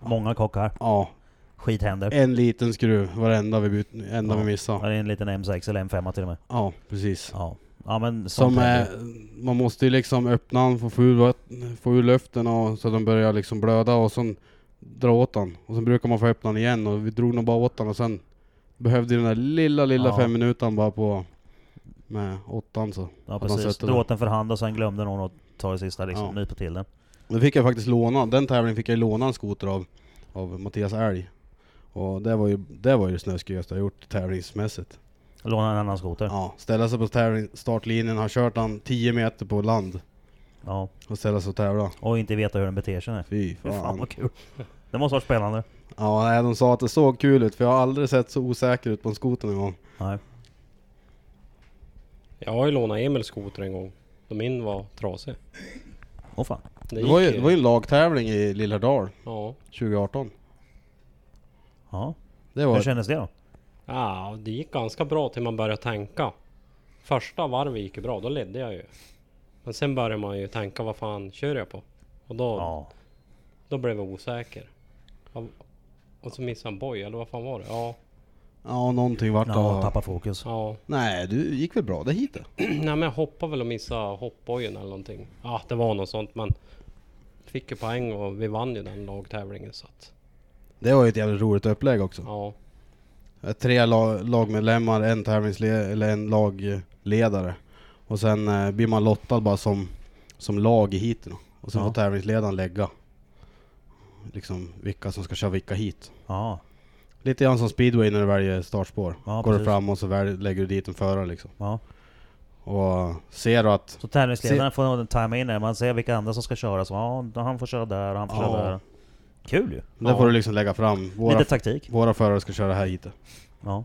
S1: Många kockar.
S2: ja,
S1: Skit händer.
S2: en liten skruv varenda vi, byt, enda
S1: Ja. Ja,
S2: vi missade.
S1: det är en liten M6 eller M5 till och med.
S2: Ja, precis.
S1: Ja, ja men sånt
S2: Som
S1: händer.
S2: är, man måste ju liksom öppna den, få- få ur, vatt- få ur luften och så den börjar liksom blöda och sen dra åt den. Och sen brukar man få öppna den igen och vi drog nog bara åt den och sen behövde den där lilla, lilla
S1: Ja.
S2: fem minuten bara på med åttan så.
S1: Ja
S2: att man
S1: precis.
S2: sätter
S1: Du
S2: den.
S1: åt den för hand och sen glömde någon att ta det sista liksom.
S2: Ja.
S1: Nypa till den.
S2: Då fick jag faktiskt låna, den tävlingen fick jag låna en skoter av, av Mattias Älg. Och det var ju det, var ju det snöskrigaste jag gjort tävlingsmässigt.
S1: Låna en annan skoter. Ja.
S2: Ja, ställa sig på tävling, startlinjen, ha kört den 10 meter på land och ställa sig och tävla.
S1: Och inte veta hur den beter sig. nej.
S2: Fy
S1: Fy fan
S2: fan.
S1: vad kul. Det måste ha varit spännande.
S2: Ja, nej, de sa att det såg kul ut för jag har aldrig sett så osäker ut på en skoter någon gång.
S1: Nej.
S3: Jag har ju lånat Emils skoter en gång. Då min var trasig.
S1: Åh fan.
S3: Det,
S2: Det
S3: gick
S2: var ju, det var ju en lagtävling i Lillhärdal
S3: Ja.
S2: 2018.
S1: Ja.
S2: Det
S1: Hur
S2: var...
S1: kändes det då?
S3: ja, det gick ganska bra till man började tänka. Första varvet gick ju bra, då ledde jag ju. Men sen började man ju tänka, vad fan kör jag på? Och då,
S1: Ja.
S3: då blev jag osäker. Ja, Och så missade jag en boj, eller vad fan var det? Ja,
S2: Ja, någonting vart
S1: Ja,
S2: ja,
S1: tappa fokus.
S3: ja.
S2: Nej, du gick väl bra det hit då?
S3: <clears throat> Nej men jag hoppade väl och missade hoppbojen eller någonting. Ja, det var något sånt men... Fick ju poäng och vi vann ju den lagtävlingen så att...
S2: Det var ju ett jävligt roligt upplägg också.
S3: Ja.
S2: Tre la- lagmedlemmar, en tävlingsledare, eller en lagledare. Och sen eh, blir man lottad bara som, som lag i heaten. då. Och sen
S1: Ja.
S2: får tävlingsledaren lägga. Liksom vilka som ska köra vilka hit.
S1: Ja.
S2: Lite grann som speedway när du väljer startspår.
S1: Ja,
S2: Går du
S1: precis.
S2: fram och så väl, lägger du dit en förare liksom.
S1: ja.
S2: Och ser du att...
S1: Så tävlingsledaren får en time in där. Man ser vilka andra som ska köra. Så ja, han får köra där och han får
S2: Ja.
S1: köra där. Kul ju.
S2: Där får du liksom lägga fram. Våra,
S1: Lite taktik.
S2: våra förare ska köra här hit.
S1: Ja.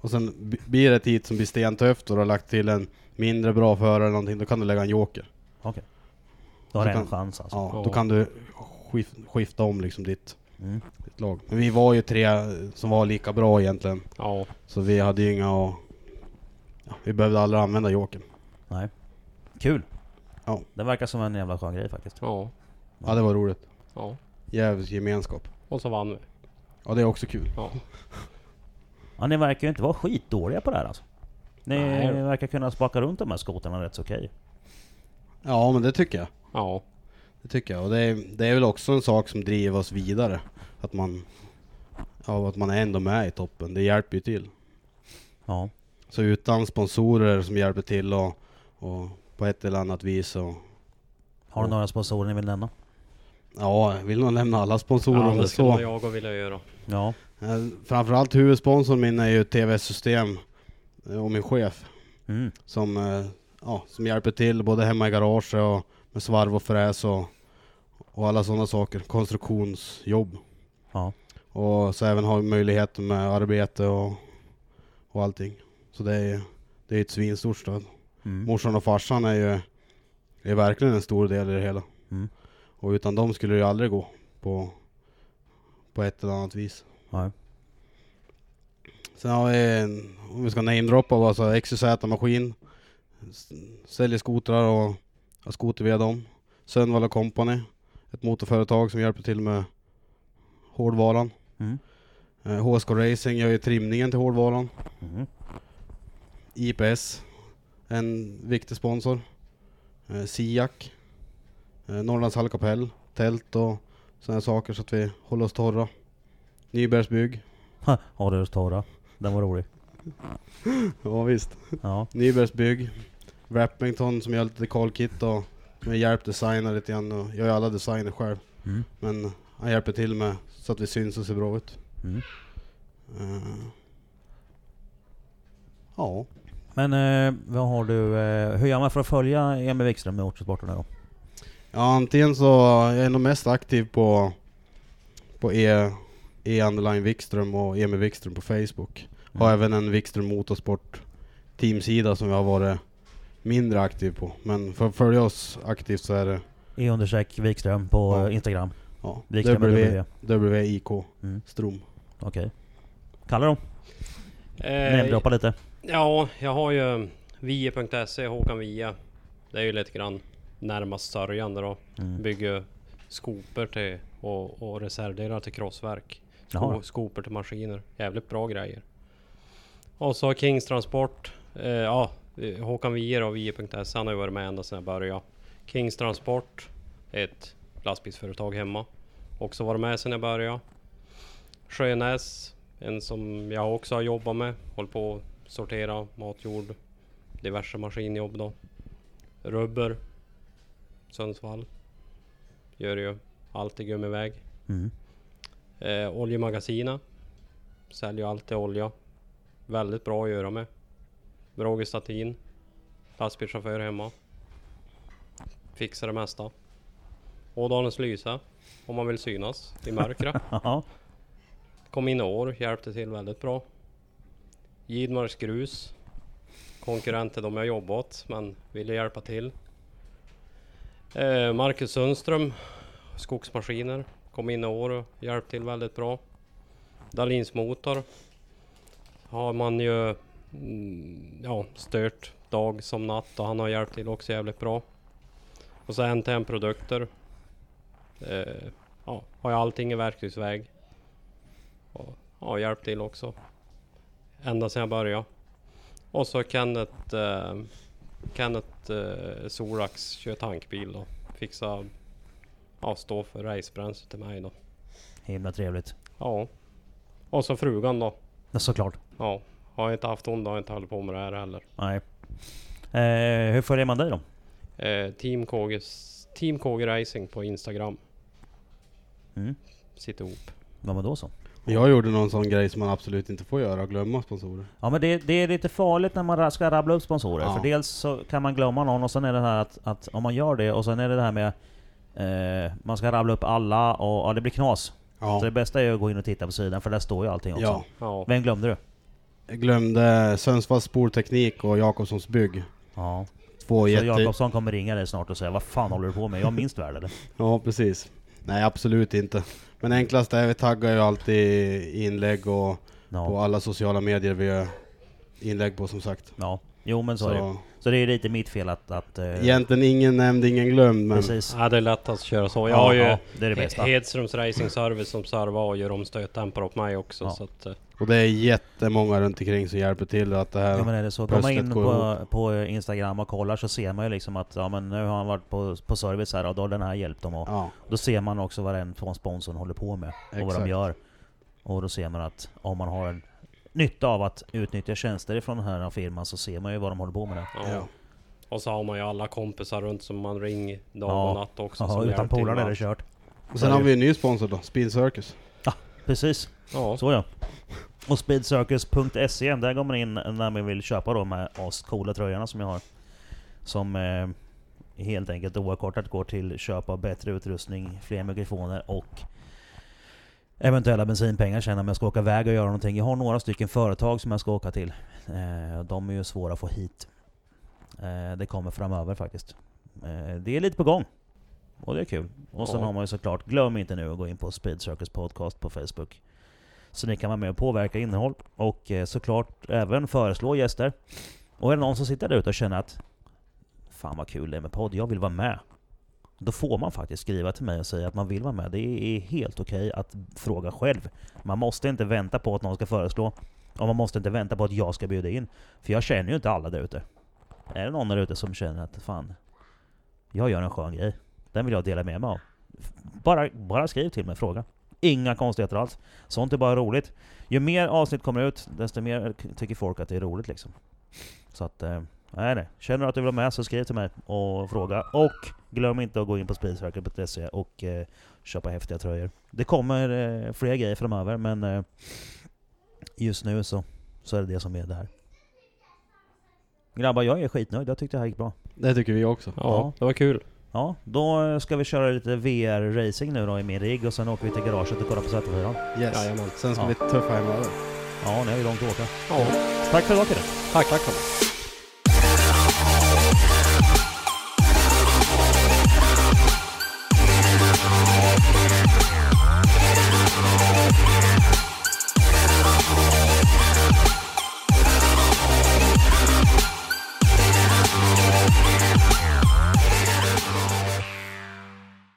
S2: Och sen b- blir det ett hit som blir stentufft och du har lagt till en mindre bra förare eller någonting. Då kan du lägga en joker.
S1: Okej. Då har
S2: Så
S1: du en
S2: kan-
S1: chans alltså.
S2: Ja,
S3: Ja.
S2: Då kan du skif- skifta om liksom ditt,
S1: Mm.
S2: ditt lag. Men vi var ju tre som var lika bra egentligen.
S3: Ja.
S2: Så vi hade ju inga och, ja, Vi behövde aldrig använda jokern.
S1: Nej. Kul.
S2: Ja.
S1: Det verkar som en jävla skön grej faktiskt.
S3: Ja.
S2: Ja, det var roligt.
S3: Ja.
S2: Jävligt gemenskap.
S3: Och så vann vi.
S2: Ja, det är också kul.
S3: Ja.
S1: Ja, ni verkar ju inte vara skitdåliga på det här alltså. Ni
S3: Nej.
S1: verkar kunna spaka runt de här skotrarna rätt så okej.
S2: Ja, men det tycker jag.
S3: Ja.
S2: Det tycker jag. Och det är, det är väl också en sak som driver oss vidare. Att man, ja, att man är ändå med i toppen. Det hjälper ju till.
S1: Ja.
S2: Så utan sponsorer som hjälper till och, och på ett eller annat vis så...
S1: Har du några sponsorer ni vill nämna?
S2: Ja, jag vill nog nämna alla sponsorer
S3: ja
S2: om det
S3: det skulle
S2: så.
S3: vara jag och vilja göra.
S1: Ja.
S2: Eh, Framförallt huvudsponsorn min är ju TVS-system eh, och min chef
S1: Mm.
S2: som, eh, ja, som hjälper till både hemma i garaget och med svarv och fräs och, och alla sådana saker. Konstruktionsjobb.
S1: Ja.
S2: Och så även ha möjlighet med arbete och, och allting. Så det är ju det är ett svinstort stöd.
S1: Mm.
S2: Morsan och farsan är ju är verkligen en stor del i det hela.
S1: Mm.
S2: Och utan dem skulle det ju aldrig gå på, på ett eller annat vis.
S1: Nej.
S2: Sen har vi, en- om vi ska namedroppa, vad så XYZ Maskin. S- Säljer skotrar och har skoter via dem. Sönvalla Company, ett motorföretag som hjälper till med hårdvaran.
S1: Mm.
S2: Eh, HSK Racing gör ju trimningen till hårdvaran.
S1: Mm.
S2: IPS, en viktig sponsor. Eh, Siak, eh, Norrlands Hallkapell, tält och sådana saker så att vi håller oss torra. Nybergsbygg,
S1: Ha, Har du torra? Den var rolig.
S2: ja visst.
S1: Ja.
S2: Nybergsbygg, Wrappington som gör lite call-kit och med hjälp designar lite grann och jag är alla designer själv.
S1: Mm.
S2: Men han hjälper till med så att vi syns och ser bra ut.
S1: Mm.
S2: Eh, ja,
S1: Men eh, vad har du, eh, hur gör man för att följa Emil Wikström med Ortsporterna då?
S2: Ja, antingen så jag är jag nog mest aktiv på, på e, e underline Wikström och Emil Wikström på Facebook. Har
S1: Mm.
S2: även en Wikström Motorsport teamsida som jag har varit mindre aktiv på. Men för att följa oss aktivt så är det
S1: E-understreck Wikström på
S2: Ja.
S1: eh, Instagram.
S2: ja,
S1: Wikström med
S2: w,
S1: W.
S2: WIK
S1: Mm.
S2: Strom.
S1: Okej. Kalle då?
S3: Eh,
S1: Nämndroppa lite.
S3: ja, jag har ju vie.se, Håkan Via. Det är ju lite grann närmast sörjande då.
S1: Mm.
S3: Bygger skopor till och, och reservdelar till krossverk.
S1: Jaha.
S3: Sko, skopor till maskiner. Jävligt bra grejer. Och så Kings Transport. Eh, ja, eh, Håkan Wiehe och Wiehe.se. Han har ju varit med ända sedan jag började. Kings Transport. Ett lastbilsföretag hemma. Också varit med sedan jag började. Sjönäs. En som jag också har jobbat med. Håller på att sortera matjord. Diverse maskinjobb då. Rubber. Sundsvall. Gör ju allt i gummiväg.
S1: Mm.
S3: Eh, oljemagasina. Säljer alltid olja. Väldigt bra att göra med. Roger Statin. Lastbilschaufför hemma. Fixar det mesta. Ådalens Lysa. Om man vill synas i mörkret.
S1: Jaha.
S3: Kom in i år, hjälpte till väldigt bra. Gidmarks grus. Konkurrenter de jag jobbat men ville hjälpa till. Eh, Marcus Sundström, skogsmaskiner. Kom in i år och hjälpte till väldigt bra. Dalins motor. Har man ju mm, ja, stört dag som natt och han har hjälpt till också jävligt bra. Och så NTM produkter. Eh, ja, har ju allting i verktygsväg. Och, ja, hjälpt till också. Ända sedan jag började. Och så Kenneth, eh, Kenneth eh, Sorax kör tankbil då. Fixa, ja stå för racebränsle till mig då.
S1: Himla trevligt.
S3: Ja. Och så frugan då.
S1: Ja, Såklart.
S3: Ja. Har jag inte haft hon då har jag inte hållit på med det här heller.
S1: Nej. Eh, hur följer man dig då?
S3: Eh, Team, KG's, Team KG Racing på Instagram.
S1: Mm.
S3: Sitter ihop.
S1: Ja men då så.
S2: Jag gjorde någon sån grej som man absolut inte får göra, glömma sponsorer.
S1: Ja men det, det är lite farligt när man ra- ska rabbla upp sponsorer.
S2: Ja.
S1: För dels så kan man glömma någon och sen är det här att, att om man gör det och sen är det det här med eh, man ska rabbla upp alla och ja, det blir knas. Så det
S2: Ja,
S1: bästa är att gå in och titta på sidan för där står ju allting också.
S2: ja.
S3: Ja.
S1: Vem glömde du?
S2: Jag glömde Sundsvalls Spolteknik och Jakobssons Bygg.
S1: Ja.
S2: Två
S1: Så
S2: jätte...
S1: Jakobsson kommer ringa dig snart och säga Vad fan håller du på med? Jag minns väl
S2: <laughs>
S1: eller?
S2: Ja, precis. Nej, absolut inte. Men enklast är vi taggar ju alltid inlägg och på
S1: Ja.
S2: alla sociala medier vi gör inlägg på som sagt.
S1: ja. Jo men så, är det.
S2: Så,
S1: Så det är lite mitt fel att... att eh,
S2: egentligen ingen nämnd, ingen glömd, men
S1: Precis.
S3: Ja, det är lättast att köra så. Jag har ju
S1: ja, det är det bästa.
S3: He- Hedströms Racing Service som servar och gör om stötdämpare åt mig också.
S1: Ja.
S3: Så att, eh,
S2: och det är jättemånga runt omkring som hjälper till att det här...
S1: Ja men är det så. Går man
S2: Plötsligt
S1: in
S2: går
S1: på, på Instagram och kollar så ser man ju liksom att ja, men nu har han varit på, på service här och då har den här hjälpt dem. Och
S2: ja,
S1: Då ser man också vad den från sponsorn håller på med och vad de
S2: Exakt.
S1: gör. Och då ser man att om man har en nytta av att utnyttja tjänster ifrån den här firman så ser man ju vad de håller på med där.
S3: ja.
S2: Ja.
S3: Och så har man ju alla kompisar runt som man ringer dag
S1: Ja.
S3: och natt också.
S1: Ja,
S3: som
S1: utan
S3: hjälper till
S1: polare
S3: med
S1: är det
S3: allt.
S1: kört.
S2: Och sen har vi en ny sponsor då, Spin Circus.
S1: Precis.
S3: Ja.
S1: Så ja. Och speedcircus.se, där går man in när man vill köpa de här ascoola tröjorna som jag har. Som eh, helt enkelt oavkortat går till köp av bättre utrustning, fler mikrofoner och eventuella bensinpengar sen om jag ska åka iväg och göra någonting. Jag har några stycken företag som jag ska åka till. Eh, de är ju svåra att få hit. Eh, det kommer framöver faktiskt. Eh, det är lite på gång. Och det är kul. Och sen
S3: Ja.
S1: har man ju såklart, glöm inte nu att gå in på Speed Circus Podcast på Facebook. Så ni kan vara med och påverka innehåll och eh, såklart även föreslå gäster. Och är det någon som sitter där ute och känner att Fan vad kul det är med podd, jag vill vara med. Då får man faktiskt skriva till mig och säga att man vill vara med. Det är helt okej att fråga själv. Man måste inte vänta på att någon ska föreslå. Och man måste inte vänta på att jag ska bjuda in. För jag känner ju inte alla där ute. Är det någon där ute som känner att fan, jag gör en skön grej. Den vill jag dela med mig av. Bara, bara skriv till mig, fråga. Inga konstigheter alls. Sånt är bara roligt. Ju mer avsnitt kommer ut, desto mer tycker folk att det är roligt liksom. Så att, eh, nej nej. Känner du att du vill vara med så skriv till mig och fråga. Och glöm inte att gå in på spisverket.se och eh, köpa häftiga tröjor. Det kommer eh, fler grejer framöver men eh, just nu så, så är det det som är det här. Grabbar, jag är skitnöjd. Jag tyckte det här gick bra.
S2: Det tycker vi också.
S1: Ja.
S3: Ja, det var kul.
S1: Ja, då eh, ska vi köra lite VR-racing nu då i min rigg och sen åker vi till garaget och kollar på Z4.
S2: Yes.
S3: Jajamän.
S2: Sen ska
S1: Ja.
S2: vi tuffa hemöver.
S1: Ja, nu är vi långt att åka.
S3: Ja,
S1: Tack för idag Kille.
S3: tack, tack. Thomas.